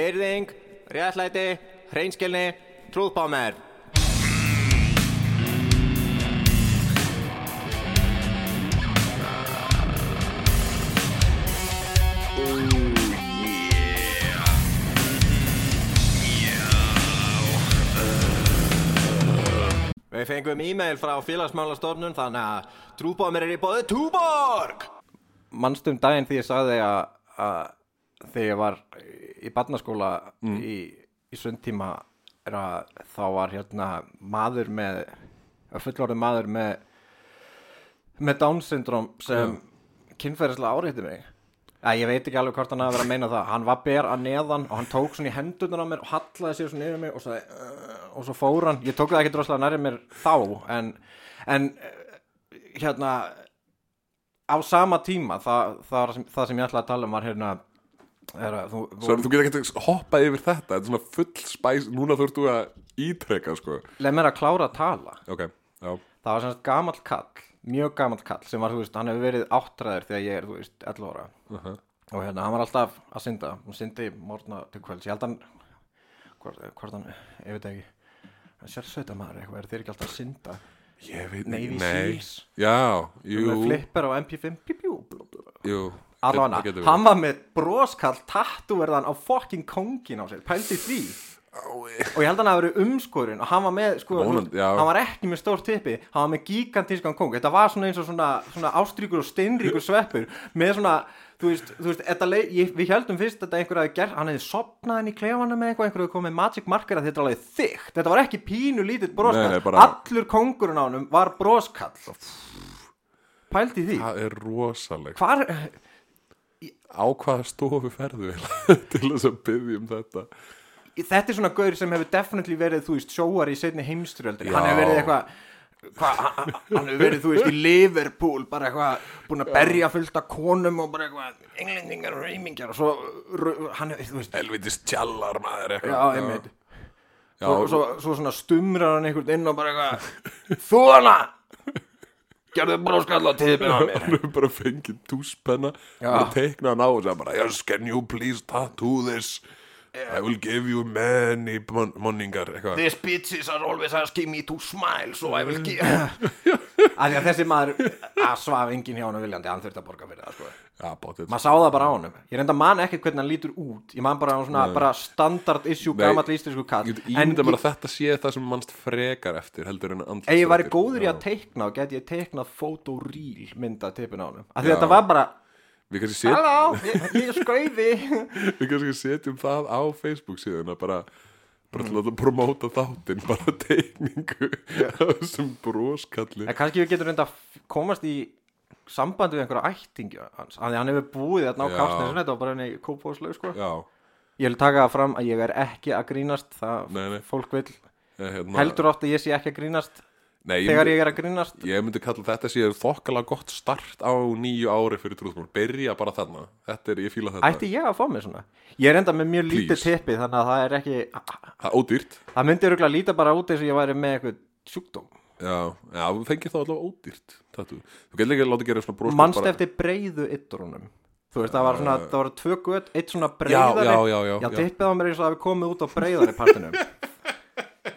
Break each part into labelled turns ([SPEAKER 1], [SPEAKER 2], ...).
[SPEAKER 1] virðing, réttlæti, hreinskilni, trúðbámer. Við fengum e-mail frá félagsmálastofnun þannig að trúbámer er í bóði Túborg! Mannstum um daginn því ég sagði að, að þegar ég var í barnaskóla í, í sundtíma er að þá var hérna maður með fullorðið maður með með Down syndrom sem kynferðislega áreiti mig að ég veit ekki alveg hvort hann að vera að meina það hann var ber að neðan og hann tók svona í hendurnar á mér og hallaði sér svona yfir mig og, sagði, uh, og svo fór hann, ég tók það ekki droslega nærri mér þá en, en eh, hérna á sama tíma það, það, var sem, það sem ég ætlaði að tala um var hérna er að þú,
[SPEAKER 2] Svo þú getur ekki hoppað yfir þetta Þetta er svona full spæs Núna þú þú að ítreka sko
[SPEAKER 1] leið mér að klára að tala
[SPEAKER 2] Ok, já
[SPEAKER 1] það var semst gamall kall mjög gamall kall sem var, þú veist, hann hefur verið áttræður þegar ég er, þú veist, 11 ára og hérna, hann var alltaf að synda hún syndi morgna til kvölds, ég held hann hvort, hvort hann, ég veit ekki hann sér sveita maður eitthvað, er þeir ekki alltaf að synda
[SPEAKER 2] Ég veit
[SPEAKER 1] Navy Seals.
[SPEAKER 2] Já,
[SPEAKER 1] með
[SPEAKER 2] jú,
[SPEAKER 1] flipper á MP5 bjú, bjú, bjú, bjú.
[SPEAKER 2] jú
[SPEAKER 1] allavega,
[SPEAKER 2] Það getur verið.
[SPEAKER 1] hann var með broskall tattúverðan á fucking kongin á sér pældi því og ég held að hann að verið umskorinn og hann var með, sko,
[SPEAKER 2] Vonandi, já.
[SPEAKER 1] hann var ekki með stór tippi hann var með gigantískan kong þetta var svona eins og svona, svona ástríkur og steinríkur sveppur með svona þú veist, þú veist þetta leið, ég, við heldum fyrst að einhver hafi gert, hann hefði sopnað henni í klefanum með eitthvað, einhver hafi komið með magic marker að þetta er alveg þykkt, þetta var ekki pínu lítill broskall,
[SPEAKER 2] Nei, nei, bara-
[SPEAKER 1] allur kongurinn á hann var broskall pældi því
[SPEAKER 2] Það er rosaleg
[SPEAKER 1] hvar,
[SPEAKER 2] Á hvaða stofu ferðu eiginlega Til þess að byggja um þetta
[SPEAKER 1] þetta er svona gaur sem hefur definitely verið, þú veist, sjóar í seinni heimstyrjöldri
[SPEAKER 2] Já.
[SPEAKER 1] hann hefur verið eitthvað hva, hann hann hefur verið, þú veist, í Liverpool bara eitthvað, búin að berja fullt af konum og bara eitthvað, englendingar og reymingjar og svo, ru- hann hefur, þú veist
[SPEAKER 2] Helvitis tjallar maður
[SPEAKER 1] já,
[SPEAKER 2] eitthvað
[SPEAKER 1] einmitt
[SPEAKER 2] Já,
[SPEAKER 1] svo, svo, svo svona stumrar hann einhvern inn og bara eitthvað þú hana gerðu bróskall á tíðbyrða mér
[SPEAKER 2] hann hefur bara fengið túspenna bara teikna hann á og segja bara yes, can you please tattoo this I will give you many mon- monningar eitthvað
[SPEAKER 1] This bitch is always asking me to smile so I will give Af því að þessi maður að svaf enginn hjá hann viljandi, hann þurfti að borga fyrir það sko.
[SPEAKER 2] já, bóttið
[SPEAKER 1] maður sá það bara á hann ég reynda að man ekkert hvernig hann lítur út ég man bara á svona bara standard issue
[SPEAKER 2] Nei.
[SPEAKER 1] gamall íslensku kall
[SPEAKER 2] ég get
[SPEAKER 1] en
[SPEAKER 2] ímynda mér að þetta sé það sem mannst frekar eftir heldur en andlust
[SPEAKER 1] ef ég væri góður í að teikna þá get ég teiknað fotoríl mynda tippin á hann af því
[SPEAKER 2] Já.
[SPEAKER 1] þetta var bara
[SPEAKER 2] við kannski, set,
[SPEAKER 1] halló, ég, ég er skauði
[SPEAKER 2] við kannski setjum það á Facebook síðuna bara bara til
[SPEAKER 1] Mm.
[SPEAKER 2] að promóta þáttinn bara teikningu af þessum broskalli
[SPEAKER 1] en kannski við getum reynda að komast í sambandi við einhverja ættingi hans af því hann hefur búið þarna á
[SPEAKER 2] Já.
[SPEAKER 1] kastinu þetta var bara henni kópáslaug sko
[SPEAKER 2] já,
[SPEAKER 1] ég vil taka það fram að ég er ekki að grínast það
[SPEAKER 2] Nei, nei.
[SPEAKER 1] fólk vil
[SPEAKER 2] eh, hérna,
[SPEAKER 1] heldur oft að ég sé ekki að grínast
[SPEAKER 2] nei,
[SPEAKER 1] þegar ég er að grínast
[SPEAKER 2] Ég myndi kalla þetta séð þokkala gott start á nýju ári fyrir trúðmál Byrja bara þarna, þetta er, ég fíla þetta
[SPEAKER 1] Ætti ég að fá mig svona? Ég er enda með mjög lítið
[SPEAKER 2] Please.
[SPEAKER 1] teppi þannig að það er ekki
[SPEAKER 2] Það er ódýrt
[SPEAKER 1] Það myndi röglega líta bara út eins og ég væri með eitthvað sjúkdóm
[SPEAKER 2] Já, já þú fengir þá allavega ódýrt Tattu. Þú getur ekki að láta gera svona broskap
[SPEAKER 1] Manst
[SPEAKER 2] bara- Uh,
[SPEAKER 1] eftir breiðu yttrunum Þú veist, það var svona, það var tvö gött, eitt svona
[SPEAKER 2] já,
[SPEAKER 1] breiðari
[SPEAKER 2] já, já, já,
[SPEAKER 1] Já, tippið á mér eins og það við komið út á breiðari partinum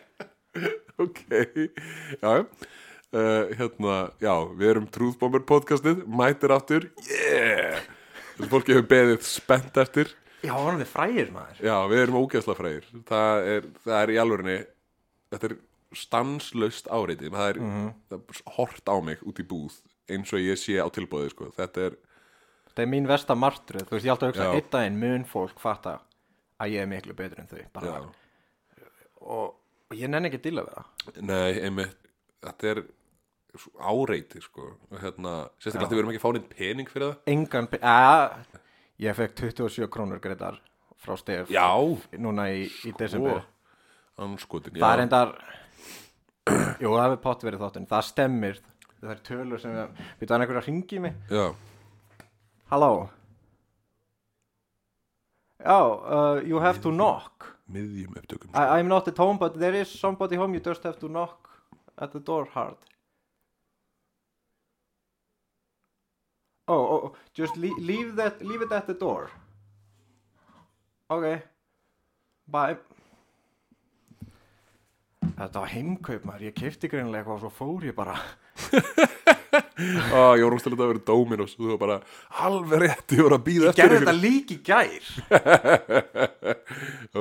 [SPEAKER 2] Ok, já uh, Hérna, já, við erum trúðbómer podcastið Mætir aftur, yeah Þessu fólki hefur beðið spennt eftir
[SPEAKER 1] Já, var hann þið frægir maður
[SPEAKER 2] Já, við erum ógeðsla frægir það er, það er í alvörinni Þetta er stanslaust áreiti Það er, það er hort á mig út í búð eins og ég sé á tilbúði sko. Þetta er,
[SPEAKER 1] Það er mín versta martröð, þú veist, ég held að hugsa
[SPEAKER 2] Já.
[SPEAKER 1] Eitt daginn mun fólk fatta að ég er miklu betur en þau bara,
[SPEAKER 2] já,
[SPEAKER 1] og, og ég nenni ekki að díla við það
[SPEAKER 2] nei, einmitt Þetta er svo áreiti sko. Og hérna, sérstaklega þegar við erum ekki fáin pening fyrir það
[SPEAKER 1] Engan, pe- að, ég fekk 27 krónur greitar frá stef
[SPEAKER 2] Já,
[SPEAKER 1] núna í, í desember
[SPEAKER 2] og anskotin
[SPEAKER 1] það er
[SPEAKER 2] já.
[SPEAKER 1] endar jú, það hefur pott verið þáttun það stemmir, það er tölur sem við við þannig einhverja ringi mig
[SPEAKER 2] já,
[SPEAKER 1] halló já, uh, you have to knock
[SPEAKER 2] miðjum upptökum sko.
[SPEAKER 1] I, I'm not at home but there is somebody home you just have to knock at the door hard oh, oh, oh just leave, leave that leave it at the door okay Bæ Þetta var heimkaup maður, ég kefti greinilega eitthvað og svo fór ég bara
[SPEAKER 2] ah, ég var rústilega að vera Dominos og þú var bara alveg rétt, ég voru að býða eftir
[SPEAKER 1] Gerði þetta líki gær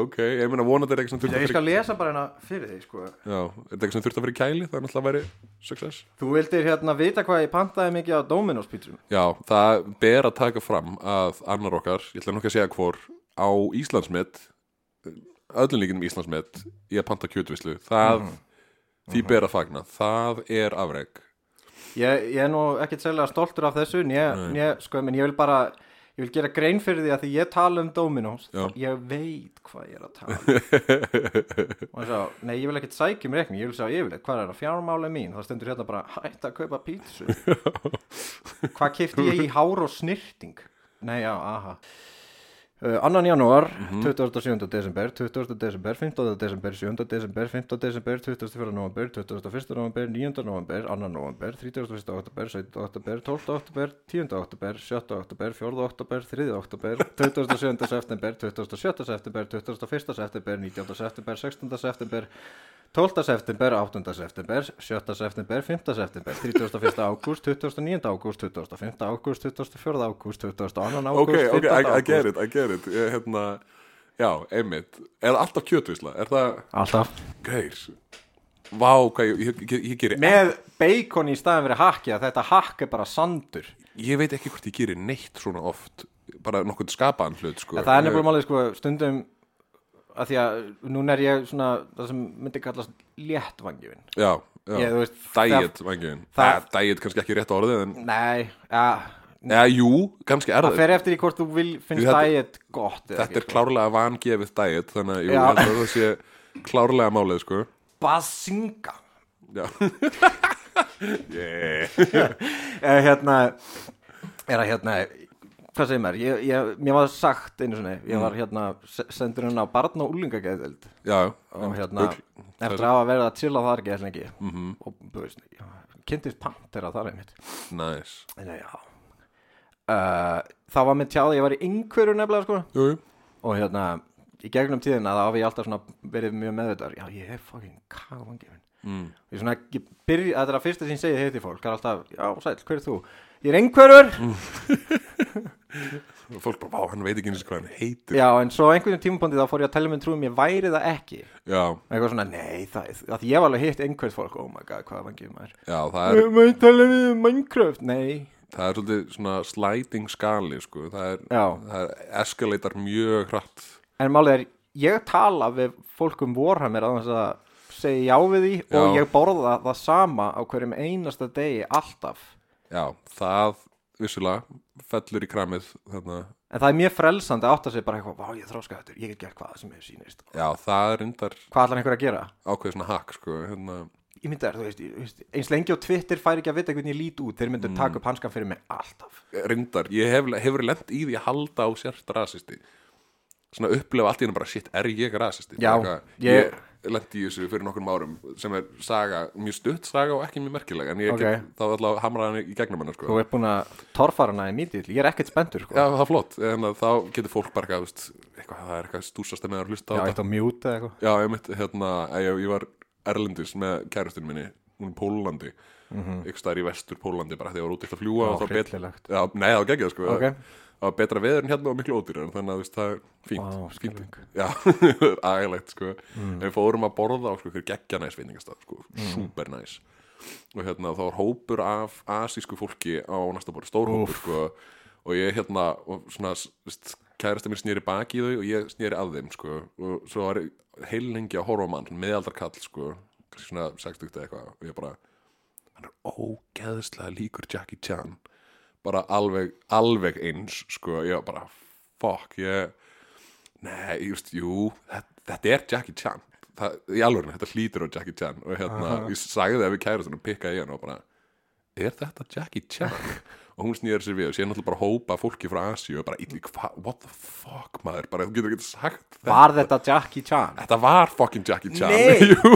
[SPEAKER 2] ok, ég meina vonandi er eitthvað sem þurft að
[SPEAKER 1] Ég
[SPEAKER 2] fyrir
[SPEAKER 1] skal lesa bara hérna fyrir þig sko
[SPEAKER 2] já, er þetta eitthvað sem þurft að fyrir kæli það er náttúrulega væri success
[SPEAKER 1] Þú vildir hérna vita hvað ég pantaði mikið á Dominos pítsum
[SPEAKER 2] já, það ber að taka fram að annar okkar, ég ætla nokkuð að segja hvor á Íslandsmet öllum líkinum Íslandsmet í að panta kjötvislu, það
[SPEAKER 1] Mhm.
[SPEAKER 2] því ber að fagna, það er afreg
[SPEAKER 1] Ég, ég er nú ekkert sérlega stoltur af þessu né, né, sko, en ég vil bara ég vil gera grein fyrir því að því ég tala um Dominos
[SPEAKER 2] Já.
[SPEAKER 1] ég veit hvað ég er að tala um. og svo, nei, ég vil ekkert sækja um reikning, ég vil sjá yfirleitt hvað er það fjármáli mín, það stendur hérna bara hætt að kaupa pítsu hvað kefti ég í hár og snyrting nei, já, aha Uh, 2. janúar,
[SPEAKER 2] Mhm.
[SPEAKER 1] 27. desember 20. desember, 15. desember 7. desember, 15. desember 24. november 21. november, 9. november 2. november, 31. oktober 17. oktober, 12. oktober, 10. oktober 7. oktober, 4. oktober, 3. oktober 27. september, 27. september 21. september, 19. september 16. september 12. september, 8. september, 7. september, 5. september, 31. ágúst, 29. ágúst, 25. ágúst, 24. ágúst, 22. ágúst,
[SPEAKER 2] ok, ok,
[SPEAKER 1] 15.
[SPEAKER 2] I, I
[SPEAKER 1] ágúst.
[SPEAKER 2] get it, I get it ég, hérna, já, einmitt er það alltaf kjötvisla, er það
[SPEAKER 1] Alltaf
[SPEAKER 2] Geir Vá, hvað ég, ég, ég, ég gerir
[SPEAKER 1] Með bacon í staðin fyrir hakki að þetta hakk er bara sandur
[SPEAKER 2] Ég veit ekki hvort ég gerir neitt svona oft Bara nokkuð skapaðan hlut sko.
[SPEAKER 1] En það er nefnilega málið sko stundum að því að núna er ég svona það sem myndi kallast léttvangjöfin
[SPEAKER 2] Já, já
[SPEAKER 1] Ég, þú veist,
[SPEAKER 2] Diet, vangiðin
[SPEAKER 1] það-
[SPEAKER 2] Diet kannski ekki rétt orðið en...
[SPEAKER 1] Nei, ja,
[SPEAKER 2] Já, jú, kannski er
[SPEAKER 1] það
[SPEAKER 2] það
[SPEAKER 1] fer eftir í hvort þú vil, finnst
[SPEAKER 2] Þetta-
[SPEAKER 1] diet gott eða
[SPEAKER 2] Þetta
[SPEAKER 1] ekki,
[SPEAKER 2] er klárlega vangefið diet Þannig að
[SPEAKER 1] Já.
[SPEAKER 2] jú, ég held að það sé klárlega málið sko.
[SPEAKER 1] Basinga
[SPEAKER 2] Já yeah.
[SPEAKER 1] Eh, hérna er að hérna hvað segir maður, ég, ég, mér var sagt einu svona, ég var hérna se- sendur hérna á barn og úlingageðdeld
[SPEAKER 2] Já,
[SPEAKER 1] og hérna,
[SPEAKER 2] Ugl.
[SPEAKER 1] eftir að hafa verið að chilla þar ekki eða lengi mm
[SPEAKER 2] Mhm,
[SPEAKER 1] -hmm. og þú veist, ég kynntist pantera þar einmitt
[SPEAKER 2] næs
[SPEAKER 1] Nei, já uh, Það var mér tjáð að ég var í yngveru nefnilega sko
[SPEAKER 2] Jú, jú
[SPEAKER 1] Og hérna, í gegnum tíðina þá hef ég alltaf svona verið mjög meðvitaður Já, ég er fucking kagvangefin mm. Ég svona, ég byrja, þetta er að fyrsta sem ég segi þetta í fólk Það er alltaf, já, sæll, hver er þú? Ég er yngverur
[SPEAKER 2] Mm. Og Fólk bara, vá, hann veit ekki eins og hvað hann heitir
[SPEAKER 1] Já, en svo á einhverjum tímapunkti þá fór ég að telja minn trúum ég væri það ekki
[SPEAKER 2] Já,
[SPEAKER 1] Eitthvað svona, nei, það, það ég var alveg hitt yngverð fólk Oh my god, hvað vangefin maður
[SPEAKER 2] já það er
[SPEAKER 1] Ég maður tala við um Minecraft, nei
[SPEAKER 2] það er svolítið svona sliding skali sko. það, er,
[SPEAKER 1] Já.
[SPEAKER 2] það er eskalatar mjög hratt
[SPEAKER 1] En málið er, ég tala við fólk um vorhamir að þess að segja já við því og
[SPEAKER 2] Já.
[SPEAKER 1] ég borða það sama á hverjum einasta degi alltaf.
[SPEAKER 2] já, það vissulega fellur í kramið hérna. þarna.
[SPEAKER 1] En það er mjög frelsandi að átta sig bara eitthvað, vá ég þróska þetta, ég get gert hvað sem hefur sýnist.
[SPEAKER 2] já, það er reyndar
[SPEAKER 1] Hvað ætlar einhver að gera?
[SPEAKER 2] ákveð svona hack sko. hérna,
[SPEAKER 1] Ég myndi að, þú veist, ég- þú veist, eins lengi á Twitter fær ekki að vita hvernig ég lít út, þeir
[SPEAKER 2] Mm.
[SPEAKER 1] myndu taka upp hanskan fyrir mig alltaf.
[SPEAKER 2] reyndar, ég hef, hefur lent í því að halda á sért rasisti svona upplefa allt í henni bara shit, er ég rasisti
[SPEAKER 1] Já,
[SPEAKER 2] Bara eitthvað,
[SPEAKER 1] ég-
[SPEAKER 2] ég, lent í þessu fyrir nokkrum árum sem er saga, mjög stutt saga og ekki mjög merkileg en ég
[SPEAKER 1] Ok.
[SPEAKER 2] get, þá allavega hamraði hann í gegnum hennar sko.
[SPEAKER 1] Þú ert búin að torfara hana í mítill, ég er ekkert spendur, sko.
[SPEAKER 2] Já, það er flott, en að þá getur fólk bara eitthvað, þú veist, eitthvað, það er eitthvað stúsast með að hlusta á
[SPEAKER 1] Já,
[SPEAKER 2] þetta.
[SPEAKER 1] eitt á mjút eða eitthvað.
[SPEAKER 2] Já, ég mitt, hérna, að ég, ég var erlendis með kærustinu minni, hún er í Pólandi, mm -hmm. ykkur staðar í vestur Pólandi, bara því að ég var út eitt að fljúa
[SPEAKER 1] Mhm. Já,
[SPEAKER 2] og þá
[SPEAKER 1] hryllilegt.
[SPEAKER 2] Já, nei, það var geggjað, sko.
[SPEAKER 1] Ok.
[SPEAKER 2] Það var betra veður en hérna og miklu ódýrar, þannig að þú veist, það er fínt.
[SPEAKER 1] Vá,
[SPEAKER 2] fínt.
[SPEAKER 1] skelfing.
[SPEAKER 2] Já, það er agalegt, sko. En við fórum að borða á, sko, ykkur geggjað veitingastað, sko, mm. super næs og hérna þá var hópur af asísku fólki á næsta bóri, stór hópur sko, og ég hérna og svona, kærasta mér snýri baki í þau og ég snýri að þeim sko, og svo var ég heil lengi að horfa á mann meðaldar kall sko, kannski svona 60 eða eitthvað og ég bara, hann er ógeðslega líkur Jackie Chan bara alveg, alveg eins sko, ég var bara, fuck ég, nei, just, jú þetta, þetta er Jackie Chan það, í alveg, þetta hlýtur á Jackie Chan og hérna, ég sagði það við kæra svona pikka í hann og bara, er þetta Jackie Chan? og hún snýður sér við og sé náttúrulega bara hópa fólki frá Asíu og bara, "Illi, hva, what the fuck maður, bara, þú getur ekki sagt þetta
[SPEAKER 1] Var þetta Jackie Chan?
[SPEAKER 2] Þetta var fucking Jackie Chan
[SPEAKER 1] Nei.
[SPEAKER 2] Jú,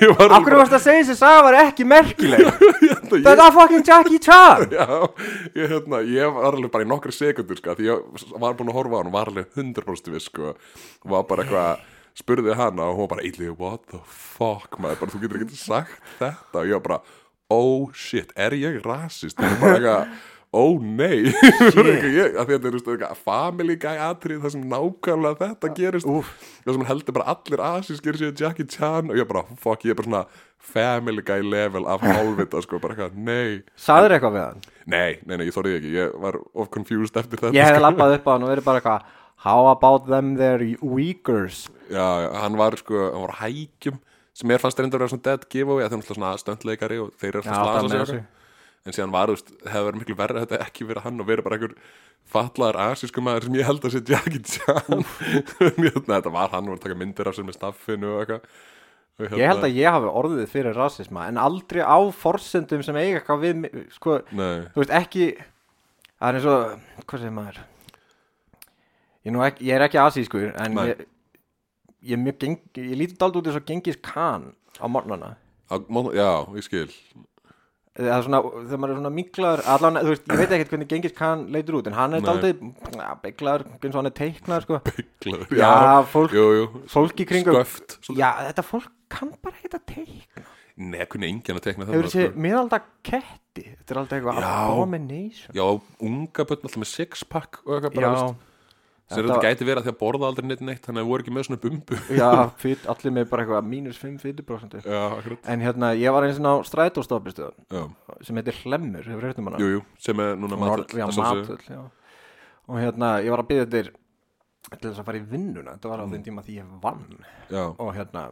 [SPEAKER 2] ég var
[SPEAKER 1] Akkur varst að segja þessi saga var ekki merkileg
[SPEAKER 2] ég-
[SPEAKER 1] Þetta var fucking Jackie Chan
[SPEAKER 2] Já, ég, hérna, ég var alveg bara í nokkri sekundur sko, því ég var búin að horfa á hann og var alveg 100% við sko, og var bara eitthvað spurði hana og hún var bara eitthvað, what the fuck maður, bara þú getur ekki sagt þetta og ég var bara, oh shit er ég rasist, það er bara eitthvað ó nei, ég, að því að þetta er þú veist, eitthvað family guy atrið það sem nákvæmlega þetta gerist Úf. það sem hann heldur bara allir asískir séu Jackie Chan og ég bara, fuck, ég er bara svona family guy level af hálfvita sko, bara eitthvað, nei
[SPEAKER 1] Saður eitthvað við hann?
[SPEAKER 2] Nei, nei, nei, ég þorði ekki, ég var of confused eftir þetta
[SPEAKER 1] Ég hefði
[SPEAKER 2] sko.
[SPEAKER 1] labbað upp á hann og verið bara eitthvað How about them their Uyghurs?
[SPEAKER 2] Já, já, hann var sko, hann var á hækjum sem mér fannst reynda að vera svona dead giveaway að þeim alltaf svona stöndleikari og þeir eru
[SPEAKER 1] Já,
[SPEAKER 2] alltaf
[SPEAKER 1] bara
[SPEAKER 2] slasa sig
[SPEAKER 1] með
[SPEAKER 2] okkar en síðan var, þú veist, hefði verið miklu verra þetta ekki verið hann og verið bara einhver fatlaðar asísku maður sem ég held að sé Jackie Chan Mjög- Nei, þetta var hann og var að taka myndir af sér með staffinu og eitthvað Og
[SPEAKER 1] Ég held að ég hafi orðið fyrir rasisma en aldrei á forsendum sem eiga eitthvað við mig, sko,
[SPEAKER 2] hérna- Nei,
[SPEAKER 1] þú veist ekki það er eins og, hvað segir maður ég, er nú ekki, ég er ekki asískur en
[SPEAKER 2] Nei.
[SPEAKER 1] ég, ég, er mjög geng, ég lítið dald út eins og gengis kan á morgnana
[SPEAKER 2] á, má- já, ég skil
[SPEAKER 1] það er svona, þegar maður er svona miklaður allan, þú veist, ég veit ekkert hvernig gengis kann leitur út en hann er
[SPEAKER 2] Nei.
[SPEAKER 1] daldið bygglaður, eins og hann er teiknaður sko.
[SPEAKER 2] Glöður,
[SPEAKER 1] Já, fólk-
[SPEAKER 2] jú, jú.
[SPEAKER 1] fólk í kringum
[SPEAKER 2] Sköft
[SPEAKER 1] já, þetta fólk kann bara ekkert að teikna
[SPEAKER 2] Nei, kunni enginn að tekna
[SPEAKER 1] hefur
[SPEAKER 2] þarna, sko.
[SPEAKER 1] þessi miðalda ketti þetta er alltaf eitthvað
[SPEAKER 2] Já.
[SPEAKER 1] abomination
[SPEAKER 2] Já, unga börn alltaf með sixpack og eitthvað bara,
[SPEAKER 1] já,
[SPEAKER 2] veist, sem
[SPEAKER 1] Þetta-
[SPEAKER 2] þetta gæti verið að því að borða aldrei neitt neitt þannig að það voru ekki með svona bumbu
[SPEAKER 1] já fyt, allir með bara eitthvað mínus 5 fytuprosentu
[SPEAKER 2] Já, akkurat
[SPEAKER 1] en hérna, ég var eins og á strætóstofnistöð
[SPEAKER 2] já.
[SPEAKER 1] sem heitir Hlemmur, hefur hefðið um hana
[SPEAKER 2] Jú, jú, sem er núna
[SPEAKER 1] Hún var-
[SPEAKER 2] matur
[SPEAKER 1] já, matöll, já. og hérna, ég var að byggja þér til þess að fara í vinnuna þetta var á þeim tíma því ég vann
[SPEAKER 2] Já,
[SPEAKER 1] og hérna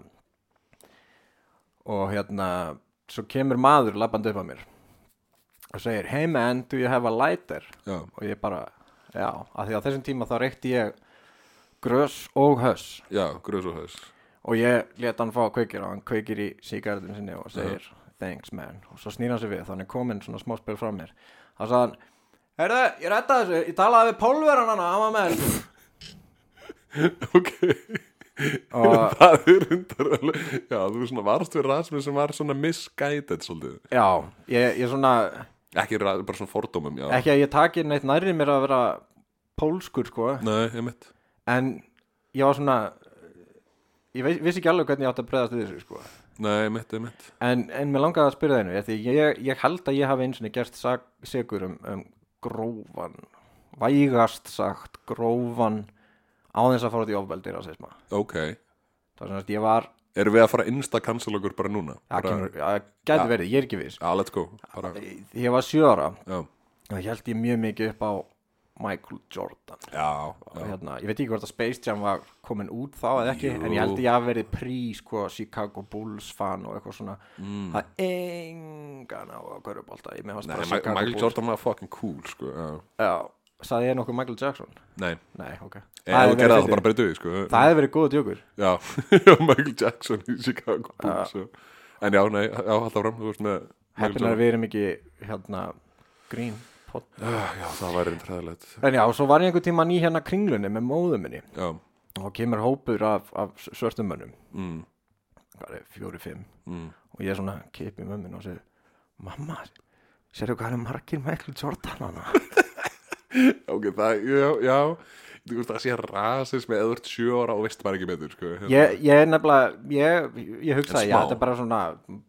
[SPEAKER 1] og hérna svo kemur maður labbandi upp að mér og segir, hey man, do you have a lighter
[SPEAKER 2] já,
[SPEAKER 1] og ég bara, já, af því að þessum tíma þá reykti ég grös og höss
[SPEAKER 2] já, gröðs og haus
[SPEAKER 1] og ég let hann fá að kveikir og hann kveikir í sígardum sinni og segir thanks man og svo snýr hann sér við þannig komin svona smá spil frá mér þá sagði hann Herðu, ég rætta þessu, ég talaði við pólveran hana, hann var með eld."
[SPEAKER 2] Ok,
[SPEAKER 1] og,
[SPEAKER 2] það er undar alveg- Já, þú er svona varst við rasmi sem var svona misguided svolítið
[SPEAKER 1] Já, ég, ég svona,
[SPEAKER 2] Ekki ra- bara svona fordómum, já
[SPEAKER 1] ekki að ég taki neitt nærri mér að vera pólskur sko
[SPEAKER 2] Nei, ég mitt
[SPEAKER 1] En ég var svona, ég veis, vissi ekki alveg hvernig ég átti að breyðast við þessu sko
[SPEAKER 2] Nei, ég mitt, ég mitt
[SPEAKER 1] En, en mér langaði að spyrja þeinu, því ég, ég held að ég hafi eins og gerst sag, segur um, um grófan, vægast sagt grófan á þess að fara út í ofbeldi rasisma.
[SPEAKER 2] Ok,
[SPEAKER 1] Það var svona að ég var,
[SPEAKER 2] erum við að fara að instacancel okkur bara núna?
[SPEAKER 1] það
[SPEAKER 2] Bara-
[SPEAKER 1] kemur, það gæti verið, ég er ekki viss.
[SPEAKER 2] Já, let's go bara,
[SPEAKER 1] Ég var sjö ára
[SPEAKER 2] Já,
[SPEAKER 1] og ég held ég mjög mikið upp á Michael Jordan.
[SPEAKER 2] já,
[SPEAKER 1] Og
[SPEAKER 2] já
[SPEAKER 1] Hérna, ég veit ekki hvort að Space Jam var komin út þá eða ekki,
[SPEAKER 2] Jú.
[SPEAKER 1] en ég held ég hafi verið prí, sko, Chicago Bulls fan og eitthvað svona, mm. það engan á að körubólta, ég með hans
[SPEAKER 2] Nei,
[SPEAKER 1] bara
[SPEAKER 2] Ma-
[SPEAKER 1] Chicago
[SPEAKER 2] Michael
[SPEAKER 1] Bulls.
[SPEAKER 2] Jordan var fucking cool, sko já.
[SPEAKER 1] Já, sagði ég nokkuð Michael Jackson?
[SPEAKER 2] Nei,
[SPEAKER 1] Nei, ok
[SPEAKER 2] ef þú
[SPEAKER 1] hefði
[SPEAKER 2] gerði
[SPEAKER 1] verið
[SPEAKER 2] það
[SPEAKER 1] fyndið.
[SPEAKER 2] bara breytið, sko
[SPEAKER 1] Það hefði verið góð djókur
[SPEAKER 2] Já, já, Michael Jackson í Chicago Bulls já. En já, nei, já, halda fram, þú veist með Michael
[SPEAKER 1] Heppin er að við erum ekki hérna grín pot.
[SPEAKER 2] Jordan. Ah, Já, það væri reynd hræðilegt
[SPEAKER 1] En já, svo var ég einhver tíma ný hérna kringlunni með móðu minni
[SPEAKER 2] Já,
[SPEAKER 1] og kemur hópur af, af svörstum mönnum
[SPEAKER 2] mm,
[SPEAKER 1] hvað er, fjóri, fimm
[SPEAKER 2] mm.
[SPEAKER 1] og ég svona kipi mömmin og segi Mamma, sérðu hvað hann er margir Michael Jordan hana?
[SPEAKER 2] Ok, það, já, já Þú veist, það sé rasis með eður sjö ára og veist bara ekki betur, sko
[SPEAKER 1] Ég, ég er nefnilega, ég, ég hugsaði,
[SPEAKER 2] En
[SPEAKER 1] já,
[SPEAKER 2] smá.
[SPEAKER 1] þetta er bara svona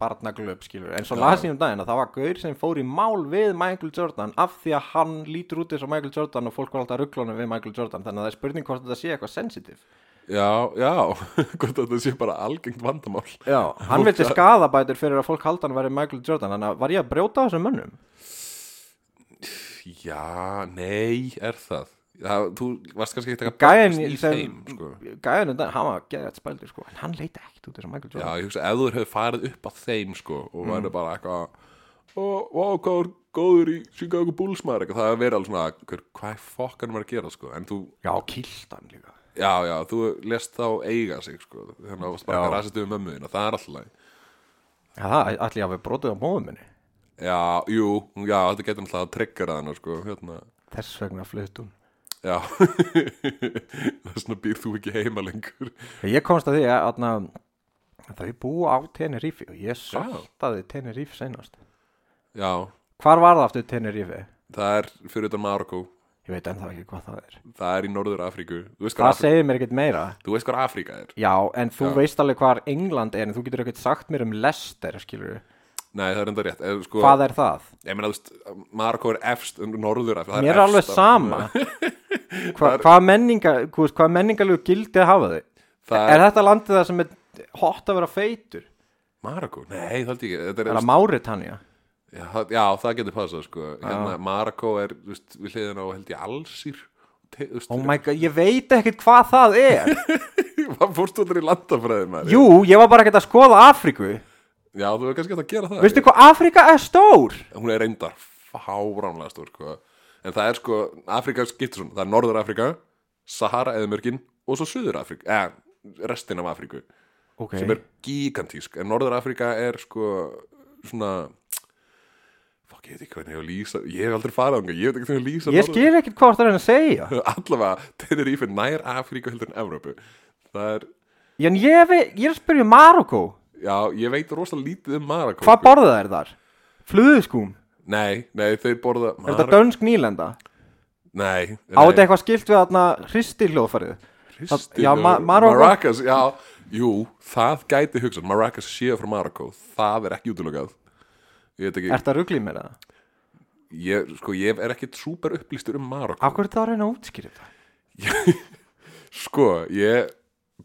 [SPEAKER 1] barnaglöp, skilur, en svo las ég um daginn að það var gaur sem fór í mál við Michael Jordan af því að hann lítur út eins og Michael Jordan og fólk var alltaf rugglunum við Michael Jordan, þannig að það er spurning hvort þetta sé eitthvað sensitive.
[SPEAKER 2] Já, já, hvort að þetta sé bara algengt vandamál
[SPEAKER 1] Já, hann vilti skaðabætur fyrir að fólk haldan væri Michael Jordan, þannig að var ég að brjóta á þessum mönnum?
[SPEAKER 2] Já, nei, er það Já, þú varst kannski ekki að taka
[SPEAKER 1] Gæinn
[SPEAKER 2] bakst í
[SPEAKER 1] sem-
[SPEAKER 2] þeim, sko
[SPEAKER 1] Gæðinu um daginn, hann var geðið spældur, sko, en hann leita ekkert út eins og Michael
[SPEAKER 2] Já,
[SPEAKER 1] Jordan.
[SPEAKER 2] ég hugsa, ef þú hefur farið upp að þeim sko, og mm. væri bara eitthvað ó, vá, hvað er góður í Chicago Bulls maður eitthvað, það hefur verið alveg svona hver, hvað er fokkanum er að gera sko en þú,
[SPEAKER 1] Já, kýlt hann líka.
[SPEAKER 2] já, já, þú lest þá eiga sig sko, þannig að
[SPEAKER 1] Já.
[SPEAKER 2] það bara rasist um mömmu þín og það er alltaf lagi.
[SPEAKER 1] Já, það ætli ég að við brotið á móðum minni.
[SPEAKER 2] já, jú, já, þetta getur alltaf að triggera hana sko, hérna,
[SPEAKER 1] Þess vegna flutt hún.
[SPEAKER 2] já það er svona býr þú ekki heima lengur
[SPEAKER 1] Ég komst að því að atna, þau búa á Tenerife og ég saltaði Tenerife senast.
[SPEAKER 2] já,
[SPEAKER 1] Hvar var það aftur Tenerife?
[SPEAKER 2] það er fyrir utan Marokko
[SPEAKER 1] Ég Ég veit ennþá ekki hvað það er
[SPEAKER 2] það er í Norður Afríku þú veist hvað
[SPEAKER 1] Það
[SPEAKER 2] Afríka,
[SPEAKER 1] segir mér ekkert meira
[SPEAKER 2] þú veist hvað Afríka er
[SPEAKER 1] Já, en þú
[SPEAKER 2] Já.
[SPEAKER 1] veist alveg hvar England er en þú getur ekkert sagt mér um Lester, skilur við
[SPEAKER 2] nei það er enda rétt eða, sko,
[SPEAKER 1] Hvað er það?
[SPEAKER 2] ég meina þú veist Marokko er efst um Norður Afríku það
[SPEAKER 1] Mér er alveg
[SPEAKER 2] efst af-
[SPEAKER 1] sama Hva, Hvað menninga, hvað, hvað menningalegu gildi hafa þau?
[SPEAKER 2] Það
[SPEAKER 1] er,
[SPEAKER 2] er-
[SPEAKER 1] þetta landið það sem er hot að vera feitur?
[SPEAKER 2] Marokko nei það held ég ekki þetta
[SPEAKER 1] Er
[SPEAKER 2] er
[SPEAKER 1] það Máritania?
[SPEAKER 2] Já, það- já, það getur passað sko hérna, Marokko er, þú veist, við hliðin á held ég Alsýr Te- þú veist,
[SPEAKER 1] Oh my god, ég veit ekkert hvað það er
[SPEAKER 2] Hvað fórstu allir í landafræðin maður?
[SPEAKER 1] Jú, ég var bara ekkert að skoða Afríku
[SPEAKER 2] Já, þú hefur kannski hægt að gera það
[SPEAKER 1] Veistu hvað Afríka er stór?
[SPEAKER 2] Hún er reyndar fáránlega stór sko. En það er sko, Afrika skiptir svona Það er Norður Afrika, Sahara eða mörgin Og svo Suður Afrika eh, Restin af Afriku
[SPEAKER 1] Ok,
[SPEAKER 2] Sem er gigantísk En Norður Afrika er sko Svona Fuck, ég veit ekki hvernig ég hef að lýsa Ég hef aldrei farað þangað, ég veit ekki hvernig ég hef að lýsa
[SPEAKER 1] ég skil ekkert hvað það er að segja
[SPEAKER 2] Allavega, Tenerife er nær Afríku heldur en Evrópu Það er,
[SPEAKER 1] En ég, veit, ég er að spyrja um Marokko
[SPEAKER 2] já, ég veit rosalega lítið um Marokko
[SPEAKER 1] Hvað borða þær þar? Flöðuskúm?
[SPEAKER 2] Nei, nei, þeir borða
[SPEAKER 1] Er þetta dönsk nýlenda?
[SPEAKER 2] Nei, nei
[SPEAKER 1] Á þetta eitthvað skilt við þarna hristiljóðfærið?
[SPEAKER 2] Kristín
[SPEAKER 1] Já,
[SPEAKER 2] og-
[SPEAKER 1] Ma- Marokko-
[SPEAKER 2] Maracas, já, jú, það gæti hugsað Maracas séu frá Marokko Það er ekki útlokað Ég veit ekki,
[SPEAKER 1] Er þetta ruglið mér eða?
[SPEAKER 2] ég, sko, ég er ekki súper upplýstur um Marokko
[SPEAKER 1] Af hverju er það að reyna að útskýra þetta?
[SPEAKER 2] Sko, ég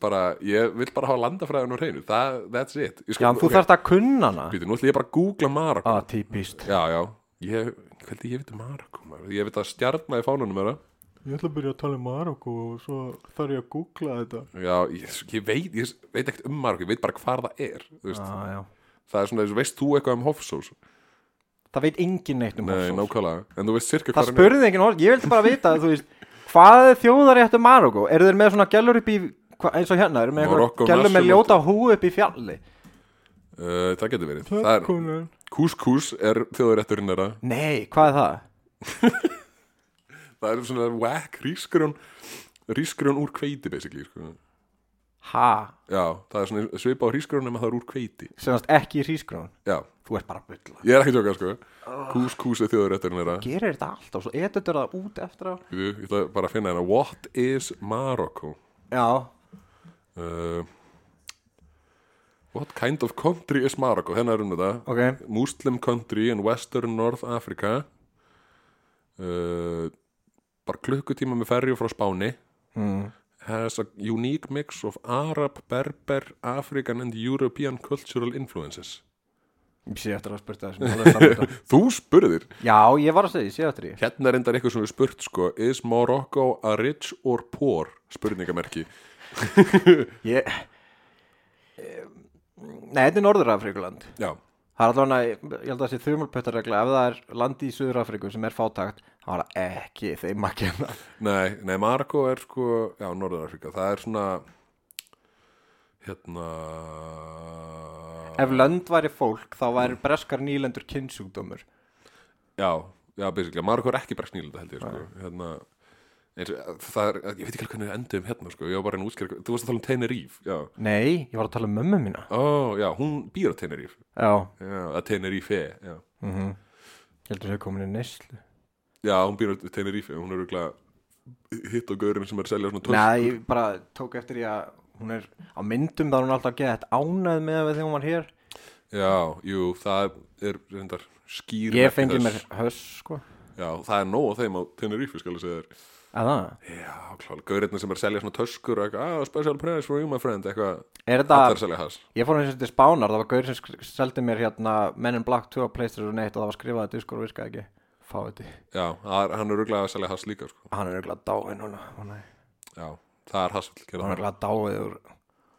[SPEAKER 2] bara, ég vil bara hafa landafræðinu á hreinu Það, that's it ég, sko,
[SPEAKER 1] Já, en þú þarft að kunna hana
[SPEAKER 2] Býtu, nú ætla ég bara að googla Marokko
[SPEAKER 1] Ah, típist
[SPEAKER 2] Já, já, ég, hvernig ég veit um Marokko maður? Ég veit að stjarna í fánunum er það
[SPEAKER 1] Ég ætla að byrja að tala um Marokko og svo þarf ég að googla þetta
[SPEAKER 2] Já, ég, ég veit, ég veit ekkert um Marokko Ég veit bara hvar það er, þú veist
[SPEAKER 1] ah, já.
[SPEAKER 2] Það er svona, eins og veist þú eitthvað um Hofsós?
[SPEAKER 1] Það veit enginn neitt um
[SPEAKER 2] Nei,
[SPEAKER 1] Hofsós.
[SPEAKER 2] nákvæmlega En þú veist cirka
[SPEAKER 1] Það
[SPEAKER 2] hvar hann er?
[SPEAKER 1] spurði enginn Hofsós, ég vildi bara vita þú veist, Hvað er þjóðaréttu Marokko? Eru þeir með svona gælur upp í hva- eins og hérna, eru með
[SPEAKER 2] Marokko
[SPEAKER 1] eitthvað gælur með
[SPEAKER 2] national-
[SPEAKER 1] ljóta hú upp í fjalli
[SPEAKER 2] Uh, það getur verið Það er, Couscous er þjóðurétturinn þeirra
[SPEAKER 1] Nei, hvað er það?
[SPEAKER 2] Það er svona whack rísgrjón Rísgrjón úr kveiti basically sko.
[SPEAKER 1] Ha,
[SPEAKER 2] Já, það er svona svipa á rísgrjón nema það er úr kveiti
[SPEAKER 1] semast ekki í hrísgrón
[SPEAKER 2] Já,
[SPEAKER 1] Þú ert bara að bulla
[SPEAKER 2] ég er ekki tjóka sko Couscous er þjóðurétturinn þeirra
[SPEAKER 1] Gerir þetta alltaf, svo editur það út eftir á
[SPEAKER 2] Við, Ég ætla bara að finna hérna What is Morocco?
[SPEAKER 1] Já,
[SPEAKER 2] Uh, what kind of country is Morocco? Hérna er um þetta
[SPEAKER 1] ok
[SPEAKER 2] Muslim country in western North Africa uh, bara klukkutíma með ferju frá Spáni
[SPEAKER 1] mm.
[SPEAKER 2] has a unique mix of Arab, Berber, African and European cultural influences
[SPEAKER 1] Ég sé eftir að spurta þessum
[SPEAKER 2] Þú spurðir
[SPEAKER 1] Já, ég var að segja, ég sé eftir því
[SPEAKER 2] Hérna er endar eitthvað sem við spurt sko Is Morocco a rich or poor? Spurningamerki
[SPEAKER 1] Ég Nei, þetta er Norður-Afríkuland
[SPEAKER 2] Já,
[SPEAKER 1] Það er allavega, ég held að þessi þumulpötarregla ef það er landi í Suður-Afríku sem er fátækt þá er það ekki þeim að kenna
[SPEAKER 2] nei, nei Marokko er sko Já, Norður Afrika, það er svona Hérna
[SPEAKER 1] Ef lönd væri fólk þá væri breskar nýlendur kynnsjúkdómur
[SPEAKER 2] Já, já, basically, Marokko er ekki brekst nýlunda held ég, sko, hérna eins, og- það er, ég veit ekki alveg hvernig við endum hérna, sko, ég var bara enn útskjörg, þú varst að tala um Tenerife, já,
[SPEAKER 1] Nei, ég var að tala um mömmu mína
[SPEAKER 2] ó, já, hún býr á Tenerife,
[SPEAKER 1] Já,
[SPEAKER 2] já, að Tenerife, já,
[SPEAKER 1] ég held að Mhm. þau komin í neyslu
[SPEAKER 2] já, hún býr á Tenerife, hún er örugglega hitt á gaurinn sem er að selja svona tösk,
[SPEAKER 1] Nei, ég bara tók eftir því að hún er á myndum þá er hún alltaf gett ánæð með það þegar hún var hér
[SPEAKER 2] já, jú, það er, reyndar, skýr
[SPEAKER 1] Ég
[SPEAKER 2] merki
[SPEAKER 1] fengi mér
[SPEAKER 2] þess.
[SPEAKER 1] höss sko
[SPEAKER 2] já, það er nóg á þeim á Tenerife, skal ég segja þér,
[SPEAKER 1] Að það?
[SPEAKER 2] já, klálega, gaurinn sem er að selja svona töskur, og eitthvað, ah, special price for you, my friend, eitthvað,
[SPEAKER 1] Er
[SPEAKER 2] það er að
[SPEAKER 1] þetta,
[SPEAKER 2] selja hass,
[SPEAKER 1] ég fór eins og til Spánar það var gaur sem sk- seldi mér hérna Men in Black 2 Playstation 1 og það var skrifaði diskur og virkaði ekki Fá þetta
[SPEAKER 2] já, það er- hann er örugglega að selja hass líka, sko.
[SPEAKER 1] Hann er eiginlega dáið núna ó nei.
[SPEAKER 2] Já, það er hassvill
[SPEAKER 1] Hann er
[SPEAKER 2] gerða
[SPEAKER 1] eiginlega dáið úr,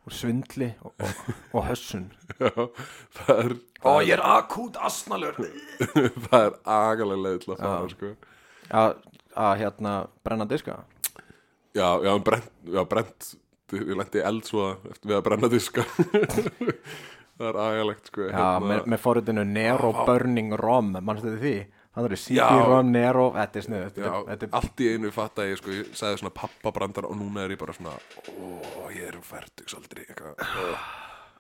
[SPEAKER 1] úr svindli og, og, og hössun
[SPEAKER 2] það. það er
[SPEAKER 1] Ó, ég er akút asnalur
[SPEAKER 2] það er agalega leið til að fara sko.
[SPEAKER 1] Að hérna brenna diska
[SPEAKER 2] Já, já, en brent, já, brent ég lendi eld svo eftir við að brenna diska það er agalegt sko.
[SPEAKER 1] Já,
[SPEAKER 2] Hérna,
[SPEAKER 1] með, með forutinu Nero Burning Rom Manstu þið því? Það eru CD
[SPEAKER 2] Já.
[SPEAKER 1] Rom, Nero, þetta er sniðu
[SPEAKER 2] já,
[SPEAKER 1] Þetta, er- þetta er
[SPEAKER 2] allt í einu fatt að ég sko, ég sagði svona pappabrandar og núna er ég bara svona ó, ég er færtugs aldrei eitthvað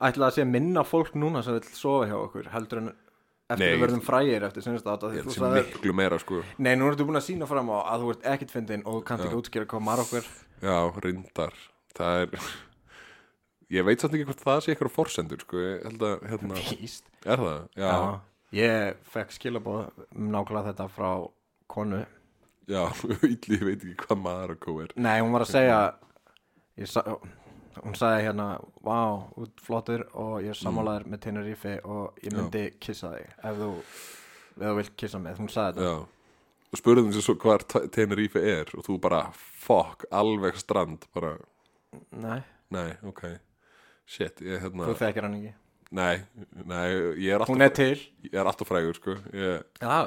[SPEAKER 1] ætla að sé minna fólk núna sem vil sofa hjá okkur heldur en eftir
[SPEAKER 2] Nei,
[SPEAKER 1] að verðum frægir eftir sinnast átt
[SPEAKER 2] Ég held
[SPEAKER 1] þú
[SPEAKER 2] sem
[SPEAKER 1] sagðir,
[SPEAKER 2] miklu meira sko
[SPEAKER 1] nei, nú ertu búin að sína fram á að þú ert ekkit fyndin og þú kannt ekki útskýra hvað maður okkur
[SPEAKER 2] Já, rindar Það er Ég veit samt ekki hvort það sé eitthvað forsendur sko Ég held að, hérna
[SPEAKER 1] Víst.
[SPEAKER 2] Er það? Já,
[SPEAKER 1] Já. ég fekk skilabóð um nákvæmlega þetta frá konu
[SPEAKER 2] já, illi, ég veit ekki hvað Marokko er
[SPEAKER 1] nei, hún var að segja ég sa, hún sagði hérna vá, wow, flottur og ég er sammálaður með Tenerife og ég myndi kissa þig ef þú, ef þú vilt kissa mig hún sagði þetta
[SPEAKER 2] Já Og spurðum þessu svo hvar T- Tenerife er Og þú bara, fuck, alveg strand Bara,
[SPEAKER 1] nei,
[SPEAKER 2] nei, ok Shit, ég, hérna
[SPEAKER 1] þú þekkir hann ekki
[SPEAKER 2] Nei, nei, ég er alltaf
[SPEAKER 1] hún er til
[SPEAKER 2] Ég er alltaf frægur, sko Ég,
[SPEAKER 1] já,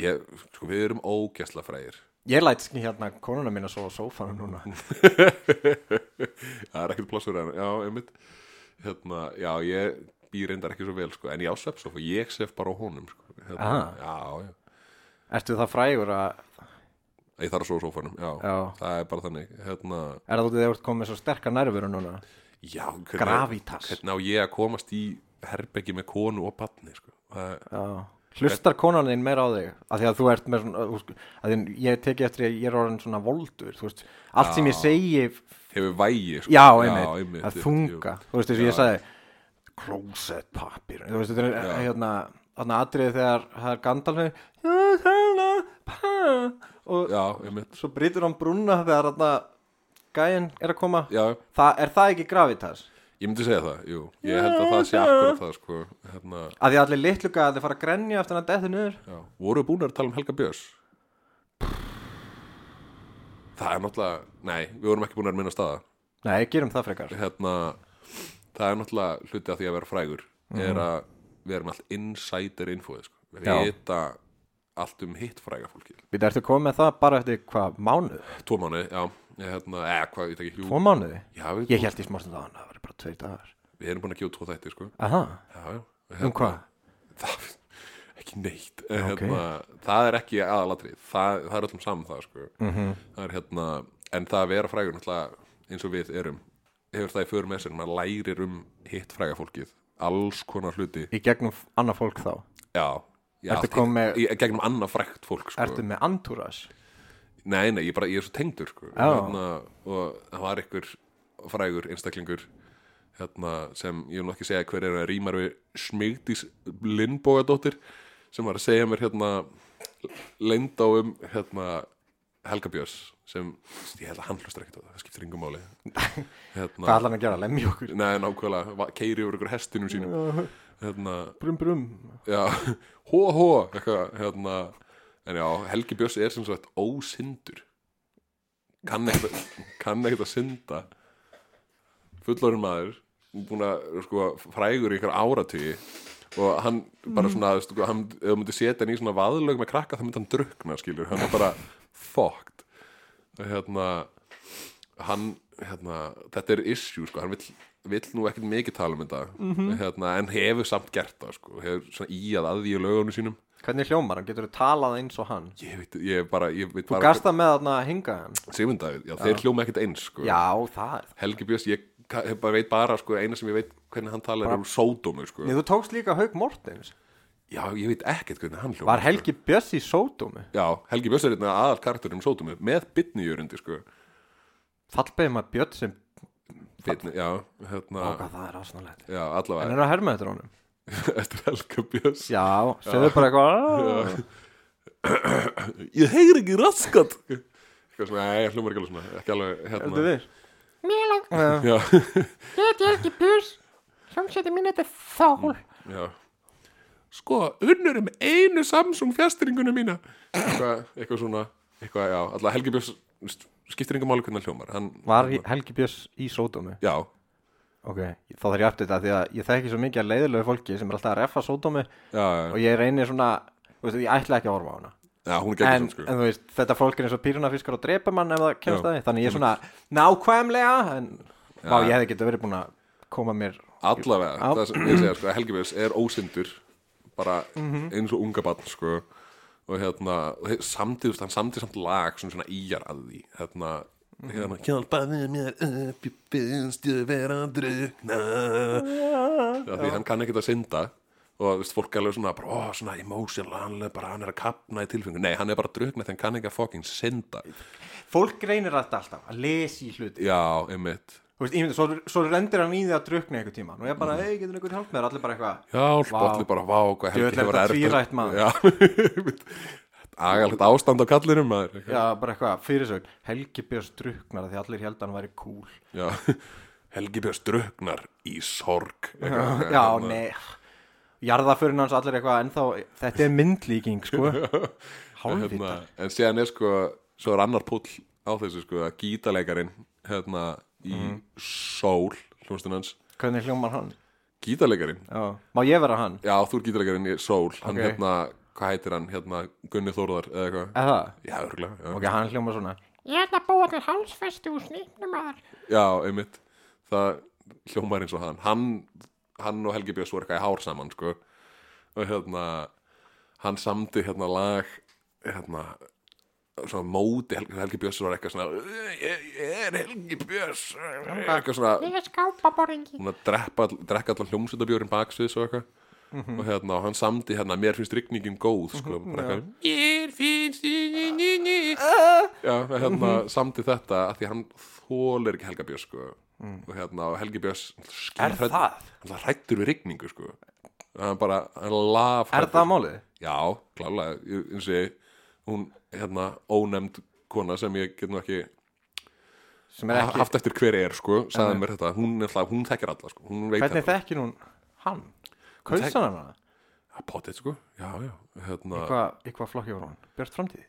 [SPEAKER 2] ég sko, við erum ógesla frægir
[SPEAKER 1] ég læt sk- hérna konuna mín að sofa á sófanum núna
[SPEAKER 2] Það er ekkert plássur en já, einmitt hérna, já, ég býr reyndar ekki svo vel sko, en ég á svefsofa, ég sef bara á honum sko, hérna,
[SPEAKER 1] Aha.
[SPEAKER 2] já, já,
[SPEAKER 1] ertu það frægur að
[SPEAKER 2] ég þarf að svo á sófanum já,
[SPEAKER 1] Já.
[SPEAKER 2] það er bara þannig hérna,
[SPEAKER 1] er það út í þegar þú ert komið með svo sterkar nærveru núna
[SPEAKER 2] já, hvernig,
[SPEAKER 1] gravitas
[SPEAKER 2] hvernig á ég að komast í herbeggi með konu og batni sko, það,
[SPEAKER 1] Já. hlustar konan þín meira á þig að því að þú ert með svona þú sk- að því ég teki eftir að ég er orðin svona voldur þú veist, allt sem ég segi já,
[SPEAKER 2] hefur vægi sko,
[SPEAKER 1] einmitt, að
[SPEAKER 2] jú,
[SPEAKER 1] þunga þú veist, þess að ég sagði closet pappir þú veist, þetta er
[SPEAKER 2] Já.
[SPEAKER 1] hérna þarna atriði þegar það er Gandalf og
[SPEAKER 2] já, einmitt,
[SPEAKER 1] svo brýtur hann brúna þegar þarna gæinn er að koma
[SPEAKER 2] já,
[SPEAKER 1] Þa, er það ekki gravitas?
[SPEAKER 2] ég myndi segja það jú, ég held að það sé akkurat það sko, hérna,
[SPEAKER 1] að því að allir litlu gæði fara að grenja eftir hann að dettu niður
[SPEAKER 2] Já, voru búin að tala um Helga Björns? Það er náttúrulega, nei, við vorum ekki búin að minna staða
[SPEAKER 1] nei, gerum það frekar
[SPEAKER 2] Hérna, það er náttúrulega hluti af því að vera frægur
[SPEAKER 1] Mhm.
[SPEAKER 2] Er að við erum allt insider infoði sko. Við
[SPEAKER 1] Já.
[SPEAKER 2] hita allt um hitt fræga fólki
[SPEAKER 1] Við ertu komið með það bara eftir hvað, mánuð?
[SPEAKER 2] Tvo mánuði, já, ég, hérna, eða hvað, ég tek ekki
[SPEAKER 1] Tvo
[SPEAKER 2] hjú
[SPEAKER 1] mánuði?
[SPEAKER 2] Já, við,
[SPEAKER 1] Ég held í smástund að það var bara tveir dagar
[SPEAKER 2] við erum búin að gefa út tvo þætti, sko
[SPEAKER 1] Aha,
[SPEAKER 2] Já, já,
[SPEAKER 1] um hvað?
[SPEAKER 2] það, ekki neitt hérna, það er ekki aðalatrið það, það er öllum saman það sko.
[SPEAKER 1] Mhm.
[SPEAKER 2] -hmm. það er, hérna, en það að vera frægur náttúrulega, eins og við erum hefur það í förum með sér, maður lærir um hitt fræga fólkið, alls konar hluti
[SPEAKER 1] Í gegnum f- annað fólk þá
[SPEAKER 2] já, já
[SPEAKER 1] Ertu
[SPEAKER 2] allt
[SPEAKER 1] komin með-
[SPEAKER 2] hitt- í, gegnum annað frægt fólk sko.
[SPEAKER 1] Ertu með antúras?
[SPEAKER 2] Nei, nei, ég, bara, ég er svo tengdur sko.
[SPEAKER 1] Já.
[SPEAKER 2] og það var einhver frægur einstaklingur hérna, sem ég vil nú ekki segja hver er að rýmar við smigdís Lindbógadóttir sem var að segja mér hérna leynd á um hérna, Helga Björns sem ég held að hann hlustar ekkert á það, það skiptir yngum máli
[SPEAKER 1] Hvað
[SPEAKER 2] hérna,
[SPEAKER 1] ætlar hann að gera? Lemja okkur?
[SPEAKER 2] Nei, nákvæmlega, keiri yfir ykkur hestinum sínum hérna,
[SPEAKER 1] Brum brum
[SPEAKER 2] já, hóa hóa eitthvað, hérna en já, Helgi Björns er sem sagt ósyndur kann ekkert kann ekkert að synda fullorinn maður búin að, sko, frægur í ykkur áratugi og hann bara svona sko, hann, ef þú myndir setja hann í svona vaðlög með krakka þá myndi hann drukna, skilur hann er bara fucked og hérna hann, hérna, þetta er issue sko, hann vill, vill nú ekkert mikið tala um þetta
[SPEAKER 1] Mhm.
[SPEAKER 2] hérna, en hefur samt gert það sko, hefur svona í að að í lögunum sínum
[SPEAKER 1] Hvernig hljómar hann? Getur þú talað eins og hann?
[SPEAKER 2] ég veit, ég bara, ég veit
[SPEAKER 1] Þú
[SPEAKER 2] bara
[SPEAKER 1] gasta með þarna að hinga hann?
[SPEAKER 2] Sigmundavíð, já, þeir hljóma ekkert eins sko.
[SPEAKER 1] Já, það er það
[SPEAKER 2] Helgi Björns, ég, ka- ég bara veit bara sko, eina sem ég veit hvernig hann talar er úr sódómu sko.
[SPEAKER 1] Nei, þú tókst líka Haug Mortens
[SPEAKER 2] já, ég veit ekkert hvernig hann hljóma
[SPEAKER 1] Var Helgi Björs í sódómi?
[SPEAKER 2] sko. já, Helgi Björns er hérna aðal karakterinn um sódómu með bitnijörundi sko.
[SPEAKER 1] Fallbeðið maður Björn sem
[SPEAKER 2] Bitni, já, hérna,
[SPEAKER 1] Hvað það er ásnálegt
[SPEAKER 2] já,
[SPEAKER 1] En
[SPEAKER 2] allavega
[SPEAKER 1] er að herma eftir honum?
[SPEAKER 2] eftir Helga Björns
[SPEAKER 1] Já, segðu bara eitthvað
[SPEAKER 2] ég heyri ekki raskat eitthvað svona, nei, hljómar ekki alveg svona ekki alveg,
[SPEAKER 1] Heldur
[SPEAKER 2] hérna
[SPEAKER 1] við
[SPEAKER 3] Mér langar
[SPEAKER 2] já,
[SPEAKER 3] get ég ekki burs Hljómsveitin mín þetta þál
[SPEAKER 2] já. sko, unnur um einu Samsung fjastringuna mína eitthvað, eitthvað svona, eitthvað, já alltaf Helgi Björns skiptir yngur máli hvernig hann hljómar hann,
[SPEAKER 1] Var Helgi Björns í sódómi?
[SPEAKER 2] já,
[SPEAKER 1] Ok, þá þarf ég aftur þetta því að ég þekki svo mikið að leiðilegu fólki sem er alltaf að reffa sódómi
[SPEAKER 2] já, já,
[SPEAKER 1] og ég reynir svona, þú veist, ég ætla ekki að horfa á hana
[SPEAKER 2] já hún er
[SPEAKER 1] en,
[SPEAKER 2] geggjum sko
[SPEAKER 1] en þú veist, þetta fólk er eins og pýrunafiskar og drepa mann ef það kemst
[SPEAKER 2] Já.
[SPEAKER 1] að því þannig ég er svona nákvæmlega en vá, ég hefði getið verið búin að koma mér
[SPEAKER 2] allavega,
[SPEAKER 1] Já.
[SPEAKER 2] það sem ég segja sko, Helgi Björns er ósyndur bara eins og unga barn sko og hérna, og þeir- samtíð þú veist, hann samtíð samt lag svona, svona íjar að því hérna, hérna hjálpaði mér upp ég finnst ég vera að drukna af því hann kann ekkert að synda og þú veist, fólk alveg svona, bara, ó, svona emotional, hann er bara, hann er að kapna í tilfengu nei, hann er bara að drukna þegar hann kann ekki að fucking synda
[SPEAKER 1] Fólk reynir þetta alltaf að lesi í hluti
[SPEAKER 2] já, einmitt
[SPEAKER 1] Þú veist, ímynda, svo, svo rendir hann í því að drukna einhver tíma Nú er bara, hei, getur einhver hjálp með þér Allir bara eitthvað
[SPEAKER 2] Mhm. já,
[SPEAKER 1] Vá.
[SPEAKER 2] allir bara, vá, hvað
[SPEAKER 1] Djöfull er þetta tvírætt, maður.
[SPEAKER 2] maður agalegt ástand á kallinum maður
[SPEAKER 1] Já, bara eitthvað, fyrirsögn Helgi Björns druknar af því allir held að hann væri cool
[SPEAKER 2] Já, Helgi Björns druknar í sorg Eitthvað,
[SPEAKER 1] Já,
[SPEAKER 2] hérna.
[SPEAKER 1] nei Jarðaförin hans allir eitthvað ennþá Þetta er myndlíking, sko
[SPEAKER 2] hérna,
[SPEAKER 1] Hálfvita
[SPEAKER 2] En síðan er sko Svo er annar púll á þessu sko að Gítaleikarin hérna í
[SPEAKER 1] Mhm.
[SPEAKER 2] sól Hljómsdun hans
[SPEAKER 1] Hvernig hljómar hann?
[SPEAKER 2] Gítaleikarin
[SPEAKER 1] Já. Má ég vera hann?
[SPEAKER 2] Já, þú er gítaleikarin í sól Hann
[SPEAKER 1] Ok.
[SPEAKER 2] hérna, hvað heitir hann? Hérna, Gunni Þórðar eða eitthvað
[SPEAKER 1] Eða það?
[SPEAKER 2] Já, örgulega já.
[SPEAKER 1] Ok, hann hljómar svona
[SPEAKER 3] Ég ætla að búa til hálsfesti úr snýpnum maður.
[SPEAKER 2] já, einmitt Það hljómar eins og hann Hann, hann og Helgi Björns voru eitthvað í hár saman sko Og hérna Hann samdi hérna lag Hérna svona móti Helgi, Helgi Björns var eitthvað svona ég, ég er Helgi Björns eitthvað svona
[SPEAKER 3] Ég er skápaboringi.
[SPEAKER 2] hún að drekka, drekka allan hljómsveitabjórin baksviðs og eitthvað og hérna, og hann samdi hérna mér finnst rigningin góð sko, bara eitthvað, mér finnst rigningin
[SPEAKER 1] Ah.
[SPEAKER 2] já, hérna,
[SPEAKER 1] Mhm.
[SPEAKER 2] samdi þetta að því hann þólir ekki Helga Björns sko. og hérna, og Helgi Björns
[SPEAKER 1] Mm. Er það?
[SPEAKER 2] hann hrættur við rigningu sko. hann bara, hann laf
[SPEAKER 1] Er það málið?
[SPEAKER 2] já, klálega, ég- eins og ég hún, hérna, ónefnd kona sem ég get nú ekki
[SPEAKER 1] Sem er ekki
[SPEAKER 2] haft eftir hver er sko, sagði mér þetta hún, náttúrulega- hún þekkir alla, sko, hún veit
[SPEAKER 1] Hvernig
[SPEAKER 2] þetta
[SPEAKER 1] þekkir hún hann? Kaus
[SPEAKER 2] tek-
[SPEAKER 1] hann hana?
[SPEAKER 2] Já, potið sko, já, já, hérna
[SPEAKER 1] Hvað, í hvað flokki var hún? Björt framtíð?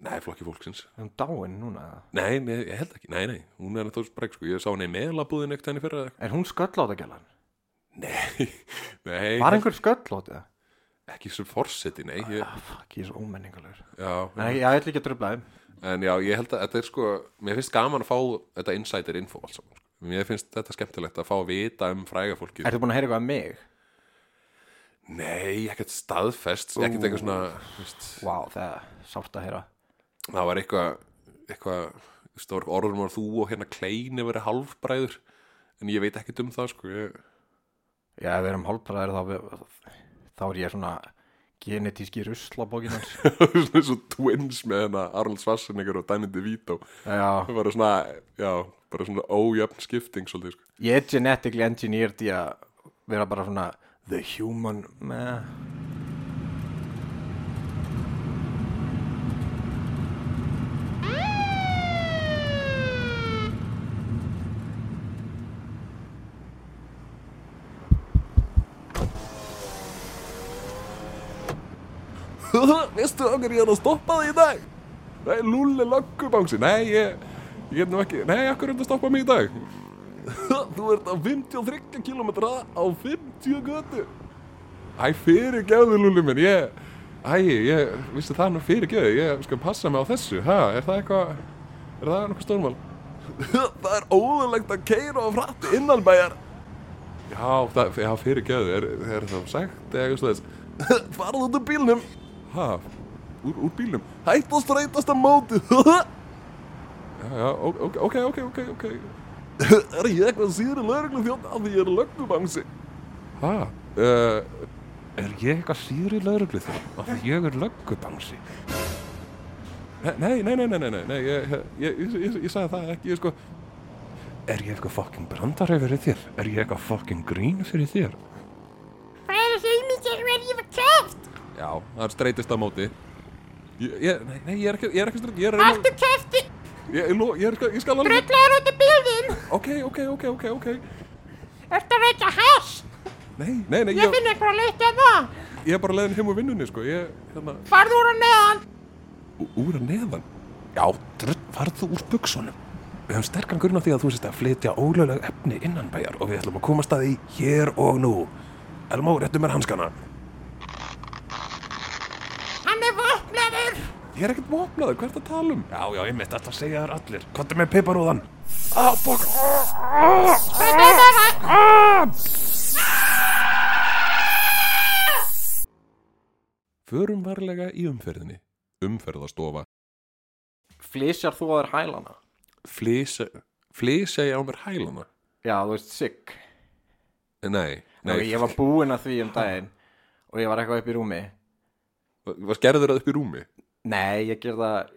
[SPEAKER 2] Nei, flokki fólksins
[SPEAKER 1] Er hún dáin núna? eða?
[SPEAKER 2] Nei, nei, ég held ekki, nei, nei, hún er ennþá sprek sko Ég sá hún í meðlabúðin eitt henni fyrir eða
[SPEAKER 1] Er hún sköllátagellan?
[SPEAKER 2] eitthvað. Nei,
[SPEAKER 1] Var einhver sköllótið?
[SPEAKER 2] ekki sem forseti, nei ég,
[SPEAKER 1] Ah, fuck, ég er svo ómenningulegur
[SPEAKER 2] já,
[SPEAKER 1] Nei, ég ætla ekki að tröfla þeim
[SPEAKER 2] En já, ég held að þetta er sko Mér finnst gaman að fá þetta insider info alls saman, sko. Mér finnst þetta skemmtilegt að fá að vita um fræga fólkið
[SPEAKER 1] Ertu búin að heyra eitthvað um mig?
[SPEAKER 2] Nei, ekkert staðfest, ekkert eitthvað svona þú veist,
[SPEAKER 1] Vá, það er sárt að heyra
[SPEAKER 2] Það var eitthvað, eitthvað stór orðum að þú og hérna kleini verið halfbræður En ég veit ekkert um það sko ég,
[SPEAKER 1] Já, ef við erum hálfbræðir þá, við, þá er ég svona genetíski ruslabókin hans
[SPEAKER 2] svona eins og twins með hérna Arnold Schwarzenegger og Danny DeVito
[SPEAKER 1] Já,
[SPEAKER 2] það var svona, já, bara svona ójöfn skipting svolítið, sko.
[SPEAKER 1] ég er genetically engineered í að vera bara svona the human man
[SPEAKER 2] veistu okkur ég er að stoppa þig í dag nei, lúli löggubangsi nei, ég, ég get nú ekki nei, okkur er þetta að stoppa mig í dag þú ert á 53 km á 50 götu æ, fyrir gefðu lúli minn ég, æ, ég, vissi það nú fyrir gefðu ég skal passa mig á þessu, ha, er það eitthvað er það eitthvað stórmál það er óðurlegt að keira á frætt innan bæjar Já, það, já fyrir geðu, er, er það sagt eða eitthvað slúðis Farðu út úr bílnum Hæ, úr, úr bílnum Hætt að streytast að móti Já, já, ok, ok, ok, ok, ok, ok Er ég eitthvað síður í lögreglu þjótt af því ég er löggubangsi Hæ, uh, er ég eitthvað síður í lögreglu þjótt af því ég er löggubangsi Nei, nei, nei, nei, nei, nei, nei, ég, ég, ég, ég, ég sagði það ekki, ég sko Er ég eitthvað fucking brandari fyrir þér? Er ég eitthvað fucking grín fyrir þér?
[SPEAKER 3] Hvað er þessi ímyndir verið ég var kæft?
[SPEAKER 2] Já, það er streytist á móti Ég, ég, nei, nei, ég er ekki, ég er ekki streytist Ég er
[SPEAKER 3] Ertu kæfti?
[SPEAKER 2] ég, ég, lo- ég, er ekki- ég skal alveg
[SPEAKER 3] Drullar út í bílinn?
[SPEAKER 2] Ok, ok, ok, ok, ok
[SPEAKER 3] Ertu að reykja hest?
[SPEAKER 2] Nei, nei, nei,
[SPEAKER 3] Ég
[SPEAKER 2] ég,
[SPEAKER 3] finn einhverja leitt en það.
[SPEAKER 2] ég er bara leiðin heim úr vinnunni, sko Ég, hérna,
[SPEAKER 3] Farðu úr að neðan.
[SPEAKER 2] ú- úr að neðan Já, drödd, farðu úr buksunum Við höfum sterkan grunn á því að þú sést að flytja ólögleg efni innan bæjar og við ætlum að komast að því hér og nú Elmó, réttu mér hanskana
[SPEAKER 3] Hann er vopnaður.
[SPEAKER 2] Ég er ekkert vopnaður, hvað er þetta að tala um? Já, já, ég mitt alltaf að segja þér allir Kvartu með piparúðan Ah, fuck
[SPEAKER 3] Þetta er bara...
[SPEAKER 2] Förum varlega í umferðinni Umferðastofa
[SPEAKER 1] Flysjar þú að þér hælana?
[SPEAKER 2] Flýsa Flýsa ég á mér hælana?
[SPEAKER 1] Já, þú veist, sick
[SPEAKER 2] Nei, nei
[SPEAKER 1] Nei, ég var búinn að því um daginn og ég var eitthvað upp í rúmi
[SPEAKER 2] Var skerður það upp í rúmi?
[SPEAKER 1] nei, ég gerði það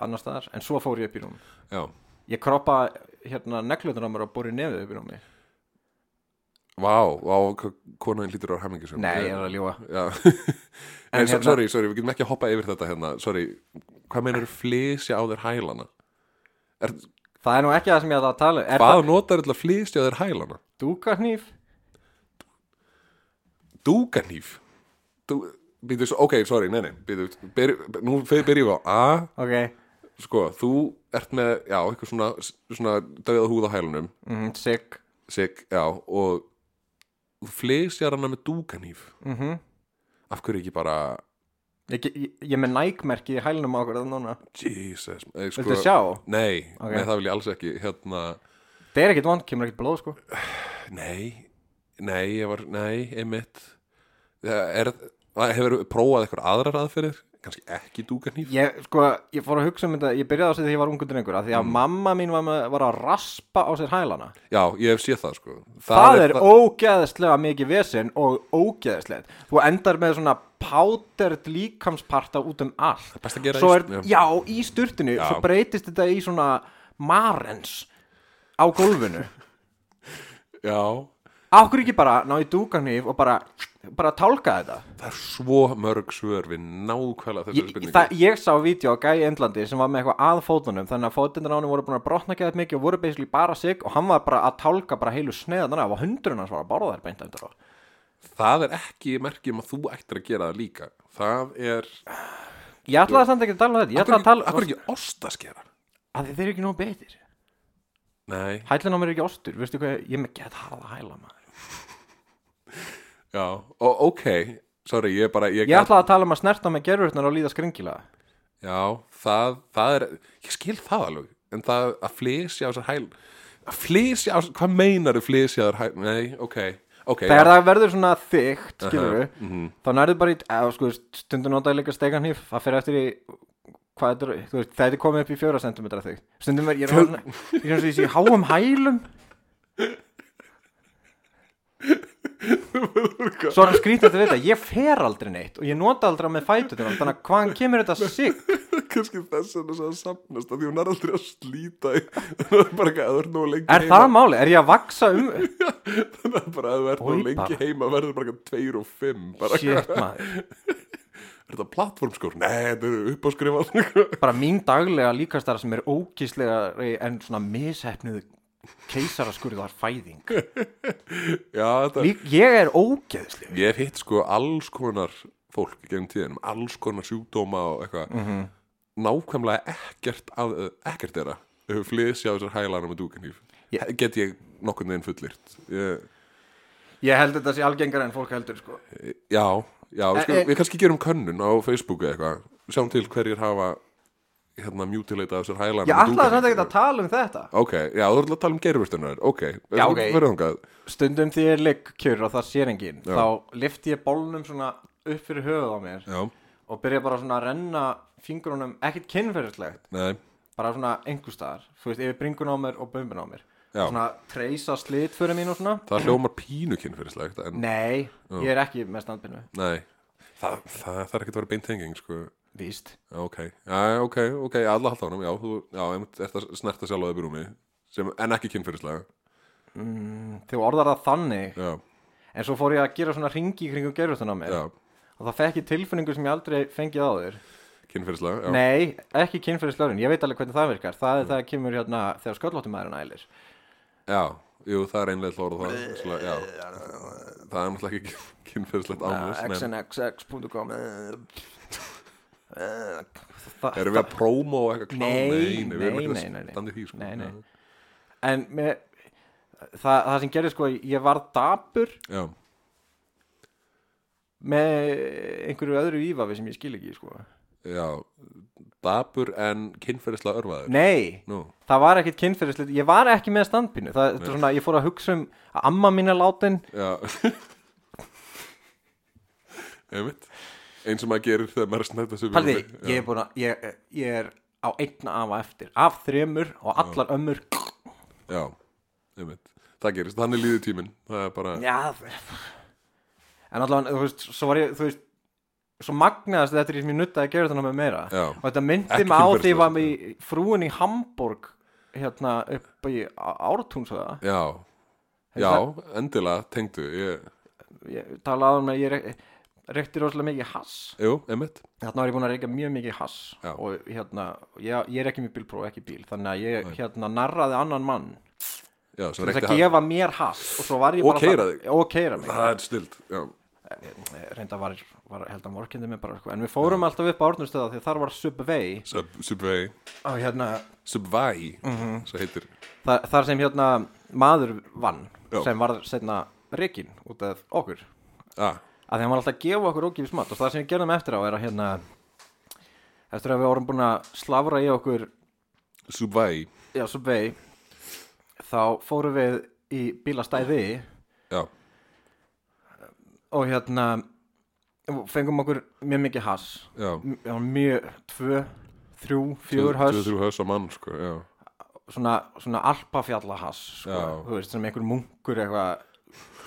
[SPEAKER 1] annar staðar en svo fór ég upp í rúmi
[SPEAKER 2] Já
[SPEAKER 1] ég kroppa hérna neglutur á mér og búri nefið upp í rúmi
[SPEAKER 2] Vá, vá, hvað konan lítur á hemmingi sem
[SPEAKER 1] nei, ég er að ljúa
[SPEAKER 2] Já
[SPEAKER 1] En
[SPEAKER 2] Nei, so-
[SPEAKER 1] hérna-
[SPEAKER 2] sorry, sorry, við getum ekki að hoppa yfir þetta hérna Sorry, hvað meinar flysja á þér hælana? Er,
[SPEAKER 1] það er nú ekki það sem ég ætla að tala um. er
[SPEAKER 2] hvað notar þetta flysja á þér hælana?
[SPEAKER 1] það dúkarnýf?
[SPEAKER 2] Dúkanýf Dú, býtu, svo- Ok, sorry, nei, nei býtu, byr, Nú fer- byrjum við á A
[SPEAKER 1] ok,
[SPEAKER 2] Sko, þú ert með, já, eitthvað svona, svona döða húð á hælunum
[SPEAKER 1] mm, sig
[SPEAKER 2] Sig, já, og þú flysjar hana með dúkanýf
[SPEAKER 1] mm
[SPEAKER 2] Af hverju ekki bara,
[SPEAKER 1] ég, ég, ég er með nækmerki í hælnum á okkur það núna
[SPEAKER 2] Jesus eh, sko,
[SPEAKER 1] viltu sjá?
[SPEAKER 2] Nei,
[SPEAKER 1] Ok.
[SPEAKER 2] nei, það vil ég alls ekki, hérna
[SPEAKER 1] það er ekkit vond, kemur ekkit blóð sko
[SPEAKER 2] Nei, nei, ég var, nei, einmitt Það er, það hefur prófað eitthvað aðrar aðferðir kannski ekki dúkanýf
[SPEAKER 1] Ég, sko, ég fór að hugsa um þetta, ég byrjaði á þessu þegar ég var ungur drengur af því
[SPEAKER 2] Mm.
[SPEAKER 1] að mamma mín var, með, var að raspa á sér hælana.
[SPEAKER 2] Já, ég hef séð það sko Það,
[SPEAKER 1] Það, er ógeðslega mikið vesinn og ógeðslegt. Þú endar með svona pátert líkamsparta út um allt.
[SPEAKER 2] best að gera
[SPEAKER 1] Svo
[SPEAKER 2] í-
[SPEAKER 1] er, já. í sturtinu,
[SPEAKER 2] Já.
[SPEAKER 1] svo breytist þetta í svona marens á gólfinu.
[SPEAKER 2] Já,
[SPEAKER 1] Akkur ekki bara ná í dúkanýf og bara, bara tálka þetta.
[SPEAKER 2] það er svo mörg svör við nákvæmlega þessari
[SPEAKER 1] Ég,
[SPEAKER 2] spurningu
[SPEAKER 1] það, ég sá vídeo á gæi í Indlandi sem var með eitthvað að fótunum þannig að fótundur á hann voru búin að brotna geðað mikið og voru basically bara sig og hann var bara að tálka bara heilu sneiðan af og hundurinn hans var að borða þær beint eftir á
[SPEAKER 2] Það er ekki merki um að þú ættir að gera það líka Það er
[SPEAKER 1] Ég ætlaði samt ekki að tala um þetta Ég ætlaði að tala
[SPEAKER 2] Akkur ekki ostaskera
[SPEAKER 1] að þið þeir eru ekki nóg betur
[SPEAKER 2] Nei,
[SPEAKER 1] Hælinn á mér er ekki ostur, veistu hvað, ég er með gett harða hæla maður
[SPEAKER 2] já, og, ok Sorry, ég er bara ég
[SPEAKER 1] Ég
[SPEAKER 2] gat-
[SPEAKER 1] ætlaði að tala um að snerta með gerurutnar og líða skringilega
[SPEAKER 2] Já, það, það er Ég skil það alveg En það að flysja á sér hæl Að flysja á sér, hvað meinar þau flysja á sér hæl Nei, ok, ok
[SPEAKER 1] Þegar
[SPEAKER 2] já, Mhm.
[SPEAKER 1] það verður svona þygt, skilur við Þá nærðu bara í, eða, sko, stundum notaði líka steganhýf Það fer eftir í, hvað þetta er, þú veist, það er komið upp í fjóra sentimetra þygt Stundum er, ég er orðin, ég er eins og ég sé í háum hælum Svo er það skrýtið að vita, ég fer aldrei neitt Og ég nota aldrei með fætutum Þannig að hvaðan kemur þetta sig?
[SPEAKER 2] Kannski þess vegna sem það sapnast af Því hún er aldrei að slíta í- Það er bara ekki að þú ert nú lengi
[SPEAKER 1] Er það máli? Er ég að vaksa um?
[SPEAKER 2] Þannig að bara að þú ert nú
[SPEAKER 1] Oj,
[SPEAKER 2] lengi
[SPEAKER 1] bara.
[SPEAKER 2] heima Verður bara ekki tveir og fimm bara,
[SPEAKER 1] Shit maður
[SPEAKER 2] Er þetta plattformskór? Nei, þetta eru uppáskrifað
[SPEAKER 1] bara mín daglega líkastar sem er ógíslega en svona mishefnuð keisaraskurðar fæðing
[SPEAKER 2] Já, þetta
[SPEAKER 1] Lík, ég er ógeðslega
[SPEAKER 2] Ég hef hitt sko alls konar fólk gegn tíðinum, alls konar sjúkdóma og eitthvað
[SPEAKER 1] Mhm.
[SPEAKER 2] nákvæmlega ekkert, af, ekkert þeirra hefur flysja á þessar hælara með dúkanýf
[SPEAKER 1] Ég-
[SPEAKER 2] get ég nokkurn veginn fullirt ég,
[SPEAKER 1] ég held þetta sé algengar en fólk heldur sko.
[SPEAKER 2] já, já, við,
[SPEAKER 1] En-
[SPEAKER 2] skal,
[SPEAKER 1] en-
[SPEAKER 2] við kannski gerum könnun á Facebooku eitthvað, sjáum til hverjir hafa hérna mutileita á þessar hælara
[SPEAKER 1] ég ætlaði samt ekki að tala um þetta
[SPEAKER 2] ok, já, þú ætlaði að tala um geirvörstunar ok,
[SPEAKER 1] Já, ok.
[SPEAKER 2] verðum þangað
[SPEAKER 1] stundum því ég er liggjur og það sér engin þá lifti ég bólnum svona upp fyrir höfuð á mér
[SPEAKER 2] já,
[SPEAKER 1] og byrja bara svona að renna fingrunum ekkert kynferðislegt,
[SPEAKER 2] nei,
[SPEAKER 1] bara svona einhver staðar, þú veist, yfir bringun á mér og bumbun á mér
[SPEAKER 2] Já.
[SPEAKER 1] svona treysa slit fyrir mín og svona
[SPEAKER 2] það hljómar pínukinn fyrir slegt en,
[SPEAKER 1] nei, ég er ekki með standpinnu
[SPEAKER 2] nei það, það, það er ekkert að vera beintenging sko
[SPEAKER 1] víst
[SPEAKER 2] Já, Ok, já, já, ok, ok, alla halda honum, já, þú, já, einmitt ert að snerta sjálf á þeim rúmi, sem, en ekki kynfyrirslega,
[SPEAKER 1] þú orðar það þannig
[SPEAKER 2] já,
[SPEAKER 1] en svo fór ég að gera svona ringi í kringum gerðustan á mér
[SPEAKER 2] já,
[SPEAKER 1] og það fekk ég tilfinningu sem ég aldrei fengið áður
[SPEAKER 2] kynfyrirslega, já,
[SPEAKER 1] nei, ekki kynferðislaurin, ég veit alveg hvernig það virkar það er það að kemur hérna þegar sköllóttumæðurinn ælir
[SPEAKER 2] já, jú, það er einlega hlóra það, svona, já, það er náttúrulega ekki kynfyrirslegt
[SPEAKER 1] Ah,
[SPEAKER 2] ánvist, en
[SPEAKER 1] xnxx.com eh,
[SPEAKER 2] erum við að prómó eitthvað klá,
[SPEAKER 1] Nei,
[SPEAKER 2] við erum
[SPEAKER 1] nei,
[SPEAKER 2] ekki að
[SPEAKER 1] nei, nei, nei.
[SPEAKER 2] standa í því, sko,
[SPEAKER 1] Nei, nei. en með, það, það sem gerði sko ég var dapur
[SPEAKER 2] já,
[SPEAKER 1] með einhverju öðru ífafi sem ég skil ekki sko.
[SPEAKER 2] já, dabur en kynfyrirslega örfaður,
[SPEAKER 1] nei,
[SPEAKER 2] nú,
[SPEAKER 1] það var ekkit kynferðislegt ég var ekki með standpínu það, þetta er svona, ég fór að hugsa um að amma mín er látin
[SPEAKER 2] já, einmitt, eins og maður gerir þegar maður er að snerta sér
[SPEAKER 1] Paldi, ég er búin að ég, ég er á einna af eftir af þremur og allar ömmur
[SPEAKER 2] Já, einmitt Það gerist, þannig líður tíminn Það er bara,
[SPEAKER 1] já, en allavega, þú veist, svo var ég þú veist, svo magnaðast þetta er því sem ég nuttaði að gera þetta með meira
[SPEAKER 2] Já.
[SPEAKER 1] og þetta myndi
[SPEAKER 2] Ekki
[SPEAKER 1] mig á því ég var
[SPEAKER 2] kynferðislegt,
[SPEAKER 1] með frúin í Hamburg hérna upp í ártúnsöða
[SPEAKER 2] já, já, endilega tengdu ég,
[SPEAKER 1] ég talaði um að ég reyk- reykti rosalega mikið hass
[SPEAKER 2] jú, einmitt
[SPEAKER 1] þarna var ég búin að reykja mjög mikið hass
[SPEAKER 2] Já.
[SPEAKER 1] og hérna, ég, ég reykja mjög bílpróf ekki bíl, þannig að ég hérna narraði annan mann
[SPEAKER 2] já, sem
[SPEAKER 1] til þess
[SPEAKER 2] reykti
[SPEAKER 1] að
[SPEAKER 2] hann.
[SPEAKER 1] gefa mér hass og svo var ég
[SPEAKER 2] Og
[SPEAKER 1] bara
[SPEAKER 2] keyra
[SPEAKER 1] það-
[SPEAKER 2] þig.
[SPEAKER 1] og keira mig
[SPEAKER 2] það er stilt já,
[SPEAKER 1] reynda Eh, var, var held að vorkindi mig bara sko. en við fórum alltaf upp á Árnustöða því þar var Subway
[SPEAKER 2] Sub, subway,
[SPEAKER 1] og hérna,
[SPEAKER 2] subway
[SPEAKER 1] Mhm.
[SPEAKER 2] svo heitir,
[SPEAKER 1] þar, þar sem hérna maður vann
[SPEAKER 2] Já.
[SPEAKER 1] sem var setna reikin út af okkur
[SPEAKER 2] ah,
[SPEAKER 1] að því hann var alltaf að gefa okkur ógifis mat og það sem við gerðum eftir á er að hérna eftir að við vorum búin að slavra í okkur
[SPEAKER 2] subway
[SPEAKER 1] já, Subway þá fórum við í bílastæði
[SPEAKER 2] já,
[SPEAKER 1] og hérna fengum okkur mjög mikið hass
[SPEAKER 2] já
[SPEAKER 1] M- já, mjög, tvö, þrjú, fjögur höss
[SPEAKER 2] Tvö, þrjú höss á mann, sko, já
[SPEAKER 1] svona, svona alpafjallahass sko,
[SPEAKER 2] Já.
[SPEAKER 1] þú veist, sem einhver munkur eitthvað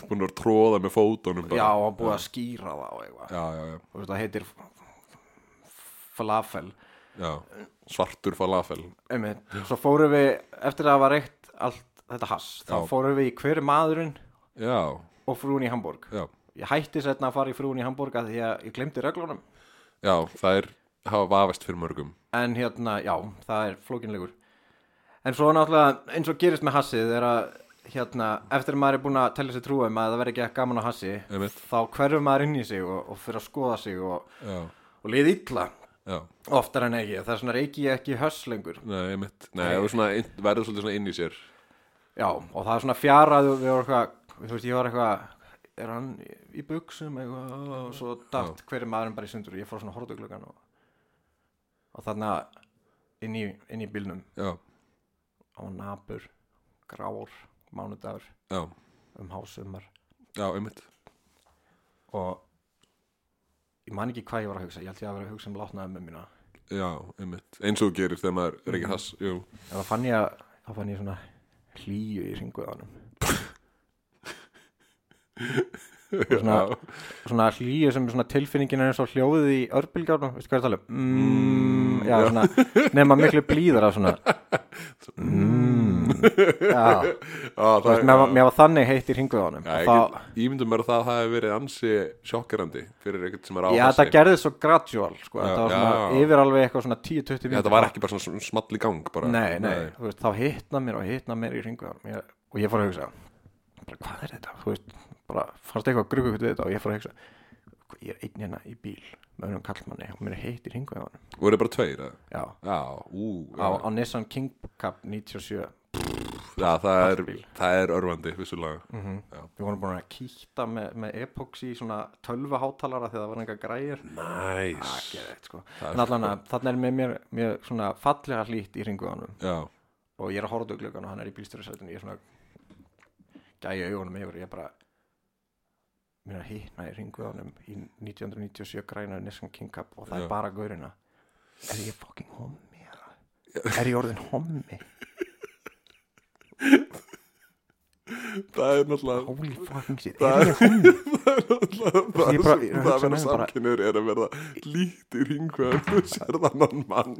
[SPEAKER 2] Búin að tróða með fótunum bara
[SPEAKER 1] já, og búið að skýra það og eitthvað
[SPEAKER 2] já, já, já,
[SPEAKER 1] þú veist, það heitir f- f- falafel
[SPEAKER 2] já. Svartur falafel
[SPEAKER 1] einmitt, svo fórum við eftir að það var reykt allt þetta hass, þá
[SPEAKER 2] Já.
[SPEAKER 1] fórum við í hver er maðurinn
[SPEAKER 2] Já,
[SPEAKER 1] og frúin í Hamburg
[SPEAKER 2] já,
[SPEAKER 1] ég hætti setna að fara í frúin í Hamburg að því að ég glemdi reglunum
[SPEAKER 2] já, það er hafa vafist fyrir mörgum
[SPEAKER 1] en hérna, já, það er flókinlegur en svo náttúrulega eins og gerist með hassið er að hérna, eftir að maður er búin að tella sér trúum um að það verði ekki gaman á hassi
[SPEAKER 2] Einmitt.
[SPEAKER 1] þá hverfur maður inn í sig og, og fyrir að skoða sig og,
[SPEAKER 2] Já,
[SPEAKER 1] og liði illa
[SPEAKER 2] já,
[SPEAKER 1] oftar en ekki, það er svona reyki ég ekki höss lengur
[SPEAKER 2] nei, einmitt Nei, það er svona, inn- verður svolítið svona inn í sér
[SPEAKER 1] já, og það er svona fjaraðu við vorum eitthvað, þú veist, ég var eitthvað er hann í, í buksum eitthvað og svo dætt hverju maðurinn bara í sundur og ég fór svona hortuglögan um og, og þarna inn í, inn í bílnum
[SPEAKER 2] Já,
[SPEAKER 1] á nabur, grár, mánudagur,
[SPEAKER 2] já,
[SPEAKER 1] um hásumar
[SPEAKER 2] já, einmitt
[SPEAKER 1] og ég man ekki hvað ég var að hugsa, ég held ég að vera að hugsa um látnaði með mína
[SPEAKER 2] Já, einmitt, eins og þú gerir þegar maður er ekki hass Jú,
[SPEAKER 1] en þá fann ég, að- þá fann ég svona hlýju í ringuðanum svona,
[SPEAKER 2] já,
[SPEAKER 1] svona hlýju sem er svona tilfinningin er eins og hljóðið í örbylgjárnum, veistu hvað ég er að tala um? Mm, já, svona, nema miklu blíðara svona mm, já,
[SPEAKER 2] já
[SPEAKER 1] þú
[SPEAKER 2] það
[SPEAKER 1] veist, mér, var- mér var þannig heitt í ringuðanum
[SPEAKER 2] Já,
[SPEAKER 1] og
[SPEAKER 2] ég
[SPEAKER 1] þá,
[SPEAKER 2] get, ímyndum mér að það hafi verið ansi sjokkerandi fyrir eitthvað sem er á
[SPEAKER 1] Já,
[SPEAKER 2] hassi.
[SPEAKER 1] þetta gerði svo gradual sko.
[SPEAKER 2] Já,
[SPEAKER 1] þetta var
[SPEAKER 2] já.
[SPEAKER 1] svona yfir alveg eitthvað svona 10-20 mínútur
[SPEAKER 2] Þetta var ekki bara svona sm- small í gang bara.
[SPEAKER 1] Nei, nei, þú veist, þá hitna mér og hitna mér í ringu ég, og ég fór að hugsa bara, hvað er þetta, þú veist, bara fannst eitthvað gruggu við þetta og ég fór að hugsa "Hvað, ég er einn hérna í bíl með hennum kallmanni og mér er heitt í ringu já,
[SPEAKER 2] Voru bara tveir, eða?
[SPEAKER 1] á,
[SPEAKER 2] Já, ú, já,
[SPEAKER 1] á Nissan King Cup 97
[SPEAKER 2] já það, er,
[SPEAKER 1] Fallbíl.
[SPEAKER 2] það er örvandi, vissulega
[SPEAKER 1] Mhm.
[SPEAKER 2] Já.
[SPEAKER 1] við vorum búin að kýtta með, með epoxy í svona 12 hátalara þegar það var einhver græjur
[SPEAKER 2] Næs
[SPEAKER 1] Gerðið, sko.
[SPEAKER 2] er
[SPEAKER 1] en allan að þarna er með mér, mér svona fallega hlýtt í ringu
[SPEAKER 2] Já,
[SPEAKER 1] og ég er að horfa út glöggan og hann er í bílstjórasætinu ég er svona gæja augunum yfir og ég bara mér er að hitna í ringuðanum í 1997 græna Nissan King Cup og það
[SPEAKER 2] Já.
[SPEAKER 1] er bara gaurina er ég fucking hommi eða? er ég orðin hommi
[SPEAKER 2] það er náttúrulega
[SPEAKER 1] holy fucking shit
[SPEAKER 2] Það
[SPEAKER 1] er ég hommi
[SPEAKER 2] Það er náttúrulega
[SPEAKER 1] Ég
[SPEAKER 2] Það
[SPEAKER 1] bara-
[SPEAKER 2] sem-
[SPEAKER 1] ég
[SPEAKER 2] það
[SPEAKER 1] hugsa með
[SPEAKER 2] að vera
[SPEAKER 1] mér bara-
[SPEAKER 2] samkynur er að verða líkt í ringveðan Þú sér þannan mann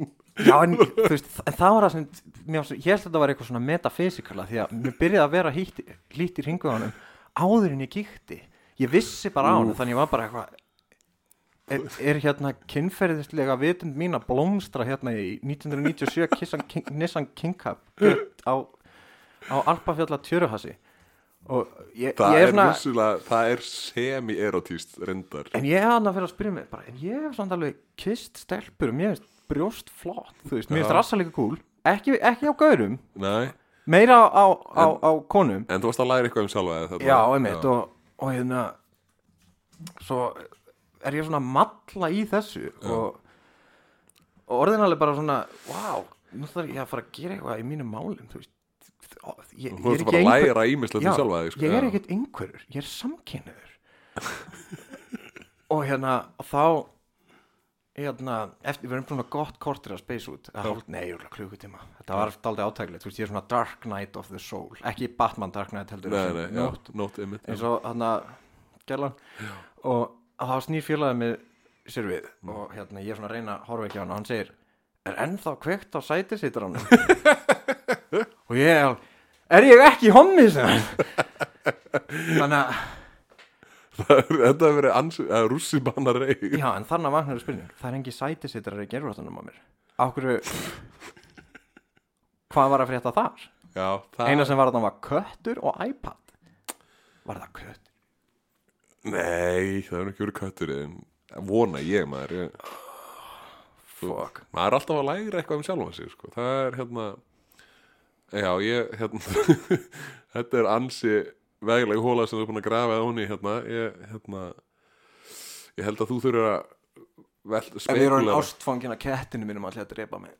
[SPEAKER 1] já en þú veist þa- en það var það sem mér, var svo- ég held að þetta var eitthvað svona metafísikala því að mér byrjaði að vera hýtt lít í ringuðanum áður en ég kíkti ég vissi bara á hann þannig ég var bara eitthvað er, er hérna kynferðislega vitund mín að blómstra hérna í 1997 Kissan, King, Nissan King Cup á, á Alpafjalla tjöruhassi og ég,
[SPEAKER 2] Það
[SPEAKER 1] ég
[SPEAKER 2] er
[SPEAKER 1] er svona
[SPEAKER 2] vissulega, það er semi-erotíst reyndar
[SPEAKER 1] en ég er hann að fyrir að spyrja mig bara, en ég hef samt alveg kist stelpur og mér finnst brjóst flott þú veist, mér
[SPEAKER 2] Já.
[SPEAKER 1] finnst rassa líka cool ekki, ekki á gaurum,
[SPEAKER 2] Nei,
[SPEAKER 1] meira á, á, á, á konum
[SPEAKER 2] en þú varst að læra eitthvað um sjálfa eða þetta?
[SPEAKER 1] já, einmitt og, og hérna svo er ég svona að malla í þessu og, og orðinalið bara svona wow, nú þarf ég að fara að gera eitthvað í mínum málum þú veist Ó, ég, ég er
[SPEAKER 2] Þú varst
[SPEAKER 1] ekki
[SPEAKER 2] bara að
[SPEAKER 1] einhver
[SPEAKER 2] læra ímislegt um sjálfa þig, sko.
[SPEAKER 1] ég er
[SPEAKER 2] Já.
[SPEAKER 1] ekkert einhverjur, ég er samkynniður og hérna og þá hérna, eftir, við erum svona gott kortir að space út að hálf, nei, júla, klukkutíma þetta var aldrei átæklegt, þú veist, ég er svona Dark Knight of the Soul, ekki Batman Dark Knight heldur
[SPEAKER 2] Nei,
[SPEAKER 1] sem
[SPEAKER 2] nei, já,
[SPEAKER 1] nótt.
[SPEAKER 2] nótt einmitt
[SPEAKER 1] eins og hann að gerlan og það snýr félagið með sér við og hérna ég er svona að reyna að horfa ekki á hann og hann segir er ennþá kveikt á sæti sittur hann og ég er alveg, er ég ekki í hommi sem þannig að
[SPEAKER 2] Þetta hefur verið ansi, að rússi banna reyð
[SPEAKER 1] já en þannig að vaknar er spurning það er engi sæti sittur í gerurváttanum á mér á hverju hvað var að frétta þar
[SPEAKER 2] Já, það
[SPEAKER 1] eina sem var þarna var köttur og iPad var það kött
[SPEAKER 2] Nei, það hefur ekki verið köttur en vona ég maður ég...
[SPEAKER 1] fuck
[SPEAKER 2] maður er alltaf að læra eitthvað um sjálfan sig sko. það er hérna já ég hérna, þetta er ansi vegleg hóla sem þú er búin að grafa að honi hérna. Ég, hérna ég held að þú þurfir að vel,
[SPEAKER 1] Ef ég er orðin
[SPEAKER 2] spekúlera.
[SPEAKER 1] ástfangin að kettinu mínum ætli að drepa mig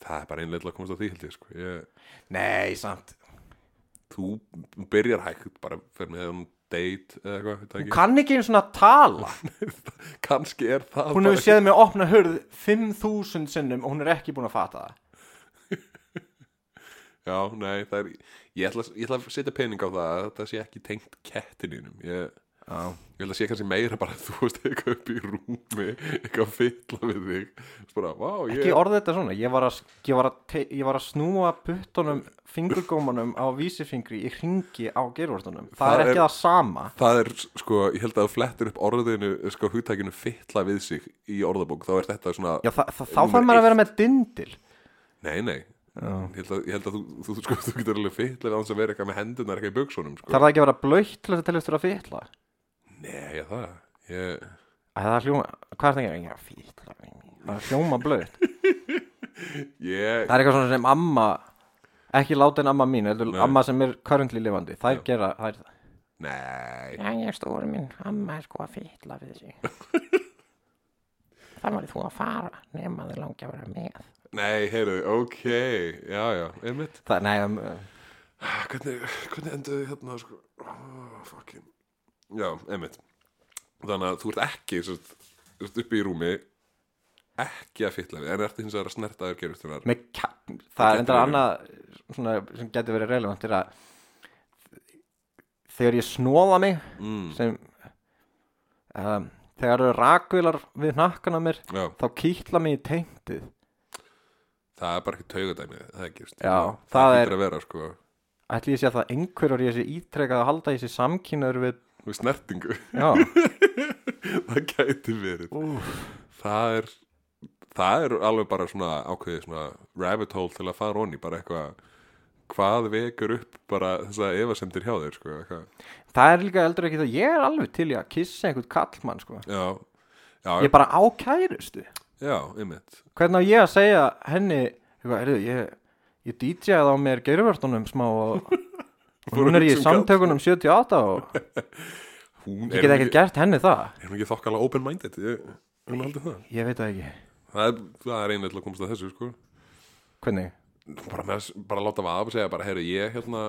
[SPEAKER 2] það er bara einlega að komast að því held ég, sko. ég
[SPEAKER 1] Nei, samt
[SPEAKER 2] þú byrjar hægt bara fyrir með um date eða eitthvað veit það
[SPEAKER 1] Hún
[SPEAKER 2] ekki.
[SPEAKER 1] kann ekki einu svona tala
[SPEAKER 2] kannski er það
[SPEAKER 1] Hún
[SPEAKER 2] bara
[SPEAKER 1] hefur séð mig opna hurð 5000 sinnum og hún er ekki búin að fatta það
[SPEAKER 2] Já, nei, það er ég ætla, ég ætla að setja pening á það að þetta sé ekki tengt kettininum ég,
[SPEAKER 1] Já.
[SPEAKER 2] ég held að sé kannski meira bara að þú veist eitthvað upp í rúmi eitthvað að fylla við þig Spara, vá, ég,
[SPEAKER 1] Ekki orðið þetta svona Ég var að, ég var að, te- ég var að snúa puttunum fingurgómanum á vísifingri í hringi á gervortunum Það,
[SPEAKER 2] Það
[SPEAKER 1] er ekki
[SPEAKER 2] er-
[SPEAKER 1] það sama
[SPEAKER 2] það er sko, ég held að þú flettir upp orðinu sko, hugtækinu fylla við sig í orðabók, þá er þetta svona
[SPEAKER 1] Já, það, það, þá þarf
[SPEAKER 2] Númer
[SPEAKER 1] maður að
[SPEAKER 2] eitt.
[SPEAKER 1] vera með dindil
[SPEAKER 2] nei, nei Ég held, að, ég held að þú, þú, þú, sko, þú getur alveg fylla við án sem vera eitthvað með hendunar eitthvað í buksunum sko.
[SPEAKER 1] Þarf það ekki að vera blöytt til þess að teljast fyrir að fýtla
[SPEAKER 2] Nei, ég það ég,
[SPEAKER 1] Æ, það er hljóma, hvað er það ekki að fýtla Það er hljóma blöytt
[SPEAKER 2] ég,
[SPEAKER 1] það er eitthvað svona sem amma ekki láta en amma mín, heldur
[SPEAKER 2] Nei.
[SPEAKER 1] amma sem er currently lifandi, þær gera þær,
[SPEAKER 2] nei
[SPEAKER 3] Jæja, stóri minn, amma er sko að fytla við sig. Það verður þú að fara, nema þið langi að vera með.
[SPEAKER 2] nei, heyrðu, ok já, já, einmitt
[SPEAKER 1] það, nei, um, uh,
[SPEAKER 2] Ah, hvernig, hvernig enduðu hérna sko? oh, fucking já, einmitt þannig að þú ert ekki sérst, sérst, uppi í rúmi ekki að fytla við en ertu hins vegar að snerta þér gerustunar
[SPEAKER 1] með, ka- það
[SPEAKER 2] gæti
[SPEAKER 1] er endur
[SPEAKER 2] verið.
[SPEAKER 1] annað svona, sem getur verið relevant er að þegar ég snóða mig
[SPEAKER 2] mm,
[SPEAKER 1] sem um, þegar eru rakvilar við nakkan á mér
[SPEAKER 2] já,
[SPEAKER 1] þá kýtla mig í teintið
[SPEAKER 2] það er bara ekki taugadæmi það er gerist
[SPEAKER 1] Já,
[SPEAKER 2] það,
[SPEAKER 1] það
[SPEAKER 2] hlýtur að vera sko
[SPEAKER 1] ætli ég sé að það einhverjur ég sé ítrekað að halda ég sé samkynnaður við
[SPEAKER 2] við snertingu,
[SPEAKER 1] já,
[SPEAKER 2] það gæti verið
[SPEAKER 1] úf,
[SPEAKER 2] það er það er alveg bara svona ákveðið svona rabbit hole til að fara onni bara eitthvað hvað vekur upp bara þess að efasemdir hjá þér sko, eitthvað.
[SPEAKER 1] það er líka eldur ekki það ég er alveg til í að kissa einhvern kallmann sko.
[SPEAKER 2] já, já,
[SPEAKER 1] ég bara á kærustu
[SPEAKER 2] já, einmitt
[SPEAKER 1] hvernig á ég að segja henni eitthvað, heyrðu, ég, ég DJ-að á mér geirvörtunum smá og, og
[SPEAKER 2] Fór að
[SPEAKER 1] hún er í
[SPEAKER 2] hugsa um
[SPEAKER 1] samtökunum 78 og
[SPEAKER 2] hún
[SPEAKER 1] ég get
[SPEAKER 2] hún
[SPEAKER 1] ekkert gert henni það
[SPEAKER 2] er hún ekki þokkala open-minded ég, hún haldi það.
[SPEAKER 1] ég veit það ekki,
[SPEAKER 2] það er, það er einlega til að komast að þessu sko.
[SPEAKER 1] hvernig
[SPEAKER 2] bara, með, bara láta vaða og segja bara, heyru, ég hérna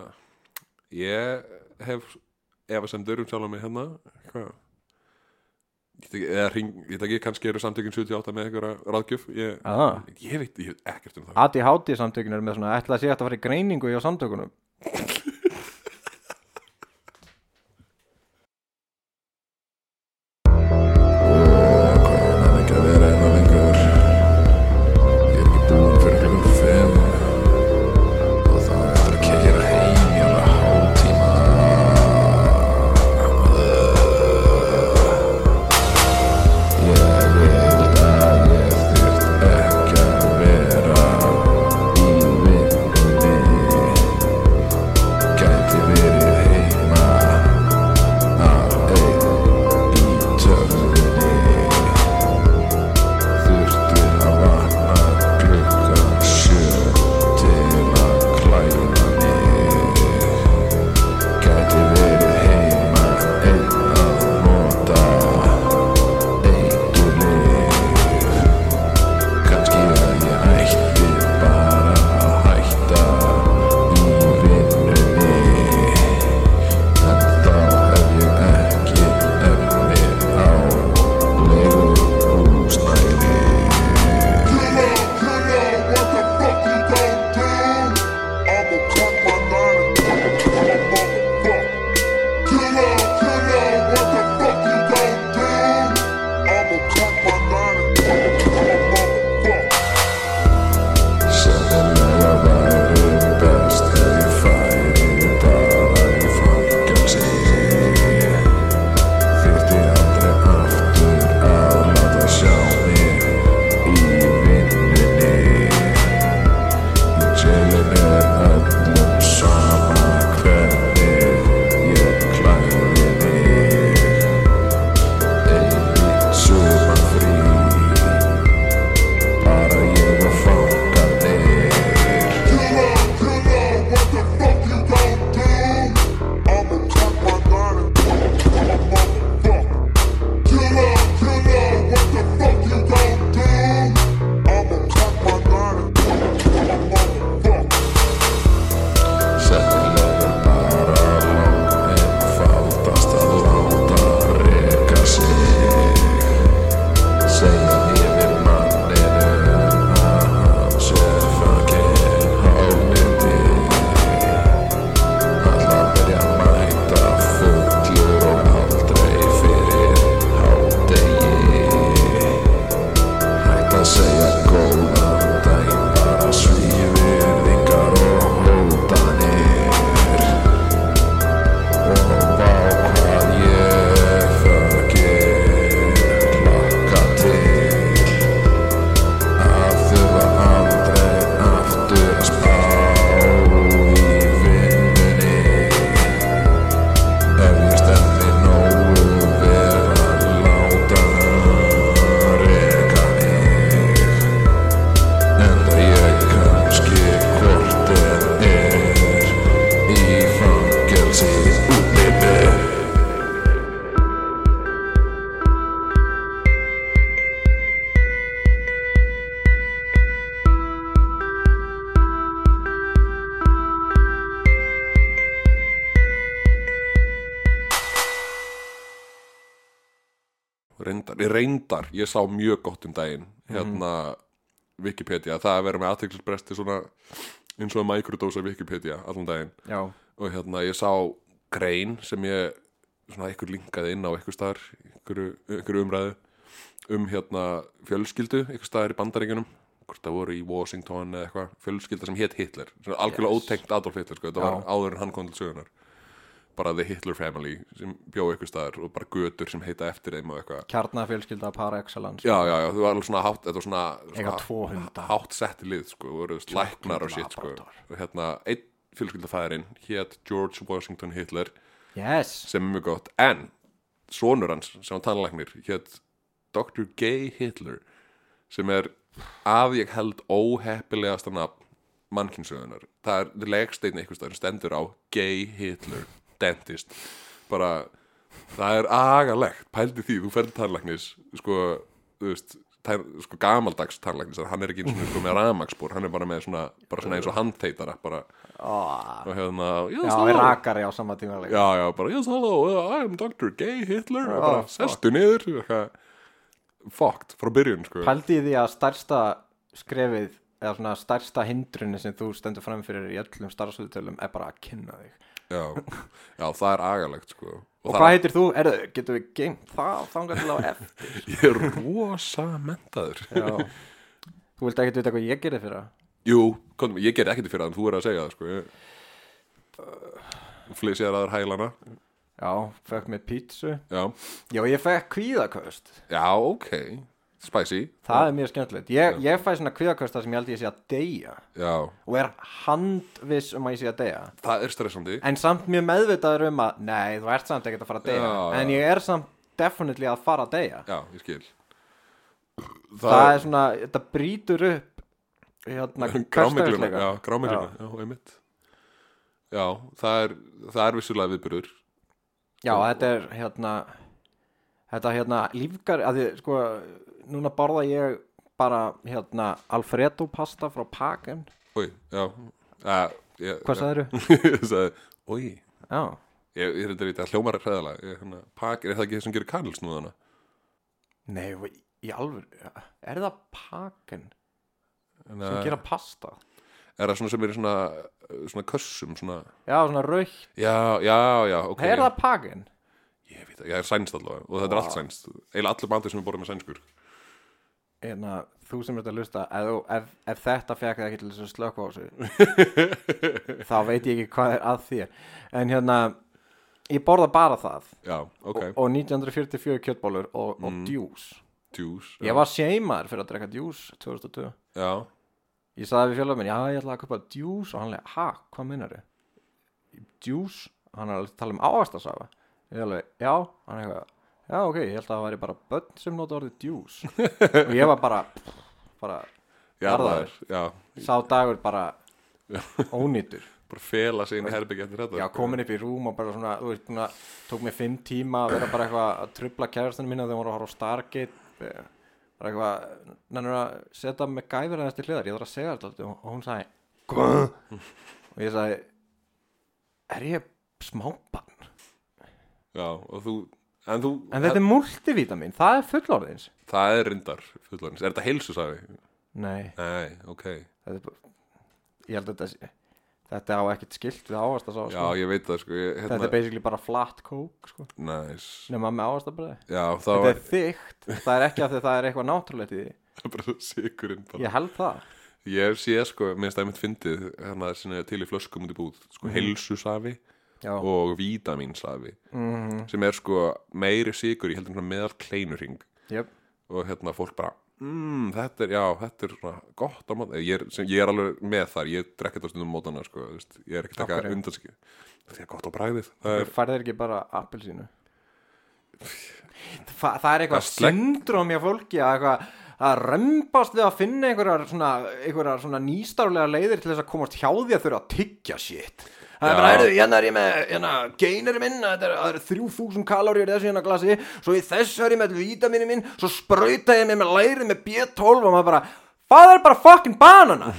[SPEAKER 2] ég hef ef að sem dörum sjálf mig hérna hvað Ég veit ekki- eða hring, ég veit ekki, kannski eru samtökin 78 með einhverja ráðgjöf ég,
[SPEAKER 1] Ah.
[SPEAKER 2] ég veit, ég veit ekkert um það
[SPEAKER 1] ADHD samtökun eru með svona ætla að sé hægt að fara í greiningu hjá samtökunum
[SPEAKER 4] en ekki að vera hérna lengur ég er ekki búinn fyrir klukkan fimm og þá er eftir að keira heim í alveg hálftíma ég veit að ég þurft ekki að vera í vinnunni
[SPEAKER 2] reyndar, reyndar, ég sá mjög gott um daginn hérna Wikipedia, það að vera með aðteklisbresti svona eins og að microdose af Wikipedia allan daginn
[SPEAKER 1] já,
[SPEAKER 2] og hérna ég sá grein sem ég svona einhver linkaði inn á einhver staðar einhverju, einhverju umræðu um hérna fjölskyldu einhver staðar í bandaríkjunum hvort það voru í Washington eða eitthvað fjölskylda sem hétt Hitler svona algjörlega ótengt Adolf Hitler sko, þetta
[SPEAKER 1] Já.
[SPEAKER 2] var áður en hann kom til sögunar bara The Hitler Family sem bjó einhver staðar og bara götur sem heita eftir þeim og eitthvað
[SPEAKER 1] kjarnafjölskylda par excellence
[SPEAKER 2] Já, já, já, þú var alveg svona hátt, þetta var svona,
[SPEAKER 1] Eiga
[SPEAKER 2] svona
[SPEAKER 1] tvo hunda.
[SPEAKER 2] hátt sett lið, sko, þú voru þú veist, læknar og shit, sko,
[SPEAKER 1] laborator.
[SPEAKER 2] og hérna, einn fjölskyldafæðurinn hét George Washington Hitler,
[SPEAKER 1] yes,
[SPEAKER 2] sem er mjög gott, en sonur hans, sem var tannlæknir, hét Dr. Gay Hitler, sem er að ég held óheppilegasta nafn mannkynsöðunar, það er legsteinn einhvers staðar stendur á Gay Hitler, dentist, bara það er agalegt, pældi því þú ferði tannlæknis, sko þú veist, tær, sko gamaldags tannlæknis hann er ekki eins og sko með ramagsbúr hann er bara með svona, bara svona eins og handteitara bara,
[SPEAKER 1] oh.
[SPEAKER 2] og hérna yes,
[SPEAKER 1] já, við
[SPEAKER 2] hello,
[SPEAKER 1] rakari á sama tíma líka.
[SPEAKER 2] já, já, bara, yes, hello uh, I'm Dr. Gay Hitler, og bara,
[SPEAKER 1] Ah, fuck.
[SPEAKER 2] sestu niður eitthvað, fucked, frá byrjun, sko
[SPEAKER 1] Pældi í því að stærsta skrefið eða svona stærsta hindrunni sem þú stendur fram fyrir í öllum starfsöðutölum er bara að kynna þig.
[SPEAKER 2] já, já, það er agalegt, sko
[SPEAKER 1] Og
[SPEAKER 2] það-
[SPEAKER 1] hvað heitir þú? Erðu, getum við geimt það þangar til á eftir?
[SPEAKER 2] ég er rosa mentaður
[SPEAKER 1] Já. Þú vilt ekkert vita hvað ég gerði fyrir það?
[SPEAKER 2] Jú, komum, ég gerði ekkert fyrir það en þú er að segja það sko ég... Flysjaði aður hælana
[SPEAKER 1] Já, fekk mér pítsu.
[SPEAKER 2] Já,
[SPEAKER 1] Já, ég fekk kvíðaköst.
[SPEAKER 2] já ok Spicy
[SPEAKER 1] Það er mjög skemmtilegt. Ég, ég fæ svona kvíðakösta sem ég held ég sé að deyja
[SPEAKER 2] Já,
[SPEAKER 1] og er handviss um að ég sé að deyja.
[SPEAKER 2] það er stressandi
[SPEAKER 1] En samt mjög meðvitaður um að nei, þú ert samt ekkert að fara að deyja.
[SPEAKER 2] Já, já.
[SPEAKER 1] En ég er samt definitely að fara að deyja.
[SPEAKER 2] Já, ég skil
[SPEAKER 1] það, er svona, þetta brýtur upp hérna,
[SPEAKER 2] Grámigluna,
[SPEAKER 1] hversdagsleika.
[SPEAKER 2] já, grámigluna, já, einmitt Já, það er, það er vissulega viðbyrður
[SPEAKER 1] já, þetta er hérna þetta hérna lífgar að því, sko, núna borða ég bara hérna Alfredo pasta frá Pagan
[SPEAKER 2] Új, já uh, ég,
[SPEAKER 1] hvað það eru?
[SPEAKER 2] sagði? sagði Új,
[SPEAKER 1] Já,
[SPEAKER 2] ég, ég reyndar í þetta hljómar er hræðalega Ég, hérna, pak, er það ekki það sem gerir kanilsnúðana?
[SPEAKER 1] nei, í- í alveg er það Pagan
[SPEAKER 2] Sem
[SPEAKER 1] sem gera pasta?
[SPEAKER 2] eh, Er það svona sem er í svona, svona kössum svona
[SPEAKER 1] Já, svona raukt,
[SPEAKER 2] Já, já, já, ok
[SPEAKER 1] er það Pagan?
[SPEAKER 2] Ég veit það, ég er sænst allavega og þetta er allt sænst Eila allir bandir sem er borðið með sænskur
[SPEAKER 1] Hérna, þú sem ert að hlusta ef, þú- ef, ef þetta fekk það ekki til þess að slökva á þessu þá veit ég ekki hvað er að þér en hérna, ég borða bara það
[SPEAKER 2] Já, ok,
[SPEAKER 1] og, og 1944 kjötbólur og, og djús
[SPEAKER 2] djús já.
[SPEAKER 1] ég var seimaður fyrir að drekka djús 2002
[SPEAKER 2] Já,
[SPEAKER 1] ég sagði við fjölaðum minn, já ég ætla að köpa djús og hann leiði, ha, hvað minnar þið djús, hann er alveg að tala um ávastasafa ég alveg, já hann eitthvað, já ok, ég held að það væri bara börn sem nota orðið djús og ég var bara, bara
[SPEAKER 2] já, það
[SPEAKER 1] Jarðaður.
[SPEAKER 2] er, já
[SPEAKER 1] sá dagur bara ónýtur
[SPEAKER 2] Bara fela sig inn í herbyggja eftir þetta
[SPEAKER 1] Já, komin upp í rúm og bara svona, þú veist, svona, tók mig fimm tíma að vera bara eitthvað að trubla kærastunum mína þegar hún voru að horfa á Stargate eh, bara eitthvað, nennur að setja mig gæfir aðeins til hliðar, ég þarf að segja þetta alltaf og hún sagði, hvað? og ég sagði, er ég smábann?
[SPEAKER 2] Já, og þú, en þú
[SPEAKER 1] En þetta er multivítamin, það er fullorðins
[SPEAKER 2] Það er reyndar fullarins, er þetta heilsu sagði?
[SPEAKER 1] Nei,
[SPEAKER 2] Nei, ok
[SPEAKER 1] þetta er bara ég held að þetta sé- þetta á ekkert skilt við ávast að sá,
[SPEAKER 2] Já,
[SPEAKER 1] sko
[SPEAKER 2] ég veit það sko ég,
[SPEAKER 1] Þetta er basically bara flat coke, sko
[SPEAKER 2] Næs
[SPEAKER 1] nema með ávastabröði
[SPEAKER 2] Já, það
[SPEAKER 1] Þetta
[SPEAKER 2] var
[SPEAKER 1] er þygt, það er ekki af því að það er eitthvað náttúrulegt í því
[SPEAKER 2] bara svo sigurinn bara
[SPEAKER 1] Ég held það
[SPEAKER 2] Ég hef séð sko, minnst að ég mitt fyndið hérna sinni til í flöskum út í búð sko, heilsusafi
[SPEAKER 1] Mhm. Já. Mhm.
[SPEAKER 2] og vítaminsafi -hmm. sem er sko meiri sigur í heldur en svona meðal kleinurring
[SPEAKER 1] yep.
[SPEAKER 2] og hérna fólk bara mm, þetta er, já, þetta er svona gott á mótana ég, er- sem- ég er alveg með þar, ég drekki þetta stundum á mótana sko, þú veist, ég er ekkert
[SPEAKER 1] Af
[SPEAKER 2] eitthvað
[SPEAKER 1] hverju?
[SPEAKER 2] undanski þetta er gott á bragðið það er,
[SPEAKER 1] Þú færðir ekki bara appelsínu Þa, Það er eitthvað
[SPEAKER 2] Það slegg-
[SPEAKER 1] syndrom hjá fólki að eitthvað að rembast við að finna einhverjar svona, einhverjar svona nýstárlega leiðir til þess að komast hjá því að þurfa að tyggja shit Það er
[SPEAKER 2] Já.
[SPEAKER 1] bara, heyrðu, hérna er ég með hérna, geinari minn, þetta er- það eru 3000 kaloríur í þessu hérna glasi, svo í þessu er ég með vítaminu minn, svo sprauta ég mig með lærið með B12 og maður bara það er bara fucking banana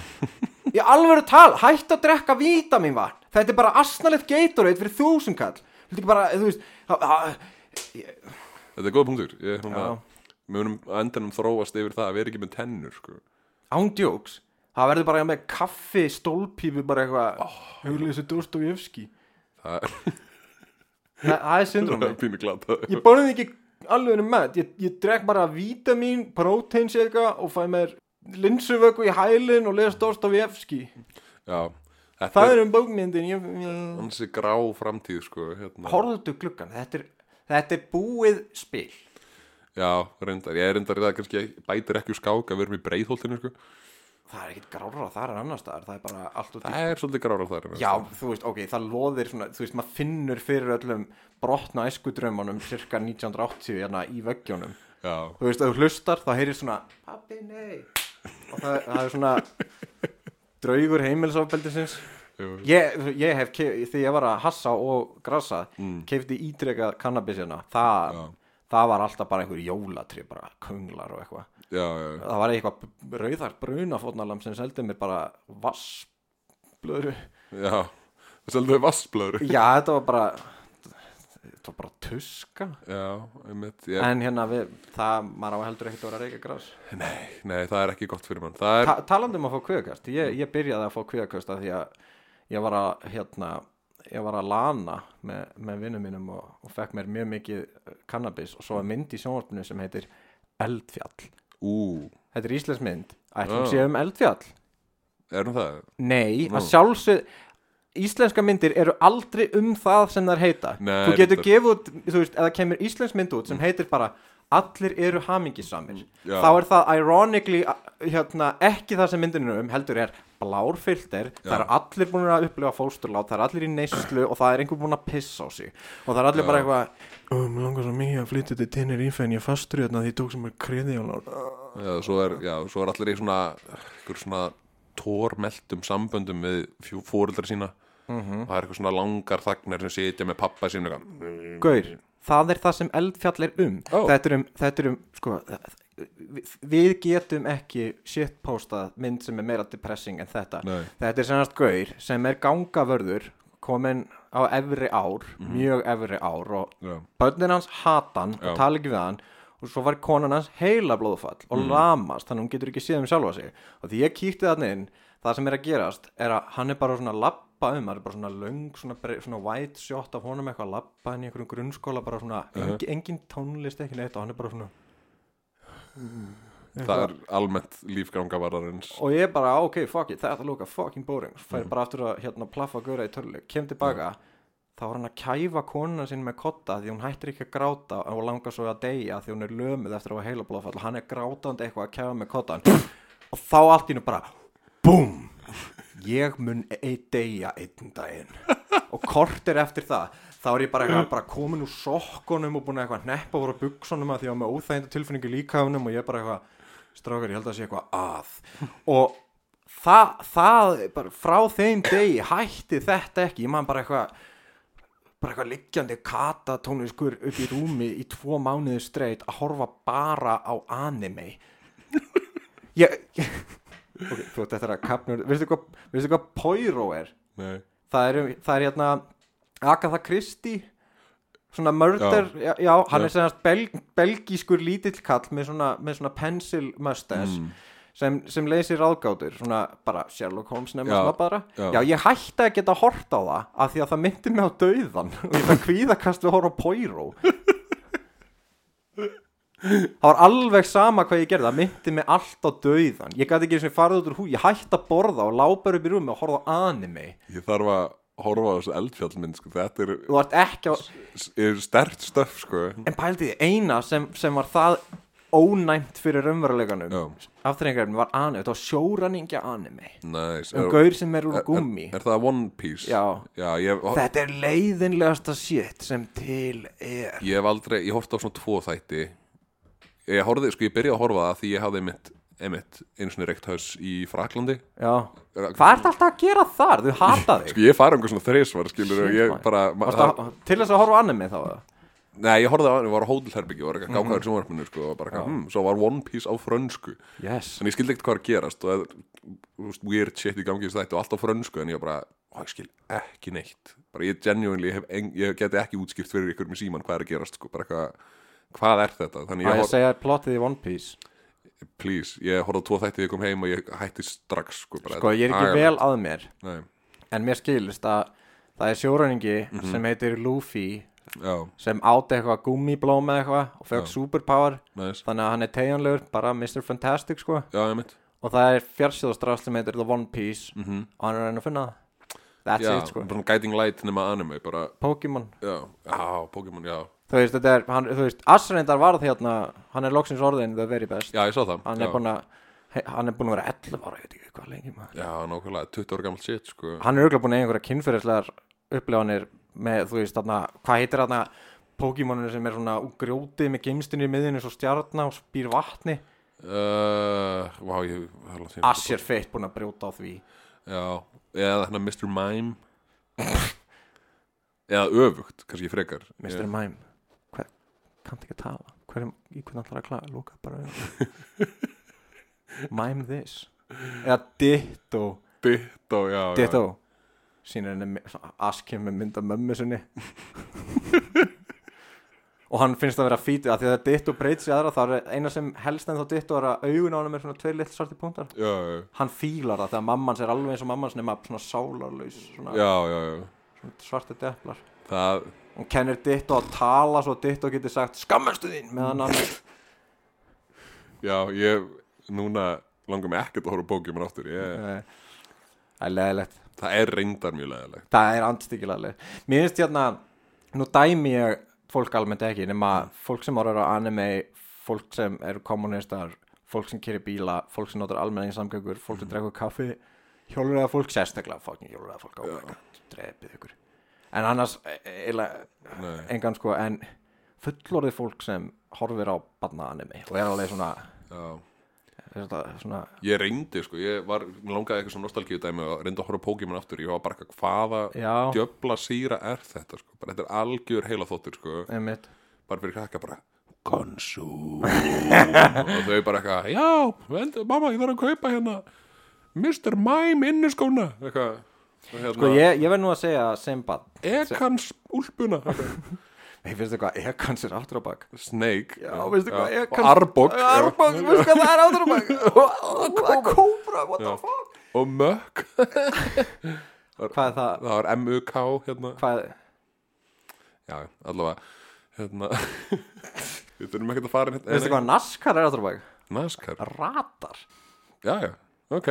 [SPEAKER 1] í alvöru tal, hætt að drekka vítamin vatn þetta er bara asnalegt Gatorade fyrir þúsund kall Viltu ekki bara, þú veist það- það-
[SPEAKER 2] Þetta er góð punktur ég, svona,
[SPEAKER 1] Já.
[SPEAKER 2] Við munum á endanum þróast yfir það að vera ekki með tennur sko.
[SPEAKER 1] ándjóks það verður bara með kaffi, stólpífu bara eitthvað oh, hugleisi Dostoyevski
[SPEAKER 2] Það
[SPEAKER 1] það, það er
[SPEAKER 2] það
[SPEAKER 1] syndromi
[SPEAKER 2] er pínu glata
[SPEAKER 1] ég borðið ekki alveg um með ég, ég drek bara vítamin, protein eitthvað og fæ mér linsuvöku í hælinn og les Dostoyevski
[SPEAKER 2] Já, þetta
[SPEAKER 1] það
[SPEAKER 2] er
[SPEAKER 1] er um bókmyndin ég, ég...
[SPEAKER 2] hansi grá framtíð sko, hérna.
[SPEAKER 1] horfðu gluggan, þetta er, þetta er búið spil
[SPEAKER 2] Já, reyndar, ég er reyndar í það kannski bætir ekki úr skák að vera með breiðholtinu sko.
[SPEAKER 1] það er ekkit grára þar en annars staðar það er bara allt út í
[SPEAKER 2] Það er svolítið grára þar
[SPEAKER 1] Já, þú veist, ok, það loðir svona, þú veist, maður finnur fyrir öllum brotna æskudraumunum cirka 1980 hérna í veggjónum.
[SPEAKER 2] Já,
[SPEAKER 1] Þú veist, ef þú hlustar, þá heyrir svona, pappi, nei, og það, það er svona draugur heimilisofbeldisins.
[SPEAKER 2] Jú.
[SPEAKER 1] Ég, ég hef, kef, því ég var að hassa og grassa, mm. kefti ítreka kannabis hérna, það,
[SPEAKER 2] Já.
[SPEAKER 1] það var alltaf bara einhver jólatri, bara könglar og eitthvað
[SPEAKER 2] já, já,
[SPEAKER 1] það var eitthvað rauðar brunafótnalam sem seldi mér bara vassblöru
[SPEAKER 2] já. Það seldu við vassblöður
[SPEAKER 1] já þetta var bara þetta var bara tuska
[SPEAKER 2] Já, einmitt ég,
[SPEAKER 1] en hérna við, það, maður á heldur ekkert að vera að reyka græs
[SPEAKER 2] Nei, það er ekki gott fyrir mann Það er,
[SPEAKER 1] Ta talandi um að fá kveðakast ég, ég byrjaði að fá kveðakast af því að ég var að hérna ég var að lana með, með vinnum mínum og, og fekk mér mjög mikið eh, cannabis og svo er mynd í sjónvarpinu sem heitir Eldfjall
[SPEAKER 2] ú,
[SPEAKER 1] þetta er íslensk mynd, ætlum
[SPEAKER 2] Já.
[SPEAKER 1] sé um Eldfjall
[SPEAKER 2] er nú það?
[SPEAKER 1] Nei, að sjálfsög Íslenska myndir eru aldrei um það sem þær heita
[SPEAKER 2] Nei,
[SPEAKER 1] Þú getur
[SPEAKER 2] reyndar.
[SPEAKER 1] gefið út, þú veist, eða kemur íslensk mynd út sem heitir bara Allir eru hamingisamir
[SPEAKER 2] Mm, Já.
[SPEAKER 1] Þá er það ironically a- hérna, ekki það sem myndin er um heldur er blárfilter Það
[SPEAKER 2] Já.
[SPEAKER 1] eru allir búin að upplifa fósturlát Það eru allir í neyslu og það er einhver búin að pissa á sig Og það eru allir bara eitthvað um, Langar svo mikið að flytja til tinnir ífæn Ég er fastur í þarna því ég tók sem er kreði á lán
[SPEAKER 2] Já, svo er, já, svo er allir í svona ykkur svona tórmeldum samböndum við fjó- foreldra sína
[SPEAKER 1] Mhm.
[SPEAKER 2] og það er eitthvað svona langar þagnar sem sitja með pappa sín og eitthvað.
[SPEAKER 1] Gaur, það er það sem eldfjall er um
[SPEAKER 2] Ó.
[SPEAKER 1] Þetta er um, þetta er um sko, við, við getum ekki shitpostað mynd sem er meira depressing en þetta
[SPEAKER 2] Nei.
[SPEAKER 1] Þetta er sennast gaur sem er gangavörður kominn á efri ár mjög efri ár og
[SPEAKER 2] Mhm. Já.
[SPEAKER 1] börnin hans hata hann
[SPEAKER 2] Já.
[SPEAKER 1] og tala ekki við hann og svo var konan hans heila blóðfall og
[SPEAKER 2] Mhm.
[SPEAKER 1] lamast, þannig að hún getur ekki séð um sjálfa sig og því ég kíkti þarna inn það sem er að gerast er að hann er bara svona að labba um, það er bara svona löng svona, brei- svona white shot af honum eitthvað að labba inn í einhverjum grunnskóla, bara svona engin, engin tónlist, ekki neitt og hann er bara svona
[SPEAKER 2] Það er almennt lífgangavararins
[SPEAKER 1] og ég bara, "Ah, ok, fuck it, þetta lóka fucking boring svo fær ég bara aftur að hérna plaffa að gauðra í törlu kem tilbaka, þá var hann að kæfa konuna sín með kotta því hún hættir ekki að gráta og langar svo að deyja því hún er lömuð eftir að hafa heila blóðfall hann er grátandi eitthvað að kæfa með kottan og þá allt í nú bara, BOOM ég mun ei deyja einn daginn og kortir eftir það þá er ég bara, eitthvað, bara komin úr sokkunum og búin að eitthvað neppa voru buksunum að því að með óþæginda tilfinningu líkafunum og ég bara eitthvað strákar, ég held að sé eitthvað að og það, það er bara, frá þeim degi hætti þetta ekki, ég man bara eitthvað bara eitthvað liggjandi katatóniskur upp í rúmi í tvo mánuði streitt að horfa bara á anime ég, ég ok, þú veist þetta er að kapnur veistu hvað, veistu hvað Poirot er
[SPEAKER 2] Nei
[SPEAKER 1] það er, það er hérna Agatha Christie svona murder, já, já hann
[SPEAKER 2] Já.
[SPEAKER 1] er sem sagt bel, belgískur lítill kall með svona, með svona pencil mustache
[SPEAKER 2] Mm.
[SPEAKER 1] sem, sem leysir ráðgátur svona bara Sherlock Holmes nefnir
[SPEAKER 2] Já,
[SPEAKER 1] svona bara
[SPEAKER 2] já.
[SPEAKER 1] já, ég hætti að geta hort á það af því að það myndi mig á dauðan og ég það kvíðakast við að horfa á Poirot það var alveg sama hvað ég gerði það myndi mig allt á dauðan ég gæti ekki eins og farið út úr hú ég hætti að borða og lápar upp í rúmi og horfa á anime
[SPEAKER 2] Ég þarf að horfa á þessu eldfjallmynd sko. Þetta er,
[SPEAKER 1] þú ert ekki á
[SPEAKER 2] er stert stöf sko.
[SPEAKER 1] en pældi því, eina sem, sem var það ónæmt fyrir
[SPEAKER 2] Já,
[SPEAKER 1] umveruleikanum afturrengarinn var anime, þetta var sjóranningja anime
[SPEAKER 2] næs
[SPEAKER 1] um
[SPEAKER 2] Er-
[SPEAKER 1] gaur sem er úr gummi
[SPEAKER 2] er, er það One Piece?
[SPEAKER 1] Já.
[SPEAKER 2] ég,
[SPEAKER 1] þetta er leiðinlegasta shit sem til er
[SPEAKER 2] ég hef aldrei, ég horfði á svona tvo þætti Ég horfði, sko ég byrjaði að horfa á það því ég hafði einmitt, einmitt einu svona reikthás í Fraklandi
[SPEAKER 1] já. hvað ertu alltaf að gera þar, þau hata þig
[SPEAKER 2] Sko ég farið um svona þreisvar skilur og ég
[SPEAKER 1] maður.
[SPEAKER 2] bara ma-
[SPEAKER 1] Varstu að- til þess að horfa á anime þá eða?
[SPEAKER 2] Nei, ég horfði á hann, ég var á hótelherbyggi og var
[SPEAKER 1] Mhm.
[SPEAKER 2] eitthvað gákaður í sjónvarpinu sko, og bara, hm, svo var One Piece á frönsku
[SPEAKER 1] yes.
[SPEAKER 2] en ég skildi ekkert hvað er að gerast og það er þú veist, weird shit í gangi í þetta og allt á frönsku en ég var bara, ó, ég skil ekki neitt bara ég genuinely, hef, en, ég geti ekki útskipt fyrir ykkur með síman hvað er að gerast sko, bara eitthvað hvað er þetta þannig
[SPEAKER 1] Að
[SPEAKER 2] ég,
[SPEAKER 1] ég segja er plottið í One Piece
[SPEAKER 2] hor... please, ég horfði á tvo þætti þegar ég kom heim og ég hætti strax sko, bara,
[SPEAKER 1] Sko, ég er ekki vel að mér
[SPEAKER 2] vel Nei,
[SPEAKER 1] En mér skilist að það er sjóræningi
[SPEAKER 2] Mhm.
[SPEAKER 1] sem heitir Luffy
[SPEAKER 2] já,
[SPEAKER 1] sem áti eitthvað gummiblóm eða eitthvað og fekk superpower
[SPEAKER 2] næs
[SPEAKER 1] þannig að hann er tegjanlegur, bara Mr. Fantastic sko
[SPEAKER 2] Já, ég mitt
[SPEAKER 1] og það er fjársjóðastráð sem heitir The One Piece -hmm. og hann er að reyna að finna það That's
[SPEAKER 2] Mhm. Já,
[SPEAKER 1] it sko,
[SPEAKER 2] bara svona guiding light nema anime bara,
[SPEAKER 1] Pokémon
[SPEAKER 2] já, já, Pokémon, já
[SPEAKER 1] Þú veist, þetta er, hann, þú veist, Asrendar varð hérna hann er loksins orðin the very best
[SPEAKER 2] Já, ég sá það
[SPEAKER 1] hann
[SPEAKER 2] já.
[SPEAKER 1] er búin að he- hann er búin að vera 11 ára, ég veit ekki hvað lengi maður
[SPEAKER 2] Já, nákvæmlega, 20 ára gamalt shit, sko
[SPEAKER 1] hann er auðvitað búin að eiga einhverja kynferðislegar upplifanir með, þú veist, þarna, hvað heitir þarna Pokémoninu sem er svona úr grjóti með geimstinni í miðinu svo stjarna og spýr vatni
[SPEAKER 2] Uh, vá, ég það er langt síðan.
[SPEAKER 1] Asher feitt búin að brjóta á því
[SPEAKER 2] Já, eða hérna Mr. Mime Eða öfugt, kannski frekar
[SPEAKER 1] Mr. Mime hver, kanntu ekki að tala hverjum, í hvernig ætlar að klaga, lóka bara augun. Mime this eða Ditto
[SPEAKER 2] Ditto, já, já
[SPEAKER 1] Ditto sínir henni askjum með mynda mömmu sinni og hann finnst að vera fítið að því að Ditto breyt sér aðra þá er eina sem helst en þá Ditto er að augun á hann er svona tveir lill svartir punktar
[SPEAKER 2] Já, já,
[SPEAKER 1] hann fílar það þegar mamman sér alveg eins og mamman nema svona sálarlaus svona,
[SPEAKER 2] já, já, já.
[SPEAKER 1] svona svartir deplar
[SPEAKER 2] Það,
[SPEAKER 1] hún kennir Ditto að tala svo Ditto getur sagt skammastu þín meðan hann
[SPEAKER 2] já, ég Núna langar mig ekkert að horfa á Pokémon áttur ég,
[SPEAKER 1] Nei. það er leðilegt
[SPEAKER 2] Það er reyndar mjög leðilegt
[SPEAKER 1] það er andstíkilega leðilegt mér finnst hérna, nú dæmi ég fólk almennt ekki nema
[SPEAKER 2] Mm.
[SPEAKER 1] fólk sem orður á anime fólk sem eru kommunistar fólk sem kyrir bíla, fólk sem notar almenning samgöngur fólk
[SPEAKER 2] Mm.
[SPEAKER 1] sem dregur kaffi hjólulega fólk, sérstaklega fólk hjólulega fólk, oh my god, drepið ykkur en annars, e- eiginlega
[SPEAKER 2] Nei.
[SPEAKER 1] engan sko, en fullorðið fólk sem horfir á barna anime og er alveg svona,
[SPEAKER 2] Já
[SPEAKER 1] svona, svona
[SPEAKER 2] Ég reyndi, sko, ég var, mér langaði eitthvað svona nostalgíu dæmi og reyndi að horfa á Pokémon aftur, ég var bara eitthvað, hvaða
[SPEAKER 1] Já.
[SPEAKER 2] djöfla síra er þetta, sko, bara þetta er algjör heila þóttir, sko,
[SPEAKER 1] einmitt
[SPEAKER 2] bara fyrir krakka bara, konsum, og þau bara eitthvað, já, vend, mamma, ég þarf að kaupa hérna, Mr. Mime inniskóna, eitthvað, og hérna,
[SPEAKER 1] Sko ég, ég verð nú að segja sem bann
[SPEAKER 2] ekans úlpuna, eitthvað,
[SPEAKER 1] Ég finnst eitthvað ekans er aftur á bak
[SPEAKER 2] Snake,
[SPEAKER 1] Já, veistu hvað, ég
[SPEAKER 2] og
[SPEAKER 1] kann-
[SPEAKER 2] Arbok, já,
[SPEAKER 1] Arbok, veistu hvað það er aftur á bak Hvað er kóbra, what the fuck
[SPEAKER 2] og Mökk,
[SPEAKER 1] Hvað er það,
[SPEAKER 2] það var M-U-K, hérna,
[SPEAKER 1] hvað
[SPEAKER 2] já, allavega hérna við þurfum ekkert að fara hérna
[SPEAKER 1] Veistu hvað naskar er aftur á bak
[SPEAKER 2] naskar,
[SPEAKER 1] Ratar
[SPEAKER 2] já já, ok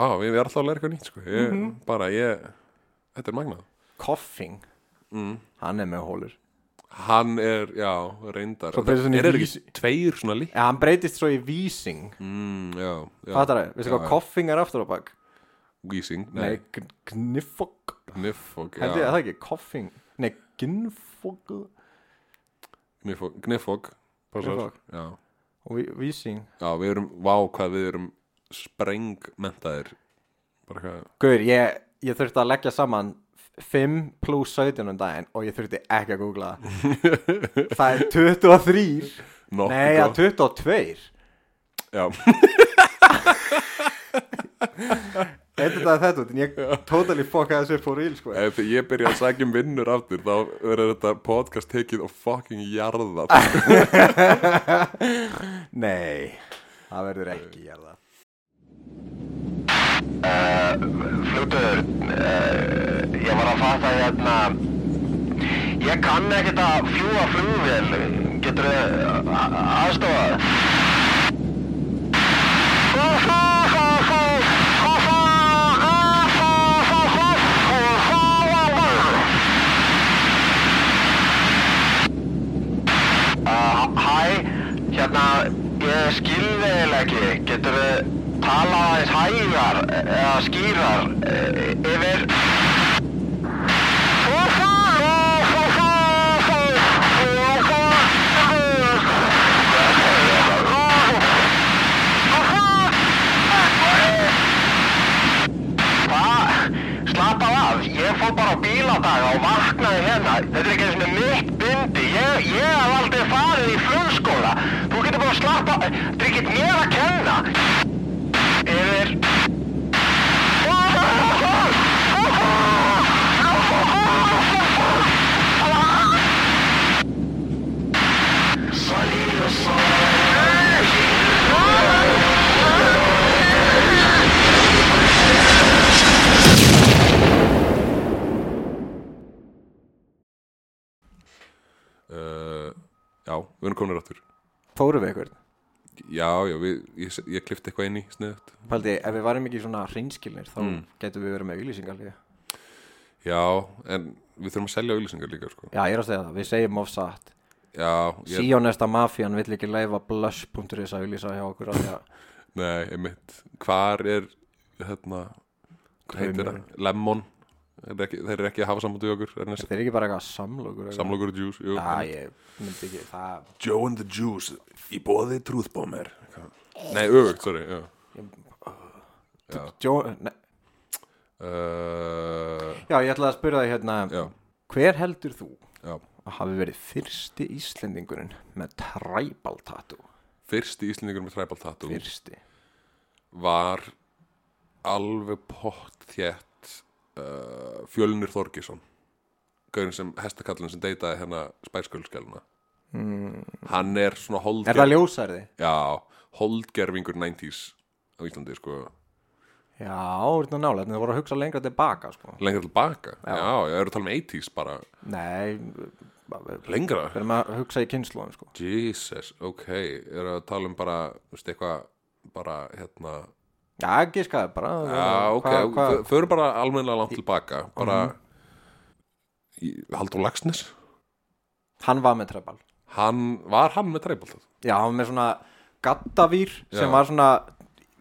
[SPEAKER 2] vá, við erum alltaf að læra eitthvað nýtt sko ég,
[SPEAKER 1] Mhm.
[SPEAKER 2] bara ég, þetta er magnað
[SPEAKER 1] Koffing
[SPEAKER 2] Mm.
[SPEAKER 1] Hann er með hólur
[SPEAKER 2] hann er, já, reyndar
[SPEAKER 1] Svo breytist hann í
[SPEAKER 2] er, er ekki
[SPEAKER 1] vísi.
[SPEAKER 2] tveir svona lík
[SPEAKER 1] Já, hann breytist svo í vísing
[SPEAKER 2] mm, já, já,
[SPEAKER 1] Hvað það er, veistu
[SPEAKER 2] Já,
[SPEAKER 1] hvað
[SPEAKER 2] já.
[SPEAKER 1] koffing er aftur á bak
[SPEAKER 2] vísing,
[SPEAKER 1] Nei,
[SPEAKER 2] nei,
[SPEAKER 1] gn- gniffog
[SPEAKER 2] gniffog
[SPEAKER 1] Held ég að það ekki, koffing Nei, gnfog
[SPEAKER 2] gniffog, gniffog passar.
[SPEAKER 1] Gniffog.
[SPEAKER 2] já.
[SPEAKER 1] og ví- vísing
[SPEAKER 2] já, við erum, vá, hvað við erum sprengmentaðir bara hvað,
[SPEAKER 1] Guður, ég, ég þurfti að leggja saman 5 pluss 17 um daginn og ég þurfti ekki að googla það. það er 23
[SPEAKER 2] nokkuð
[SPEAKER 1] Nei,
[SPEAKER 2] gott.
[SPEAKER 1] að 22
[SPEAKER 2] já,
[SPEAKER 1] Þetta er þetta út, en ég totally fokkaði þessu upp á ríl sko.
[SPEAKER 2] Ef Eh, ég byrja að sækja um vinnur aftur þá verður þetta podcast tekið og fucking jarða
[SPEAKER 1] Nei, það verður ekki ég það
[SPEAKER 5] Fljótur, uh, ég var að fatta hérna Ég kann ekkert að fljúa flugvél Getur þið aðstofað? Uh, Hæ, hérna, ég skil eiginlega ekki Getur þið talað aðeins hægar eða skýrar eh, yfir Hvað? Slappaðu af, ég fór bara á bíladaga og vaknaði hérna. Þetta er ekki einu sinni mitt bindi. Ég, ég hef aldrei farið í flugskóla. Þú getur bara að slappa, þetta er ekki mér að kenna. Yfir.
[SPEAKER 2] uh, já, við erum komin ráttur
[SPEAKER 1] Fórum við ykkur
[SPEAKER 2] já, já, við, ég, ég klifti eitthvað inn í sniðut
[SPEAKER 1] Paldi, ef við varum ekki svona hreinskilnir þá
[SPEAKER 2] Mm.
[SPEAKER 1] getum við verið með auglýsingar líka
[SPEAKER 2] já, en við þurfum að selja auðlýsingar líka sko.
[SPEAKER 1] Já, ég er að segja það, við segjum of satt
[SPEAKER 2] já, ég,
[SPEAKER 1] Síónesta mafian vill ekki leifa blush.is að auglýsa hjá okkur af því að
[SPEAKER 2] nei, einmitt hvar er, hérna hvað heitir það, lemon Er ekki, þeir eru ekki að hafa samband við okkur Ernest.
[SPEAKER 1] Þetta er ekki bara eitthvað samlokur eitthvað?
[SPEAKER 2] samlokur og juice jú,
[SPEAKER 1] Já, ég myndi ekki það
[SPEAKER 2] Joe and the Juice í bóði trúðbómer Nei, öfugt, sorry já.
[SPEAKER 1] Jó, ne,
[SPEAKER 2] Uh,
[SPEAKER 1] Já, ég ætlaði að spyrja það hérna
[SPEAKER 2] já,
[SPEAKER 1] Hver heldur þú
[SPEAKER 2] já
[SPEAKER 1] að hafi verið fyrsti Íslendingurinn með tribal tattoo?
[SPEAKER 2] Fyrsti Íslendingur með tribal tattoo
[SPEAKER 1] Fyrsti
[SPEAKER 2] var alveg pott þétt uh, Fjölnir Þorgesson Gaurin sem hestakallin sem deytaði hérna spærsköldskjáluna mm. Hann er
[SPEAKER 1] Er
[SPEAKER 2] svona
[SPEAKER 1] það
[SPEAKER 2] holdger
[SPEAKER 1] ljósærði?
[SPEAKER 2] Já, holdgerfingur 90s á Íslandi sko
[SPEAKER 1] Já, þetta er nálega, það voru að hugsa lengra tilbaka sko.
[SPEAKER 2] Lengra til baka, já, já, eru að tala um 80s bara
[SPEAKER 1] Nei, við
[SPEAKER 2] Lengra?
[SPEAKER 1] erum að hugsa í kynnslóðum sko.
[SPEAKER 2] Jesus, ok, er að tala um bara, þú veist, eitthvað bara, hérna,
[SPEAKER 1] Já, gískaði bara eh,
[SPEAKER 2] já, ok,
[SPEAKER 1] Hvað- hvað-
[SPEAKER 2] þau eru bara almennilega langt tilbaka, bara
[SPEAKER 1] Mhm.
[SPEAKER 2] í- Halldór Laxnes,
[SPEAKER 1] Hann var með tribal
[SPEAKER 2] hann, var hann með treibaldað?
[SPEAKER 1] Já, hann var með svona gaddavýr
[SPEAKER 2] Já.
[SPEAKER 1] sem var svona,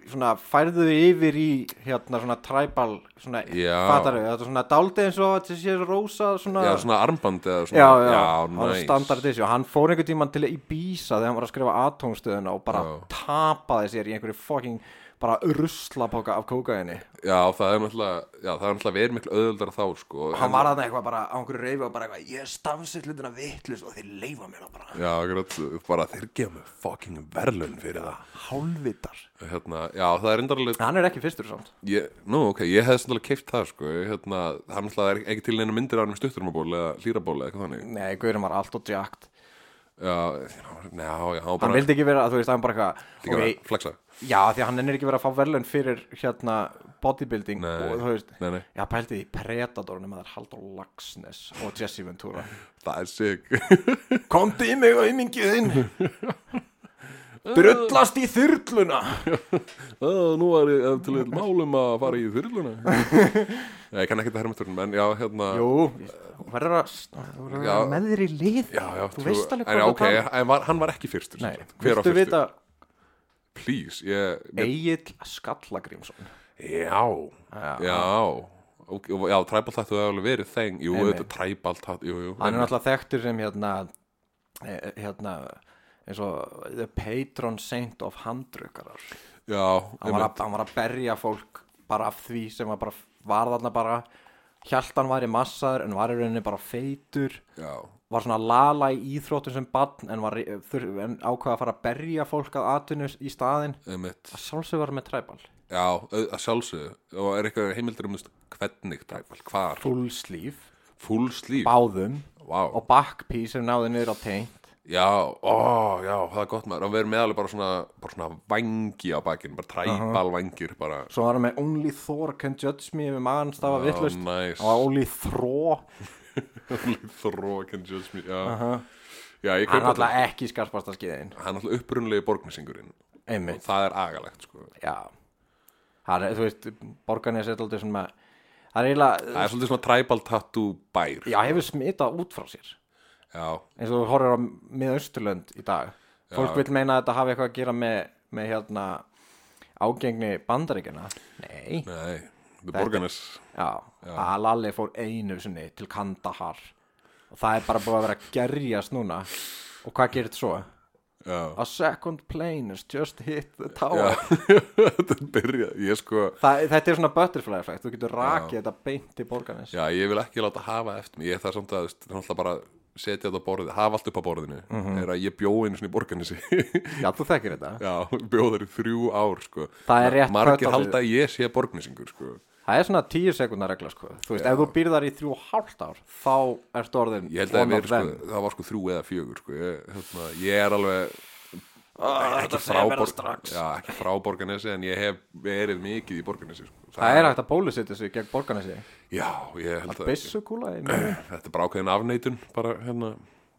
[SPEAKER 1] svona færðu yfir í hérna svona tribal svona
[SPEAKER 2] Já.
[SPEAKER 1] fataröð, þetta er svona dáldi eins og þetta sé rosa svona
[SPEAKER 2] Já, svona armband eða svona,
[SPEAKER 1] Ah. Já, já, hann var
[SPEAKER 2] nice.
[SPEAKER 1] standard issue Hann fór einhvern tímann til Ibiza þegar hann var að skrifa atómstöðuna og bara
[SPEAKER 2] Já.
[SPEAKER 1] tapaði sér í einhverju fucking bara ruslapoka af kókaini
[SPEAKER 2] Já, það er náttúrulega, já, það er náttúrulega verið miklu öðuldar þá, sko
[SPEAKER 1] Hann var þarna eitthvað bara á einhverju reyfi og bara eitthvað Ég stansið hlutina vittlust og þeir leifa mér það bara
[SPEAKER 2] Já, akkurat, bara þeir gefa mig fucking verðlun fyrir það
[SPEAKER 1] Hálvitar
[SPEAKER 2] Hérna, já, það er endarlega
[SPEAKER 1] Hann er ekki fyrstur samt
[SPEAKER 2] Ég, nú, ok, ég hefði sannlega keift það, sko hérna, hann náttúrulega er ekki til neina myndir af hann með stutturumaból eða hlýraból eða eitthvað þannig
[SPEAKER 1] Nei, Guðurinn var allt og jacked
[SPEAKER 2] Já, já, já, hann var
[SPEAKER 1] Hann
[SPEAKER 2] bara
[SPEAKER 1] vildi ekki vera, þú veist, hann bara
[SPEAKER 2] ekki
[SPEAKER 1] eitthvað
[SPEAKER 2] að
[SPEAKER 1] okay,
[SPEAKER 2] flexa
[SPEAKER 1] Já, því að hann er ekki verið að fá verðlaun fyrir hérna bodybuilding
[SPEAKER 2] Nei,
[SPEAKER 1] og þú veist
[SPEAKER 2] nei, nei.
[SPEAKER 1] Já, pældi því Predatornum að það er Haldur Laxness og Jesse Ventura
[SPEAKER 2] Það er sig
[SPEAKER 1] Komdu í mig og ymmingið þinn Drullast í þyrluna
[SPEAKER 2] Nú er ég ef til eitt málum að fara í þyrluna Ég kann ekki það hermeturnum, en já, hérna
[SPEAKER 1] Jú, þú verður að þú verður að vera
[SPEAKER 2] Já.
[SPEAKER 1] með þér í lið
[SPEAKER 2] Já, já,
[SPEAKER 1] Þú veist alveg
[SPEAKER 2] en,
[SPEAKER 1] hvað
[SPEAKER 2] já,
[SPEAKER 1] þú
[SPEAKER 2] ok,
[SPEAKER 1] talar um.
[SPEAKER 2] en var, hann var ekki fyrstur sem
[SPEAKER 1] Nei,
[SPEAKER 2] sagt. Hver var
[SPEAKER 1] viltu
[SPEAKER 2] fyrstur?
[SPEAKER 1] vita
[SPEAKER 2] Please, ég, mér,
[SPEAKER 1] Egil Skallagrímsson
[SPEAKER 2] já Já, ok, og- já, træbaltættu hefur alveg verið þeng Jú,
[SPEAKER 1] Einmitt.
[SPEAKER 2] þetta træbaltættu, jú,
[SPEAKER 1] hann
[SPEAKER 2] jú
[SPEAKER 1] er
[SPEAKER 2] einmitt.
[SPEAKER 1] náttúrulega þekktur sem hérna eh, hérna eins og the patron saint of handrukkarar
[SPEAKER 2] Já,
[SPEAKER 1] hann var, að, hann var að berja fólk bara af því sem var bara var þarna bara hjaltan var í massaður en var í rauninni bara feitur
[SPEAKER 2] já,
[SPEAKER 1] var svona lala í íþróttum sem barn en, var, í- þur, en ákvaða að fara að berja fólk að atvinnu í staðin
[SPEAKER 2] einmitt
[SPEAKER 1] sjálfsög var hann með træbal
[SPEAKER 2] Já, au- að sjálfsögðu Og er eitthvað heimildur um þú veist, hvernig træbal, hvar
[SPEAKER 1] full sleeve,
[SPEAKER 2] Full sleeve,
[SPEAKER 1] báðum
[SPEAKER 2] vá
[SPEAKER 1] og backpiece sem náði niður á teint
[SPEAKER 2] Já, ó, já, það er gott maður og við erum meðalveg bara svona, bara svona vangi á bakinn, bara træbal vangir bara,
[SPEAKER 1] svo var hann með only Thor can judge me með magan stafa vittlust
[SPEAKER 2] næs.
[SPEAKER 1] hann var only Thor
[SPEAKER 2] þró, can judge me já, já ég
[SPEAKER 1] hann
[SPEAKER 2] kaupa
[SPEAKER 1] er
[SPEAKER 2] alltaf
[SPEAKER 1] alltaf ekki skarpasta skeiðin
[SPEAKER 2] hann er alltaf upprunlegi borgnesingurinn og
[SPEAKER 1] einmitt,
[SPEAKER 2] það er agalegt, sko
[SPEAKER 1] já hann er, þú veist, borgarnes er alltaf svona það er
[SPEAKER 2] það
[SPEAKER 1] eiginlega,
[SPEAKER 2] er svolítið svona træbal tattoo bær
[SPEAKER 1] já, hefur smitað út frá sér
[SPEAKER 2] já,
[SPEAKER 1] eins og þú horfir á miðausturlönd í dag fólk vil meina að þetta hafi eitthvað að gera með, með hérna ágengni bandaríkina nei,
[SPEAKER 2] nei, the borganes
[SPEAKER 1] já, að Lalli fór einu sinni til Kandahar og það er bara búið að vera að gerjast núna og hvað gerir þetta svo?
[SPEAKER 2] já,
[SPEAKER 1] a second plane has just hit the
[SPEAKER 2] já.
[SPEAKER 1] tower
[SPEAKER 2] þetta byrja, ég sko
[SPEAKER 1] Þa, þetta er svona butterfly effect, þú getur rakið þetta beint til borgarnes
[SPEAKER 2] já, ég vil ekki láta hafa eftir mig ég þarf samt að, þú veist, það er alltaf bara setja þetta á borðið, hafa allt upp á borðinu
[SPEAKER 1] Mhm.
[SPEAKER 2] er að ég bjóð einu svona í borganesi
[SPEAKER 1] já, þú þekkir þetta
[SPEAKER 2] Já, bjóðar í þrjú ár sko.
[SPEAKER 1] Það er rétt
[SPEAKER 2] Margir
[SPEAKER 1] pötaldið.
[SPEAKER 2] halda að ég sé borgnisingur sko.
[SPEAKER 1] Það er svona 10 sekundar regla sko. Þú veist, ef þú býrð þar í þrjú og hálft ár þá ertu orðin
[SPEAKER 2] Ég held að
[SPEAKER 1] one
[SPEAKER 2] við,
[SPEAKER 1] of
[SPEAKER 2] sko,
[SPEAKER 1] them.
[SPEAKER 2] það var sko þrjú eða fjögur sko. ég, hérna, ég er alveg ekki frá, borg, já, ekki frá borganesi en ég hef verið mikið í borganesi sko.
[SPEAKER 1] Það er hægt að bólusetja sig gegn borgarnesi
[SPEAKER 2] Já, ég held að
[SPEAKER 1] Bissukúla í mjög
[SPEAKER 2] þetta er bara ákveðin afneitun bara hérna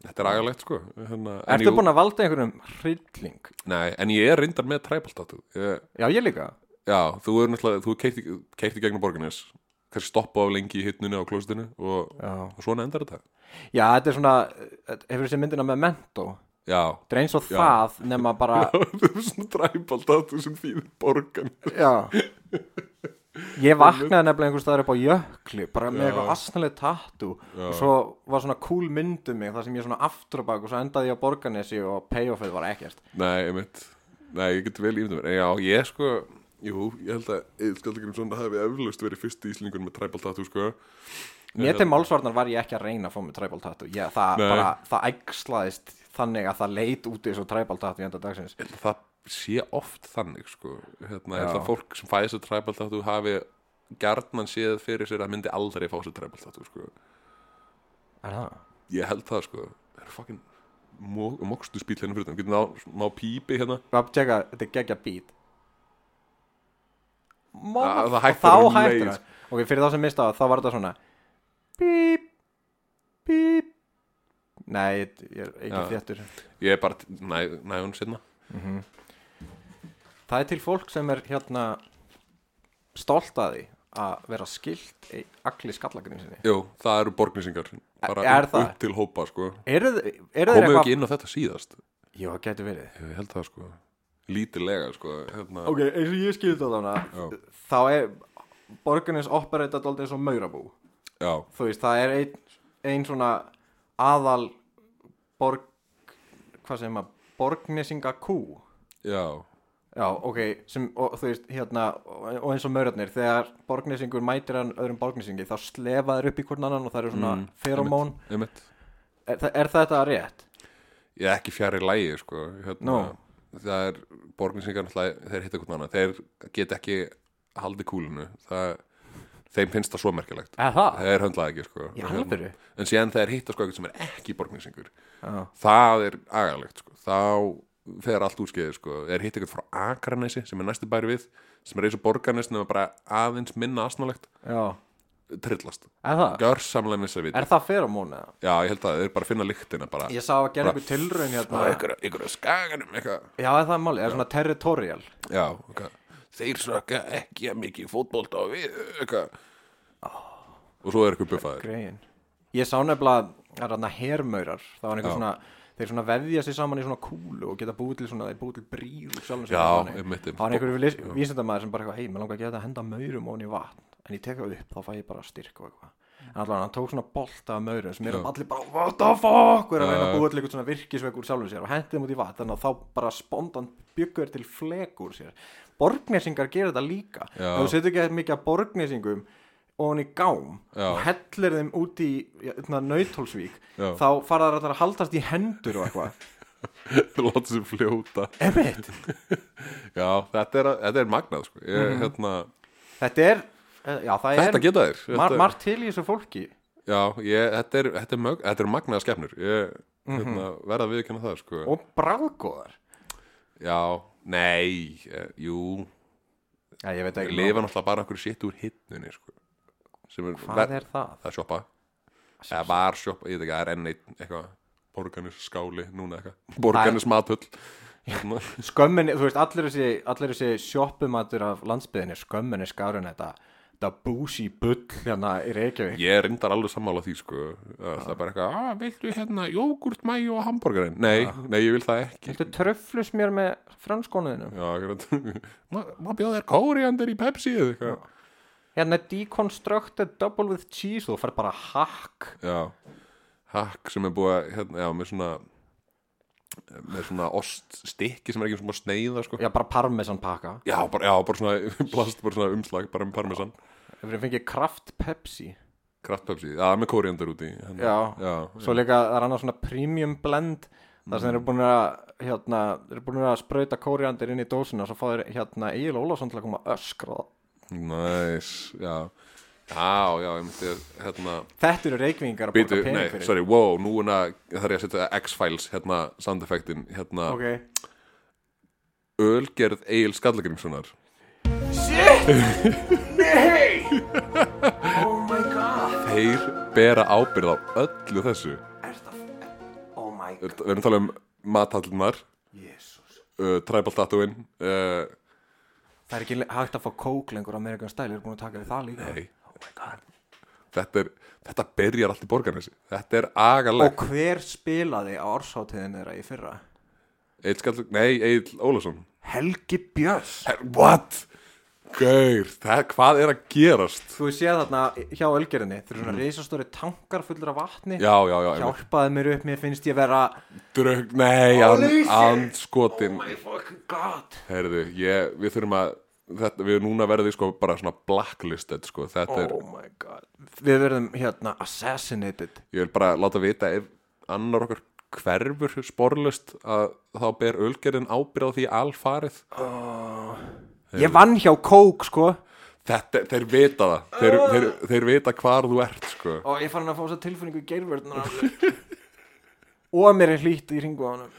[SPEAKER 2] Þetta er agalegt sko hérna,
[SPEAKER 1] Ertu búin að valda einhverjum hrylling?
[SPEAKER 2] Nei, en ég er reyndar með træbaltatú
[SPEAKER 1] Já, ég líka
[SPEAKER 2] Já, þú er náttúrulega, þú keirti, keirti gegnum borganis kannski stoppa á lengi í hittnunni á klóstinu og, og svona endar þetta
[SPEAKER 1] Já, þetta er svona, hefur þessi myndina með mentó
[SPEAKER 2] Já,
[SPEAKER 1] Þetta er eins og það nema bara
[SPEAKER 2] þú er svona træbaltatú sem þýðir borgan
[SPEAKER 1] Já Ég vaknaði nefnilega einhvers staðar upp á jökli bara með eitthvað asnaleg tattu og svo var svona cool mynd um mig þar sem ég svona aftur á bak og svo endaði ég á Borganesi og payoffið var ekkert
[SPEAKER 2] Nei, einmitt Nei, ég get vel ímyndum mér En Já, ég sko, jú, ég held að Eil Skaldagrimsson hafi eflaust verið fyrsti íslingur með træbaltatú sko
[SPEAKER 1] Mér til málsvarnar var ég ekki að reyna að fá mig tribal tattu ég, það,
[SPEAKER 2] Nei.
[SPEAKER 1] bara, það ægslaðist þannig að það leit úti svo tribal tattu í enda dagsins
[SPEAKER 2] Ég held að það sé oft þannig sko hérna, ég held
[SPEAKER 1] Já.
[SPEAKER 2] að fólk sem fæði sér træbaltatú hafi gjarnan séð fyrir sér að myndi aldrei fá sér træbaltatú sko
[SPEAKER 1] Er það?
[SPEAKER 2] Ég held það sko Það eru fucking mok mokstu spýl hérna fyrir það Getur ná, má pípi hérna
[SPEAKER 1] Við að tjekka, þetta er geggja beat Má,
[SPEAKER 2] Ja, það
[SPEAKER 1] og
[SPEAKER 2] hættir
[SPEAKER 1] þá
[SPEAKER 2] um
[SPEAKER 1] hættir
[SPEAKER 2] leið.
[SPEAKER 1] það Ok, fyrir þá sem mista það, þá var þetta svona Bíp, bíp Nei, ég ég er ekki
[SPEAKER 2] Já.
[SPEAKER 1] þéttur
[SPEAKER 2] Ég er bara, næ, næ hún sinna
[SPEAKER 1] Það er til fólk sem er hérna stolt að því að vera skilt í agli skallagrin sinni
[SPEAKER 2] Jú, það eru borgnisingar Bara
[SPEAKER 1] Er
[SPEAKER 2] upp,
[SPEAKER 1] það?
[SPEAKER 2] upp til hópa sko
[SPEAKER 1] Eru þið eru þeir
[SPEAKER 2] Komum við
[SPEAKER 1] eitthvað
[SPEAKER 2] ekki inn á þetta síðast
[SPEAKER 1] Jú, það getur verið
[SPEAKER 2] Ég held það sko Lítilega sko hérna,
[SPEAKER 1] Ok, eins og ég skilði það þarna
[SPEAKER 2] Já.
[SPEAKER 1] Þá er borgarins operatað aldrei eins og maurabú
[SPEAKER 2] Já,
[SPEAKER 1] þú veist, það er ein, ein svona aðal borg, hvað segir maður borgnesinga kú
[SPEAKER 2] já
[SPEAKER 1] já, ok, sem, og, þú veist, hérna og og eins og mörðarnir, þegar borgnesingur mætir hann öðrum borgnesingi, þá slefa þeir upp í hvern annan og það eru svona mm, feromón
[SPEAKER 2] einmitt, einmitt.
[SPEAKER 1] er, þa- er þetta rétt?
[SPEAKER 2] Ég er ekki fjari lægi sko hérna,
[SPEAKER 1] Nú.
[SPEAKER 2] Það er borgnisingar náttúrulega Þeir hitta hvort annað Þeir get ekki haldið kúlinu það, Þeim finnst það svo merkilegt
[SPEAKER 1] Er það?
[SPEAKER 2] Þeir höndlaði ekki sko
[SPEAKER 1] Í
[SPEAKER 2] Hérna.
[SPEAKER 1] alvöru?
[SPEAKER 2] En síðan þeir hitta sko eitthvað sem er ekki borgnisingur Það er agalegt sko Þá fer allt úrskeiði sko Þeir hitta eitthvað frá Akranesi sem er næstu bæri við sem er eins og borgarnes nema bara aðeins minna asnalegt
[SPEAKER 1] já,
[SPEAKER 2] trillast
[SPEAKER 1] er það?
[SPEAKER 2] Gjörsamlega missa við
[SPEAKER 1] er það feromón eða?
[SPEAKER 2] Já, ég held að þeir bara finna lyktina bara
[SPEAKER 1] ég sá að gera
[SPEAKER 2] Bara-
[SPEAKER 1] einhver tilraun hérna
[SPEAKER 2] Ykkur, ykkur að skaganum eitthvað
[SPEAKER 1] já, er það máli, er svona territorial
[SPEAKER 2] Já, ok Þeir sökka ekki að mikið fótbolta á við eitthvað Og svo er eitthvað buffaðir
[SPEAKER 1] grein ég sá nefnilega það er hérna hermaurar það var einhver
[SPEAKER 2] Já.
[SPEAKER 1] svona þeir svona vefja sér saman í svona kúlu og geta búið til svona þeir búið til brýr úr sjálfum sér
[SPEAKER 2] Já,
[SPEAKER 1] og þannig.
[SPEAKER 2] einmitt, einmitt.
[SPEAKER 1] það var einhverju vísindamæður sem bara eitthvað hei, mér langar að geta að henda maurum ofan í vatn en ég tek það upp, þá fæ ég bara styrk og eitthvað en allavega hann tók svona bolta af maurum sem erum allir bara, what the fuck og er að reyna að búið til eitthvað svona virkisveg úr sjálfum sér og hendi þeim út í vatn, þannig að þá bara spontan byggur til flek úr sér borgnesingar gera þetta líka
[SPEAKER 2] Já.
[SPEAKER 1] ef þú setur ekki mikið af borgnesingum ofan í gám
[SPEAKER 2] Já.
[SPEAKER 1] og hellir þeim út í nautólsvík
[SPEAKER 2] Já.
[SPEAKER 1] þá fara þær allar að haldast í hendur og eitthvað
[SPEAKER 2] Láta sér fljóta
[SPEAKER 1] Einmitt.
[SPEAKER 2] Já, þetta er, þetta er magnað sko. ég,
[SPEAKER 1] Mhm.
[SPEAKER 2] hérna,
[SPEAKER 1] þetta er eh, já, það
[SPEAKER 2] Þetta
[SPEAKER 1] er
[SPEAKER 2] geta þér þetta,
[SPEAKER 1] mar, margt til í þessu fólki
[SPEAKER 2] Já, ég, þetta, er, þetta, er mög, þetta er magnaða skefnur Ég hérna, verða að viðkjanna það sko.
[SPEAKER 1] Mhm. og bráðgóðar
[SPEAKER 2] Já, nei, eh, jú
[SPEAKER 1] já, ég veit
[SPEAKER 2] Ég
[SPEAKER 1] ekki
[SPEAKER 2] lifa náttúrulega bara einhverju sitt úr hittnunni sko. Sem er,
[SPEAKER 1] hvað er það
[SPEAKER 2] Það er sjoppa Það var sjoppa, ég veit ekki, það er enn einn eitthvað Borganis skáli, núna eitthvað Borganis matöll Hérna.
[SPEAKER 1] skömmin, þú veist, allir þessi, allir þessi sjoppumatur af landsbyðinni skömmin er skárun þetta þetta búsi bull hérna í Reykjavík
[SPEAKER 2] Ég er reyndar alveg sammála því sko að Það er bara eitthvað, að viltu hérna jógurt, mæju og hambúrgarinn Nei, nei, ég vil það ekki
[SPEAKER 1] Þetta tröflus mér með franskónuðinu
[SPEAKER 2] Já, akkurat. má, má bjóða þér kóriandir í Pepsi eða eitthvað
[SPEAKER 1] Hérna deconstructed double with cheese og þú fær bara hakk
[SPEAKER 2] Já, hakk sem er búið að, hérna, já, með svona með svona ost stikki sem er ekki svona sneiða sko
[SPEAKER 1] Já, bara parmesan pakka
[SPEAKER 2] Já, bara, já, bara svona, plast, bara svona umslag, bara með parmesan
[SPEAKER 1] Ef við fengið kraft Pepsi
[SPEAKER 2] Kraftpepsi, það er með kóriandur úti hérna.
[SPEAKER 1] Já.
[SPEAKER 2] já, Mhm.
[SPEAKER 1] Svo líka það er annað svona premium blend þar sem þeir eru búin að hérna, þeir eru búin að sprauta kóriandir inn í dósina og svo fá þeir hérna Egil Ólafsson til að koma að öskra það.
[SPEAKER 2] Næs, já Já, já, ég myndi að, hérna
[SPEAKER 1] Þetta eru reikvingar að
[SPEAKER 2] Býtu,
[SPEAKER 1] borga
[SPEAKER 2] nei,
[SPEAKER 1] pening fyrir
[SPEAKER 2] sorry, wow, núna þarf ég að setja X-Files, hérna, sound effectin Hérna,
[SPEAKER 1] Ok,
[SPEAKER 2] Ölgerð Egil Skallagrimssonar Shit, nei Oh my god Þeir bera ábyrð á öllu þessu
[SPEAKER 1] er þetta oh my god,
[SPEAKER 2] við erum að tala um mathallunar
[SPEAKER 1] jésús
[SPEAKER 2] uh, tribal tattooinn uh,
[SPEAKER 1] Það er ekki le- hægt að fá kók lengur á Amerikan stæl, eru búin að taka við það líka
[SPEAKER 2] Nei.
[SPEAKER 1] Oh my god
[SPEAKER 2] þetta, er, þetta byrjar allt í borgarnesi þetta er agalegt
[SPEAKER 1] Og hver spilaði á orsátiðin þeirra í fyrra?
[SPEAKER 2] Egill Skall, nei, Egil Ólafsson
[SPEAKER 1] Helgi Björns
[SPEAKER 2] Her- What? Gaur, það, hvað er að gerast?
[SPEAKER 1] Þú séð þarna hjá ölgerinni Þeir eru svona reisastóri tankar fullur af vatni
[SPEAKER 2] Já, já, já, einmitt.
[SPEAKER 1] Hjálpaði mér upp, mér finnst ég vera
[SPEAKER 2] Drögg, nei,
[SPEAKER 1] Holy shit.
[SPEAKER 2] anskotin
[SPEAKER 1] My fucking god
[SPEAKER 2] Herðu, ég, við þurfum að þetta, Við erum núna verðið sko bara svona blacklisted sko. Þetta er,
[SPEAKER 1] Oh my god Við verðum hérna assassinated
[SPEAKER 2] ég vil bara láta vita Ef annar okkar hverfur sporlust að þá ber ölgerðin ábyrða því alfarið
[SPEAKER 1] Ég vann hjá kók sko
[SPEAKER 2] þetta, þeir vita það þeir, þeir, þeir vita hvar þú ert sko.
[SPEAKER 1] Og ég fann að fá þess að tilfinningu í geirvörðunar Og mér er hlýtt í ringu á hann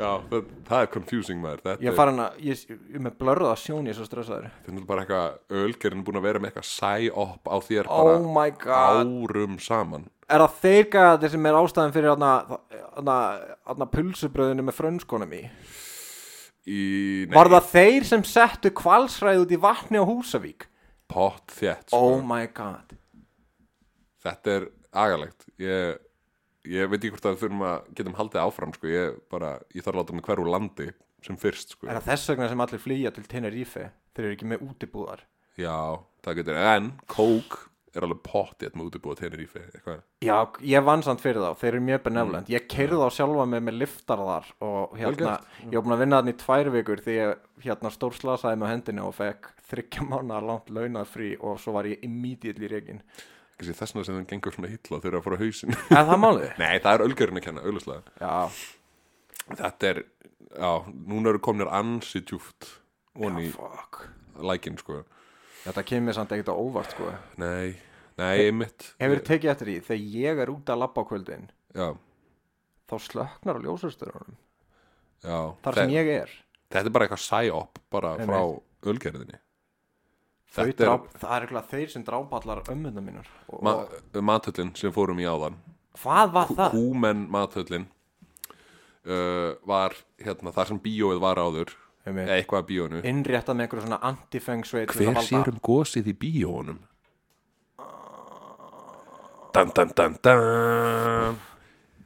[SPEAKER 2] Já, það, það er confusing maður þetta,
[SPEAKER 1] Ég
[SPEAKER 2] er-
[SPEAKER 1] fara hann að, ég, ég er með blörða sjón ég er svo stressaður
[SPEAKER 2] þetta er náttúrulega bara eitthvað ölgerðin búin að vera með eitthvað sæ-op á þér bara
[SPEAKER 1] Oh my god
[SPEAKER 2] árum saman
[SPEAKER 1] Er það þeir gæðir sem er ástæðan fyrir þarna þarna þarna pulsubröðinu með frönskonum í?
[SPEAKER 2] í nei,
[SPEAKER 1] Var það þeir sem settu kvalsræð út í vatni á Húsavík?
[SPEAKER 2] pott þétt sko.
[SPEAKER 1] Oh my god
[SPEAKER 2] þetta er agalegt ég, ég veit ekki hvort að við þurfum að getum haldið áfram sko. ég, bara, ég þarf að láta mig hverju landi sem fyrst sko.
[SPEAKER 1] Er það þess vegna sem allir flýja til Tenerife? Þeir eru ekki með útibúðar
[SPEAKER 2] já, það getur en kók er alveg pott þétt með útibúið Tenerife eitthvað.
[SPEAKER 1] Já, ég vann samt fyrir þá, þeir eru mjög beneflend Ég keirði á sjálfa mig með liftar þar og hérna,
[SPEAKER 2] gert.
[SPEAKER 1] ég var búin að vinna þannig í tvær vikur því ég hérna stórslasaði með hendinu og fekk þryggja mánuðar langt launað frí og svo var ég immediately reygin
[SPEAKER 2] Kannski þess vegna sem þeim gengur svona illa þegar að fara á hausin
[SPEAKER 1] Er það málið?
[SPEAKER 2] nei, það er ölgerinn að kenna, auðvitað
[SPEAKER 1] Já,
[SPEAKER 2] þetta er, já, núna eru komnir ansi djúft onni
[SPEAKER 1] fuck
[SPEAKER 2] lækin sko.
[SPEAKER 1] Þetta kemur samt ekkert á óvart sko
[SPEAKER 2] nei, nei, einmitt
[SPEAKER 1] Hefur tekið eftir því, þegar ég er út að labba á kvöldin
[SPEAKER 2] já,
[SPEAKER 1] þá slöknar á ljósasturunum
[SPEAKER 2] já
[SPEAKER 1] þar sem ég er
[SPEAKER 2] þetta er bara eitthvað sæ-op bara
[SPEAKER 1] Nei,
[SPEAKER 2] frá ölgerðinni
[SPEAKER 1] Þau
[SPEAKER 2] Þetta er-
[SPEAKER 1] dráp, það er eitthvað þeir sem drápallar ömmuna mínar og,
[SPEAKER 2] Ma
[SPEAKER 1] og,
[SPEAKER 2] matöllin sem fórum í áðan
[SPEAKER 1] hvað var það?
[SPEAKER 2] Kúmen matöllin uh, var hérna þar sem bíóið var áður
[SPEAKER 1] Einmitt.
[SPEAKER 2] eða eitthvað af bíóinu
[SPEAKER 1] innréttað með einhverju svona antifengsveit
[SPEAKER 2] hver sér um gósið í bíóunum dan dan dan dan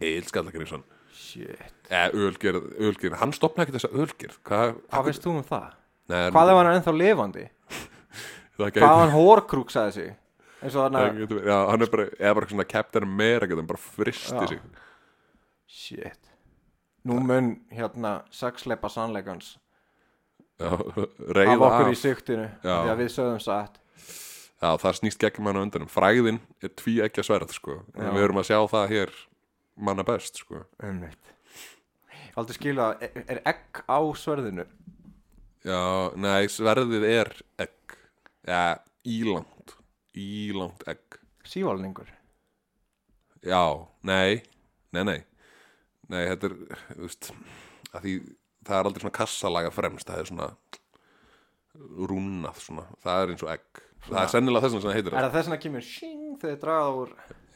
[SPEAKER 2] Egil Skallagriðsson
[SPEAKER 1] shit
[SPEAKER 2] eða ölgerð, ölgerð, hann stopnaði ekki þessa ölgerð hvað,
[SPEAKER 1] hvað veist þú um það?
[SPEAKER 2] Nei,
[SPEAKER 1] hvað ef hann er ennþá lifandi?
[SPEAKER 2] það
[SPEAKER 1] hvað ef
[SPEAKER 2] gæti-
[SPEAKER 1] hann hórkrúksaði sig? eins og
[SPEAKER 2] það
[SPEAKER 1] þarna
[SPEAKER 2] gæti verið- já, hann er bara, eða bara svona Captain America, hann bara fristi
[SPEAKER 1] Já.
[SPEAKER 2] sig
[SPEAKER 1] shit nú mun hérna sexleipa sannleikans
[SPEAKER 2] Já,
[SPEAKER 1] af
[SPEAKER 2] reyða
[SPEAKER 1] okkur í
[SPEAKER 2] af,
[SPEAKER 1] siktinu
[SPEAKER 2] Já.
[SPEAKER 1] því að við sögum satt
[SPEAKER 2] já, það snýst gegn mann á undanum fræðin er tví ekki að sverð sko. en
[SPEAKER 1] Já.
[SPEAKER 2] við erum að sjá það hér manna best sko.
[SPEAKER 1] ummitt aldrei skilja, það, er, er egg á sverðinu?
[SPEAKER 2] já, nei, sverðið er egg já, ílangt ílangt egg
[SPEAKER 1] sívalningur
[SPEAKER 2] já, nei, nei, nei nei, þetta er þú veist, að því, það er aldrei svona kassalaga fremst, það er svona rúnað svona, það er eins og egg það er sennilega þess að það heitir
[SPEAKER 1] Er
[SPEAKER 2] það
[SPEAKER 1] það þess vegna kemur shing þegar þið dragað úr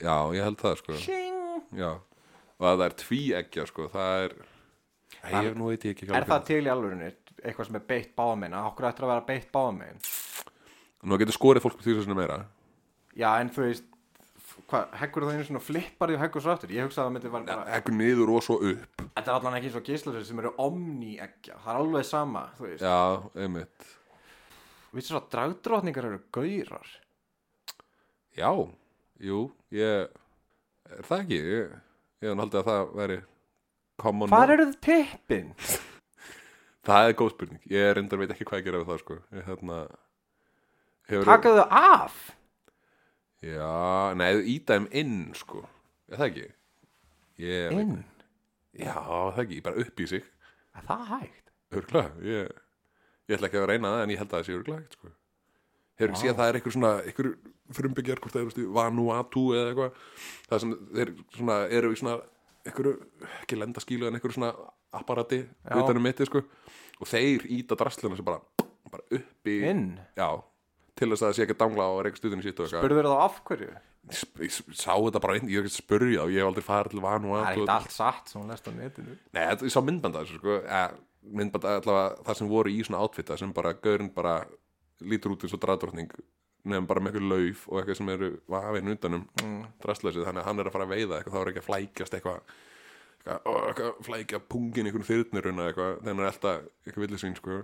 [SPEAKER 2] já, ég held það sko
[SPEAKER 1] shing?
[SPEAKER 2] Já, og að það er tví ekki sko, það er Æ, ég nú veit ég ekki
[SPEAKER 1] Er
[SPEAKER 2] alveg
[SPEAKER 1] það til í alvörunni eitthvað sem er beitt báðmein? Að okkur ættir að vera beitt báðmein?
[SPEAKER 2] Nú getur skorið fólk til þessum meira
[SPEAKER 1] Já, en þú veist, hvað, heggur það einu svona og flippar því og heggur svo aftur? Ég hugsaði að það myndi var bara,
[SPEAKER 2] Ekkur niður og svo upp
[SPEAKER 1] þetta er allan ekki svo gíslasir sem eru omni-eggja, það er alveg sama, þú veist.
[SPEAKER 2] Já, einmitt
[SPEAKER 1] Við svo að dragdrótningar eru gaurar.
[SPEAKER 2] Já, jú, ég Er það ekki? Ég, ég hann haldið að það væri common
[SPEAKER 1] Hvar eru þið pippin?
[SPEAKER 2] Það er góð spurning, ég reyndar veit ekki hvað ég gera við það sko Ég, hérna, hefur,
[SPEAKER 1] Takaðu þau af?
[SPEAKER 2] Já, nei, ídæm inn sko Er það ekki? Ég,
[SPEAKER 1] Inn?
[SPEAKER 2] Já, það ekki, bara upp í sig
[SPEAKER 1] Er það hægt?
[SPEAKER 2] Örgla, ég, ég ætla ekki að reyna það en ég held að það sé örgla ekkert sko. Hefur ekki séð að það er eitthvað svona eitthvað frumbyggjar hvort það er veistu, Vanuatu eða eitthvað það sem þeir svona, eru í svona eitthvað, ekki lendaskílu en eitthvað svona apparati um utanum mitti sko. og þeir íta drastluna sem bara, bara upp í
[SPEAKER 1] Inn?
[SPEAKER 2] Já, til þess að það sé ekki að dangla á reik stuðinu sitt og eitthvað
[SPEAKER 1] Spurður þá af hverju?
[SPEAKER 2] Sp- ég sá þetta bara inn, ég er ekki að spurja og ég hef aldrei farið til van og
[SPEAKER 1] Það er
[SPEAKER 2] að
[SPEAKER 1] ekkert allt satt sem hún lest á netinu
[SPEAKER 2] Nei, þetta- ég sá myndbanda þessu sko eh, myndbanda allavega það sem voru í svona átfitta sem bara gaurinn bara lítur út eins og draðdrottning nefn bara með eitthvað lauf og eitthvað sem eru vafinn undanum mm. drastleysið þannig að hann er að fara að veiða eitthvað þá er ekki að flækjast eitthvað eitthvað, ó, eitthvað flækja pungin einhvern þyrniruna eitthvað þannig að elta eitthvað villisvín sko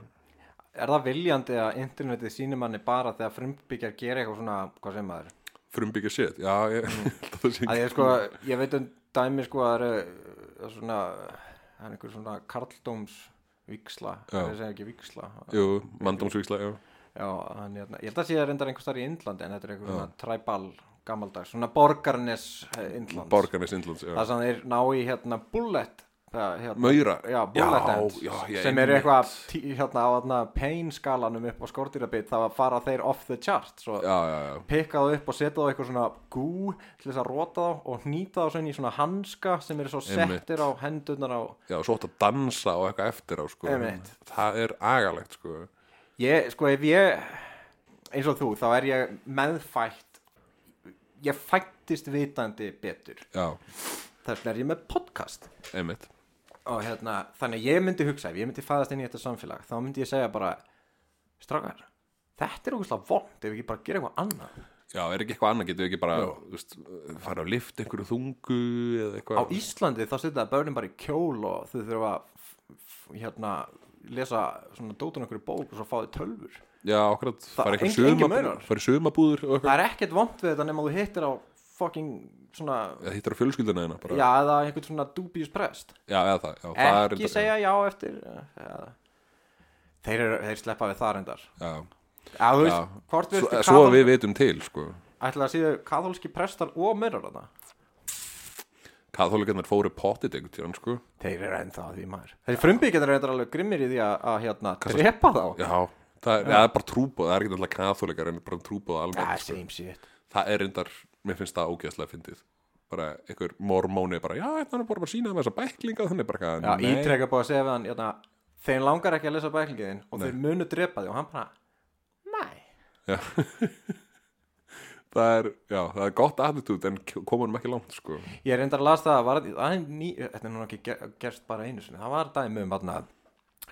[SPEAKER 1] Er það viljandi að internetið sýnir manni bara þegar frumbyggjar gera eitthvað svona, hvað sem maður?
[SPEAKER 2] frumbyggja shit, já ég, held að það sé
[SPEAKER 1] Að
[SPEAKER 2] ekki-
[SPEAKER 1] ég sko, ég veit um dæmi sko að það eru uh, svona, það er einhver svona karldóms viksla,
[SPEAKER 2] Já.
[SPEAKER 1] það segir ekki viksla
[SPEAKER 2] jú, mandómsvíksla, já
[SPEAKER 1] Já, hann, hérna, ég held að sé það reyndar einhvers þar í Indlandi en þetta er eitthvað svona tribal gammaldags, svona borgarnes eh, Indlands
[SPEAKER 2] borgarnes Indlands, já
[SPEAKER 1] Það sem þeir ná í hérna bullet það, hérna,
[SPEAKER 2] Maura,
[SPEAKER 1] Já, bullet
[SPEAKER 2] já,
[SPEAKER 1] ends
[SPEAKER 2] já, já,
[SPEAKER 1] sem
[SPEAKER 2] einmitt.
[SPEAKER 1] er eitthvað tí, hérna á hérna, pain skalanum upp á skordýrabit þá fara þeir off the chart svo
[SPEAKER 2] já, já, já,
[SPEAKER 1] pikka þá upp og setja þá eitthvað svona gú til þess að rota þá og hnýta þá svo inn í svona hanska sem eru svo
[SPEAKER 2] Einmitt.
[SPEAKER 1] settir á hendunar á
[SPEAKER 2] já, svo átt að dansa og eitthvað eftir á sko.
[SPEAKER 1] Einmitt.
[SPEAKER 2] það er agalegt sko.
[SPEAKER 1] ég, sko ef ég eins og þú, þá er ég meðfætt ég fættist vitandi betur
[SPEAKER 2] já,
[SPEAKER 1] þess vegna er ég með podcast
[SPEAKER 2] einmitt
[SPEAKER 1] og hérna, þannig að ég myndi hugsa ef ég myndi fæðast inn í þetta samfélag þá myndi ég segja bara strákar, þetta er okkur slá vond ef við ekki bara gera eitthvað annað
[SPEAKER 2] já, er ekki eitthvað annað, getur við ekki bara þú veist, fara á lift einhverju þungu eða
[SPEAKER 1] á
[SPEAKER 2] eitthvað
[SPEAKER 1] Íslandi þá setja það börnum bara í kjól og þau þurfa að f- f- hérna, lesa svona dótun okkur bók og svo fá þau tölfur
[SPEAKER 2] já, akkurat, fara
[SPEAKER 1] engin-
[SPEAKER 2] eitthvað
[SPEAKER 1] engin
[SPEAKER 2] suma
[SPEAKER 1] munur.
[SPEAKER 2] fara í sumabúður og
[SPEAKER 1] það
[SPEAKER 2] eitthvað
[SPEAKER 1] er ekkert vond við þetta nema þú hittir á fucking svona
[SPEAKER 2] það hittar á fjölskyldina hérna bara
[SPEAKER 1] já, eða einhvern svona dubíus prest
[SPEAKER 2] já, eða það, já, það er
[SPEAKER 1] ekki
[SPEAKER 2] reyndar-
[SPEAKER 1] segja já eftir ja. þeir, eru, þeir sleppa við það reyndar
[SPEAKER 2] já,
[SPEAKER 1] Já, þú
[SPEAKER 2] já.
[SPEAKER 1] veist, hvort við
[SPEAKER 2] Svo,
[SPEAKER 1] ertu
[SPEAKER 2] svo
[SPEAKER 1] kaþól-
[SPEAKER 2] að við vitum til sko.
[SPEAKER 1] ætla að séu katholski prestar og myrrar þarna
[SPEAKER 2] kathólikarnar fóru pottit einhvern tíðan sko.
[SPEAKER 1] Þeir eru ennþá að því maður Þeir frumbyggjarnir eru reyndar alveg grimmir í því að, að hérna, drepa þá
[SPEAKER 2] já, það er, það er bara trúbóð það er ekki alltaf kathólikar en bara trúbóð almennt
[SPEAKER 1] Ja,
[SPEAKER 2] sko.
[SPEAKER 1] same shit
[SPEAKER 2] það er reyndar, mér finnst það ógeðslega fyndið bara einhver mormóni bara, já, þannig að bara bara sína það með þessa bæklinga þannig bara
[SPEAKER 1] Já,
[SPEAKER 2] eitthvað, nei,
[SPEAKER 1] ítrekka búið að segja við hann hérna, Þeir langar ekki að lesa bæklingiðin og þeir munu drepa því og hann bara Nei
[SPEAKER 2] það er já, það er gott attitút en komur hann ekki langt sko,
[SPEAKER 1] Ég reyndar að las það að var, að ný, Þetta er núna ekki ge- gerst bara einu sinni Það var dæmi um þarna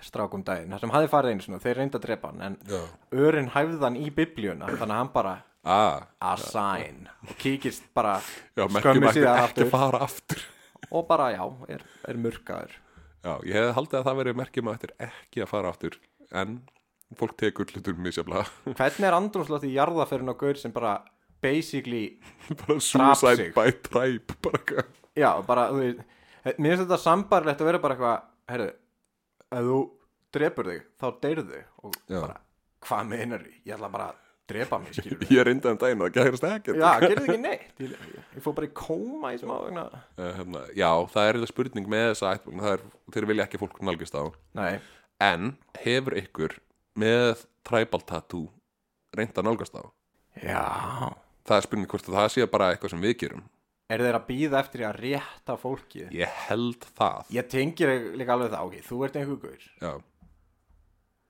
[SPEAKER 1] strákum daginn þar sem hafði farið einu sinni og þeir reynda að drepa hann en
[SPEAKER 2] Já.
[SPEAKER 1] örin hæfði hann í biblíuna þannig að hann bara
[SPEAKER 2] að
[SPEAKER 1] a sign og kíkist bara
[SPEAKER 2] Ah, já, merkjum
[SPEAKER 1] skömmu
[SPEAKER 2] ekki,
[SPEAKER 1] síðar
[SPEAKER 2] ekki
[SPEAKER 1] aftur
[SPEAKER 2] fara aftur
[SPEAKER 1] og bara já, er, er murkaður
[SPEAKER 2] já, ég hefði haldið að það verið merkjum að þetta er ekki að fara aftur en fólk tekur hlutur misjafla
[SPEAKER 1] hvernig er andrúmslátt í jarðaferðin á gaur sem bara basically,
[SPEAKER 2] bara
[SPEAKER 1] sig.
[SPEAKER 2] suicide by tribe bara eitthvað.
[SPEAKER 1] já, bara þú veist, mér finnst þetta sambarlegt að vera bara eitthvað herru, ef þú drepur þig, þá deyrðu þig og
[SPEAKER 2] Já.
[SPEAKER 1] bara, hvað meinar þig ég ætla bara að drepa mig, skilur
[SPEAKER 2] ég reyndi um daginn að það gerast ekkert
[SPEAKER 1] já, gerðu ekki neitt ég, ég fór bara í kóma í smá vegna
[SPEAKER 2] Eh, hérna, já, það er eitthvað spurning með þessa ættbólun, það er, þeir vilja ekki að fólk nálgist á
[SPEAKER 1] nei,
[SPEAKER 2] En hefur ykkur með tribal tattoo reynd að nálgast á?
[SPEAKER 1] já
[SPEAKER 2] Það er spurning hvort að það sé bara eitthvað sem við gerum.
[SPEAKER 1] er þeir að býða eftir í að rétta fólkið
[SPEAKER 2] Ég held það.
[SPEAKER 1] ég tengir líka alveg það, ok, þú ert einhver gaur
[SPEAKER 2] Já,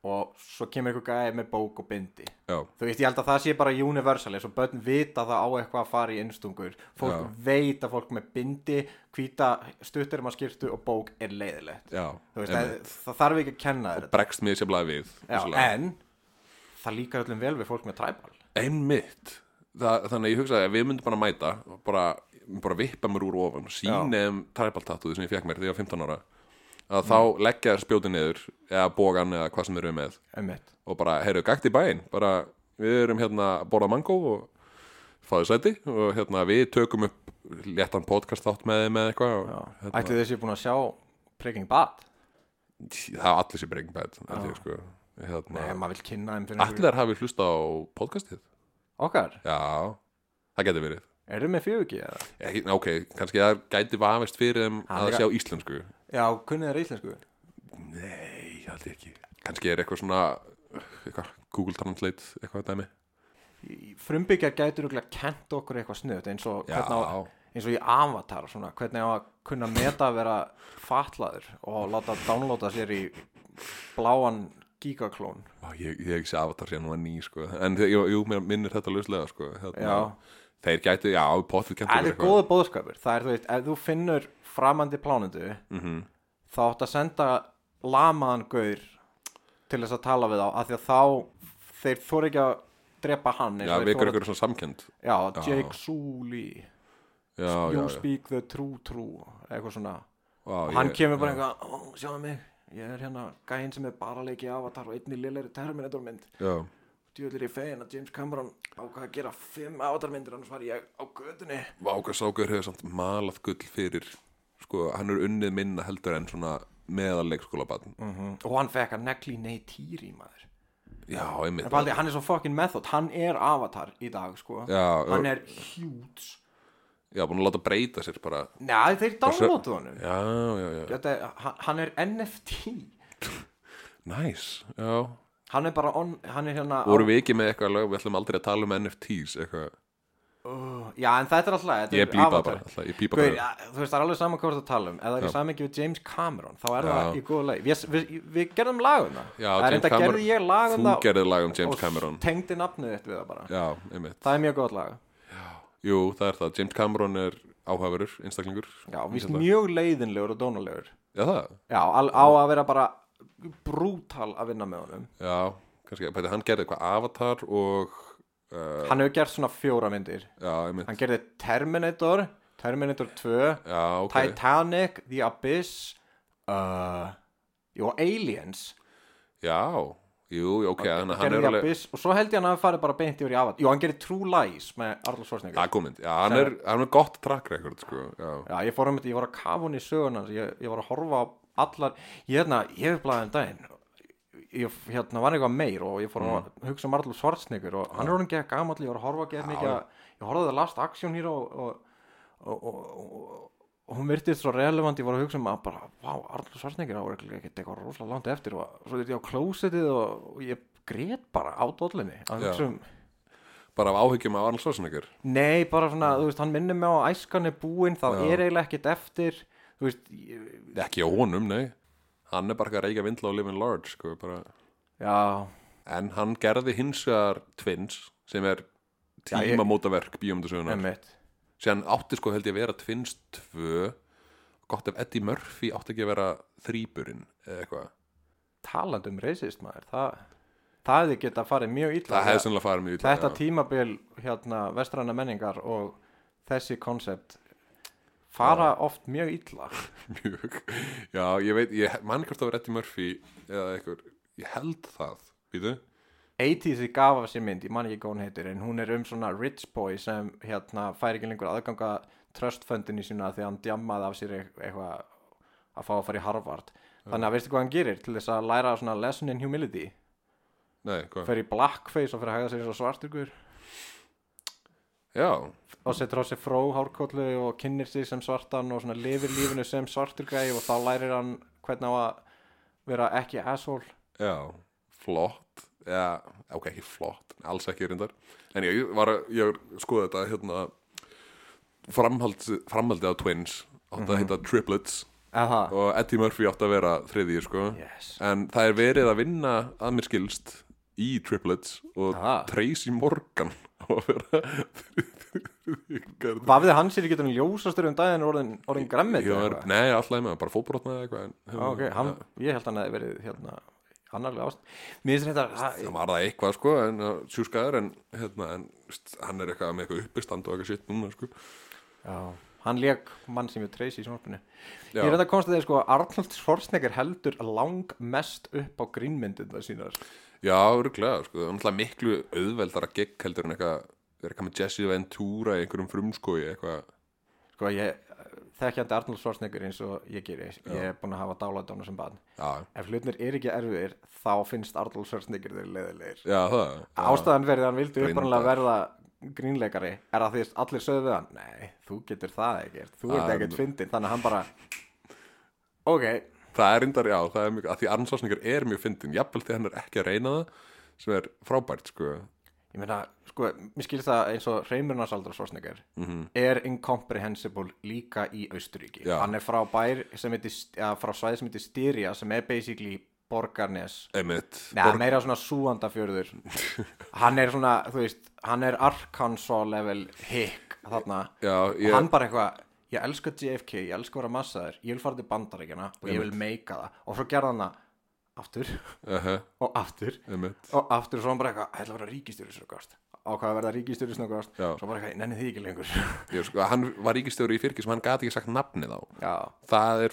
[SPEAKER 1] og svo kemur einhver gæði með bók og bindi
[SPEAKER 2] já,
[SPEAKER 1] þú veist, ég held að það sé bara universal eins og börn vita það á eitthvað að fara í innstungur fólk
[SPEAKER 2] Já.
[SPEAKER 1] veit að fólk með bindi hvíta stutturum að skýrtu og bók er leiðilegt
[SPEAKER 2] já.
[SPEAKER 1] þú veist, að,
[SPEAKER 2] einmitt.
[SPEAKER 1] það þarf ekki að kenna þér þetta
[SPEAKER 2] Bregst mér sem blæði við.
[SPEAKER 1] Já,
[SPEAKER 2] vissulega.
[SPEAKER 1] en það líkar öllum vel við fólk með træbal
[SPEAKER 2] Einmitt. Það, þannig að ég hugsaði að við myndum bara mæta og bara, bara vippa mér úr ofan sínum tribal tattooði sem ég fekk mér þegar ég var 15 ára
[SPEAKER 1] Mm.
[SPEAKER 2] að þá leggja spjótið niður eða bógan eða hvað sem þeir eru með
[SPEAKER 1] Einmitt.
[SPEAKER 2] og bara, heyrðu, gakt í bæinn bara, við erum hérna að borða mango og fáðu sæti og hérna við tökum upp léttan podcast þátt með þeim eða eitthvað og, hérna,
[SPEAKER 1] Ætli þessi búin að sjá Breaking Bad
[SPEAKER 2] það er allir sér breyng bætt sko. hérna,
[SPEAKER 1] ef maður vil kynna þeim fyrir
[SPEAKER 2] allir hafi hlusta á podcastið
[SPEAKER 1] okkar
[SPEAKER 2] já, það geti verið
[SPEAKER 1] Eru með fjögugi eða?
[SPEAKER 2] Ekki, ok, kannski það gæti vafist fyrir þeim
[SPEAKER 1] Hann
[SPEAKER 2] að
[SPEAKER 1] líka-
[SPEAKER 2] sjá íslensku
[SPEAKER 1] Já, kunnið þeir íslensku?
[SPEAKER 2] nei, ég held ekki kannski er eitthvað svona eitthvað, Google Translate, eitthvað dæmi
[SPEAKER 1] Frumbyggja gætur okkur að kenta okkur eitthvað snuðt eins og
[SPEAKER 2] já,
[SPEAKER 1] hvernig á eins og í Avatar svona, hvernig á að kunna meta að vera fatlaður og láta downloada sér í bláan gigaklón
[SPEAKER 2] Á, ég, ég hef ekki sé avatar síðan hún var ný sko. en þe- jú, jú, mér minnir þetta lauslega sko. hérna,
[SPEAKER 1] Já.
[SPEAKER 2] þeir gætu, já, potið gætu
[SPEAKER 1] Það
[SPEAKER 2] verið
[SPEAKER 1] er góða bóðskapur Það er, þú veist, ef þú finnur framandi plánundu
[SPEAKER 2] Mhm.
[SPEAKER 1] þá átt að senda lamaðan gaur til þess að tala við þá af því að þá þeir þóra ekki að drepa hann eins
[SPEAKER 2] já,
[SPEAKER 1] og þeir
[SPEAKER 2] vikur
[SPEAKER 1] þora-
[SPEAKER 2] ykkur svona samkend
[SPEAKER 1] Já, Jake Sully
[SPEAKER 2] já, já,
[SPEAKER 1] You
[SPEAKER 2] já,
[SPEAKER 1] speak the true true eitthvað svona
[SPEAKER 2] já,
[SPEAKER 1] og hann kemur bara eitthvað, ó, sjáðu mig ég er hérna gæinn sem er bara að leikið avatar og einni lilleri terminator mynd
[SPEAKER 2] já,
[SPEAKER 1] djúðlir í fegin að James Cameron ákvað að gera fimm avatar myndir annars var ég á gödunni
[SPEAKER 2] Váka Sákur hefur samt malað gull fyrir sko, hann er unnið minna heldur en svona meðal leikskólabann
[SPEAKER 1] og hann fekk að negli neytýri maður
[SPEAKER 2] já, einmitt
[SPEAKER 1] En Baldi, hann er svo fucking method, hann er avatar í dag sko,
[SPEAKER 2] Já,
[SPEAKER 1] hann
[SPEAKER 2] og-
[SPEAKER 1] er huge
[SPEAKER 2] já, búin að láta breyta sér bara
[SPEAKER 1] Nei, þeir downloadu honum
[SPEAKER 2] já, já, já,
[SPEAKER 1] Þetta, er- hann- hann er NFT
[SPEAKER 2] næs já,
[SPEAKER 1] hann er bara on, hann er hérna á-
[SPEAKER 2] vorum við ekki með eitthvað lög við ætlum aldrei að tala um NFTs eitthvað
[SPEAKER 1] Já, en þetta er alltaf, þetta
[SPEAKER 2] Ég
[SPEAKER 1] er
[SPEAKER 2] blípa
[SPEAKER 1] avatar
[SPEAKER 2] bara, alltaf, ég pípa
[SPEAKER 1] Guð,
[SPEAKER 2] bara
[SPEAKER 1] ja, þú veist, það er alveg saman hvað þú ert að tala um ef það er í samengi við James Cameron þá er það
[SPEAKER 2] Já.
[SPEAKER 1] í góðu leið við, við, við gerðum lag um það
[SPEAKER 2] Já,
[SPEAKER 1] það er
[SPEAKER 2] James
[SPEAKER 1] enda
[SPEAKER 2] Cameron-
[SPEAKER 1] gerði ég lag um
[SPEAKER 2] Þú
[SPEAKER 1] það
[SPEAKER 2] gerðið lag um James
[SPEAKER 1] og
[SPEAKER 2] Cameron
[SPEAKER 1] tengdi nafnið þitt við það bara
[SPEAKER 2] Já, einmitt
[SPEAKER 1] það er mjög gott lag
[SPEAKER 2] Jú, það er það, James Cameron er áhæfurur, einstaklingur
[SPEAKER 1] já, víst
[SPEAKER 2] Hérna.
[SPEAKER 1] mjög leiðinlegur og dónalegur
[SPEAKER 2] Já, það,
[SPEAKER 1] já, al, á að vera bara brútal að vinna með honum
[SPEAKER 2] já, kannski Bæti, hann gerði eitthvað Avatar og uh,
[SPEAKER 1] hann hefur gert svona fjóra myndir
[SPEAKER 2] Já, einmitt
[SPEAKER 1] hann gerði Terminator, Terminator 2
[SPEAKER 2] Já, ok
[SPEAKER 1] Titanic, The Abyss uh, jú, Aliens
[SPEAKER 2] Já, jú, jú, ok, þannig að hann
[SPEAKER 1] gerði
[SPEAKER 2] er
[SPEAKER 1] The
[SPEAKER 2] alveg
[SPEAKER 1] Abyss og svo held ég hann að hann fari bara beint yfir í Avatar jú, hann gerði True Lies með Arnold Schwarzenegger
[SPEAKER 2] Akkomind, já, hann er, hann er gott track record, sko Já,
[SPEAKER 1] já, ég fór um þetta, ég var að kafa hún í söguna ég, ég var að horfa á allar ég, hérna, ég hef blaðið um daginn ég, hérna, var eitthvað meir og ég fór
[SPEAKER 2] Mm.
[SPEAKER 1] að hugsa um Arnold Schwarzenegger og hann er honum geða gamall, ég var að horfa að geða mikið að- ég horfði að Last Action hér og, og, og, og, og og hún virtist svo relevant, ég var að hugsa um að bara, vá, Arnold Schwarzenegger á ekki eitthvað rosalega langt eftir og svo þetta ég á klósetið og, og ég grét bara á dollinni að
[SPEAKER 2] Já.
[SPEAKER 1] hugsa um
[SPEAKER 2] bara af áhyggjum af Arnold Schwarzenegger
[SPEAKER 1] Nei, bara svona, þú veist, hann minnir mig á að æskan er búinn, þá er eiginlega ekkert eftir þú veist, ég-
[SPEAKER 2] Ekki á honum, nei Hann er bara eitthvað að reykja vindla og live in large, sko bara.
[SPEAKER 1] já
[SPEAKER 2] En hann gerði hins vegar Twins, sem er
[SPEAKER 1] ég-
[SPEAKER 2] tímamótaverk bíómyndasögunar
[SPEAKER 1] emmitt,
[SPEAKER 2] síðan átti sko held ég að vera Twins 2 gott ef Eddie Murphy átti ekki að vera þrýburinn eða eitthvað
[SPEAKER 1] talandi um racist maður, það það hefði getað farið mjög illa
[SPEAKER 2] það hefði sannlega farið mjög illa,
[SPEAKER 1] þetta
[SPEAKER 2] já.
[SPEAKER 1] tímabil, hérna, vestræna menningar og þessi konsept fara oft mjög illa
[SPEAKER 2] mjög já ég veit, ég mann hvort það var Eddie Murphy eða eitthvað, ég held það býtu,
[SPEAKER 1] 80s í gaf af sér mynd, ég man ekki hvað hún heitir en hún er um svona rich boy sem hérna fær ekki lengur aðganga tröstföndinni sína því að hann djammaði af sér eit- eitthvað að fá að fara í Harvard þannig að veistu hvað hann gerir til þess að læra svona lesson in humility
[SPEAKER 2] nei, hvað
[SPEAKER 1] fer í blackface og fer að hægða sér svo svartugur
[SPEAKER 2] já,
[SPEAKER 1] og setur á sér fró hárkollu og kynir sig sem svartan og svona lifir lífinu sem svartugæi og þá lærir hann hvernig á að vera ekki asshole
[SPEAKER 2] já, flott já, ok, ekki flott alls ekki reyndar, en ég var að ég skoði þetta hérna framhald, framhaldið á Twins átti
[SPEAKER 1] Mhm.
[SPEAKER 2] að heita Triplets
[SPEAKER 1] Aha.
[SPEAKER 2] og Eddie Murphy átti að vera þriðji sko
[SPEAKER 1] Yes.
[SPEAKER 2] en það er verið að vinna að mér skilst í triplets og
[SPEAKER 1] Aha.
[SPEAKER 2] Tracy Morgan á að vera þriðji garð.
[SPEAKER 1] Vafði hann sér ekki getur hann ljósastur um daginn og orðin, orðin gremmið
[SPEAKER 2] Ég var- Nei, alltaf með hann, bara fótbrotnaði eitthvað en,
[SPEAKER 1] Já, ok, hann, ég held hann að verið hérna annarlega ást mér finnst þetta
[SPEAKER 2] Það var það eitthvað sko, en uh, sjúskaður en, hérna, en st, hann er eitthvað með eitthvað uppistand og eitthvað sitt núna sko.
[SPEAKER 1] já, hann lék mann sem ég treysi í sjónvarpinu
[SPEAKER 2] Já.
[SPEAKER 1] ég er þetta komst að þeir sko Arnold Schwarzenegger heldur lang mest upp á grínmyndina sínar
[SPEAKER 2] Já, örglega, sko, það er náttúrulega miklu auðveldara gig heldur en eitthvað er eitthvað með Jesse Ventura í einhverjum frumskói eitthvað,
[SPEAKER 1] sko ég þekkjandi Arnold Schwarzenegger eins og ég geri ég er búin að hafa dálæti á hann sem barn
[SPEAKER 2] já,
[SPEAKER 1] ef hlutnir er ekki erfiðir þá finnst Arnold Schwarzenegger þeir leðilegir
[SPEAKER 2] já það
[SPEAKER 1] ástæðan verið að hann vildi
[SPEAKER 2] Reyndar.
[SPEAKER 1] upprannilega verða grínleikari er að því að allir sögðu við hann nei, þú getur það ekkert, þú ert
[SPEAKER 2] Það er-
[SPEAKER 1] ekkert fyndin þannig að hann bara ok,
[SPEAKER 2] Það er reyndar, já, það er mjög, að því Arn Svarsningur er mjög fyndin, jafnvel þegar hann er ekki að reyna það, sem er frábært, sko.
[SPEAKER 1] ég meina, sko, mér skilst það eins og Reymurnarsaldur Svarsnegar mm -hmm. er incomprehensible líka í Austuríki
[SPEAKER 2] Mhm. Já.
[SPEAKER 1] hann er frá bær sem heitir, eða frá svæði sem heitir Styria sem er basically Borgarnes
[SPEAKER 2] Einmitt
[SPEAKER 1] Nei, meira svona súandafjörður Hann er svona, þú veist Hann er Arkansas level hick Þarna
[SPEAKER 2] Já, ég-
[SPEAKER 1] Og hann bara eitthvað Ég elska JFK, ég elska að vera massaður Ég vil fara til bandaríkjana og ég vil meika það Og svo gerða hann það aftur
[SPEAKER 2] uh -huh,
[SPEAKER 1] og aftur
[SPEAKER 2] Einmitt.
[SPEAKER 1] Og aftur og svo hann bara eitthvað Ætla að vera ríkistjóri snöggast Ákvað að verða ríkistjóri snöggast
[SPEAKER 2] Já.
[SPEAKER 1] Svo bara eitthvað, nenni því ekki lengur
[SPEAKER 2] ég, sko, Hann var ríkistjóri í fyrki sem hann gati ekki sagt nafnið á
[SPEAKER 1] Já,
[SPEAKER 2] Það er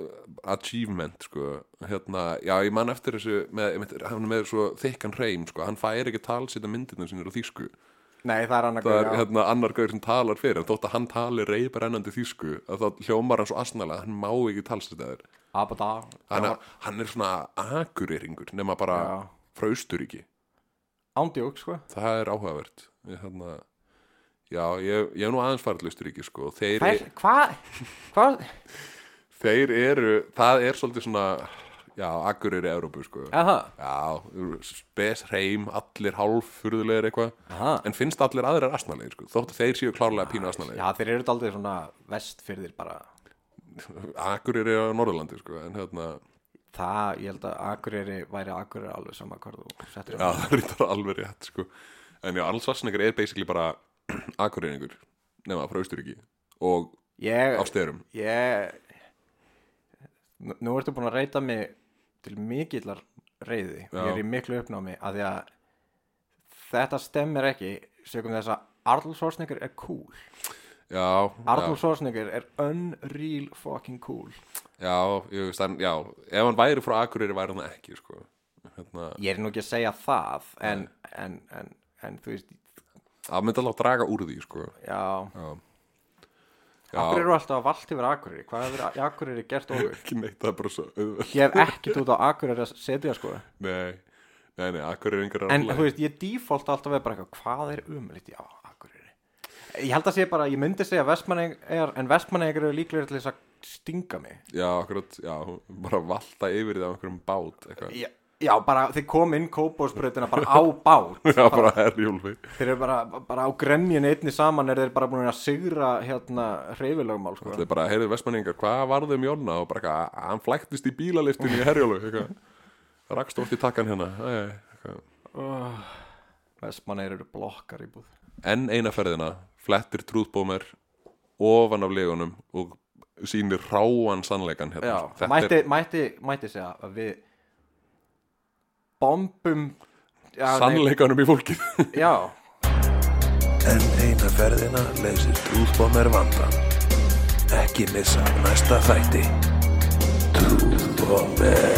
[SPEAKER 2] uh, achievement sko. hérna, já ég man eftir þessu með, einmitt, hann er með svo þykkan hreim sko. hann fær ekki talsýta myndina sinni á þýsku
[SPEAKER 1] nei það er hann að
[SPEAKER 2] það er
[SPEAKER 1] gauja.
[SPEAKER 2] hérna, annar gauður sem talar fyrir en þótt að hann tali reybrennandi þýsku að þá hljómar hann svo asnalega hann má ekki talsýta þér
[SPEAKER 1] Abada
[SPEAKER 2] hann, er- hann er svona akureyringur nema bara
[SPEAKER 1] Já.
[SPEAKER 2] frá Austuríki
[SPEAKER 1] Ándjók, sko
[SPEAKER 2] það er áhugavert ég, hérna, já, ég, ég hef nú aðeins farið til Austuríki sko. þeir,
[SPEAKER 1] Hvað, hvað, hvað
[SPEAKER 2] þeir eru það er svolítið svona já, akureyri Európu sko.
[SPEAKER 1] Aha,
[SPEAKER 2] já, spes heim allir hálf furðulegir
[SPEAKER 1] Aha. Ah,
[SPEAKER 2] eitthvað en finnst allir aðrir asnalegir sko. þótt að þeir séu klárlega pínu asnalegir
[SPEAKER 1] já þeir eru daldið svona vestfyrðir bara
[SPEAKER 2] akureyri á Norðurlandi sko. en hérna,
[SPEAKER 1] Það, ég held að Akureyri væri Akureyri alveg sama hvað þú settir
[SPEAKER 2] já, það er þetta alveg rétt sko. en já, alls vassningar er basically bara akureyringur nema frá Austuríki og
[SPEAKER 1] ég,
[SPEAKER 2] á styrum
[SPEAKER 1] ég Nú- Nú ertu búin að reyta mig til mikillar reyði og ég er í miklu uppnámi að því að þetta stemmir ekki sögum þess að Arnold Schwarzenegger er cool
[SPEAKER 2] Já,
[SPEAKER 1] Arnold Schwarzenegger er unreal fucking cool
[SPEAKER 2] já, já, ég veist hann, já, ef hann væri frá Akureyri væri hann það ekki, sko. Hérna,
[SPEAKER 1] Ég er nú ekki að segja það en, en, en, en þú veist
[SPEAKER 2] það myndi alveg að draga úr því, sko.
[SPEAKER 1] Já,
[SPEAKER 2] Já,
[SPEAKER 1] Akkur eru alltaf að vallt yfir Akureyri Hvað hefur Akureyri gert okkur?
[SPEAKER 2] ekki neitt, það er bara svo auðvöld.
[SPEAKER 1] Ég hef ekkert út á Akureyri að setja sko
[SPEAKER 2] Nei, nei, nei, Akureyri yngar
[SPEAKER 1] En þú veist, ég default alltaf við bara eitthvað Hvað er umlítið á Akureyri? Ég held að sé bara, ég myndi segja Vestmannegar En Vestmannegar eru líklega til þess að stinga mig
[SPEAKER 2] Já, akkurat, já, bara valta yfir því á einhverjum bát, eitthvað.
[SPEAKER 1] Já, já bara þeir kom inn kópásbröðina bara á bát
[SPEAKER 2] Já, bara herjúlfi.
[SPEAKER 1] Þeir eru bara, bara á gremjunni einni saman Er þeir bara búin að sigra hérna Hreyfilögumál sko
[SPEAKER 2] Það er bara, heyrðu vestmanningar, hvað varðu um Jonna? Og bara, eitthvað, hann flæktist í bílaliftinni í herjúlfi, eitthvað. Rakst oft í takkan hérna, æ, eitthvað.
[SPEAKER 1] Vestmannegar eru blokkar í búð
[SPEAKER 2] enn eina ferðina flettir trúðbómer ofan af legunum og sýnir ráan sannleikan hérna.
[SPEAKER 1] Já,
[SPEAKER 2] Þetta
[SPEAKER 1] mætti,
[SPEAKER 2] er
[SPEAKER 1] mætti, mætti segja að við bombum já, nei,
[SPEAKER 2] sannleikanum í fólkið
[SPEAKER 1] já,
[SPEAKER 6] Enn eina ferðina leysir trúðbómer vandan. Ekki missa af næsta þætti. Trúðbómer.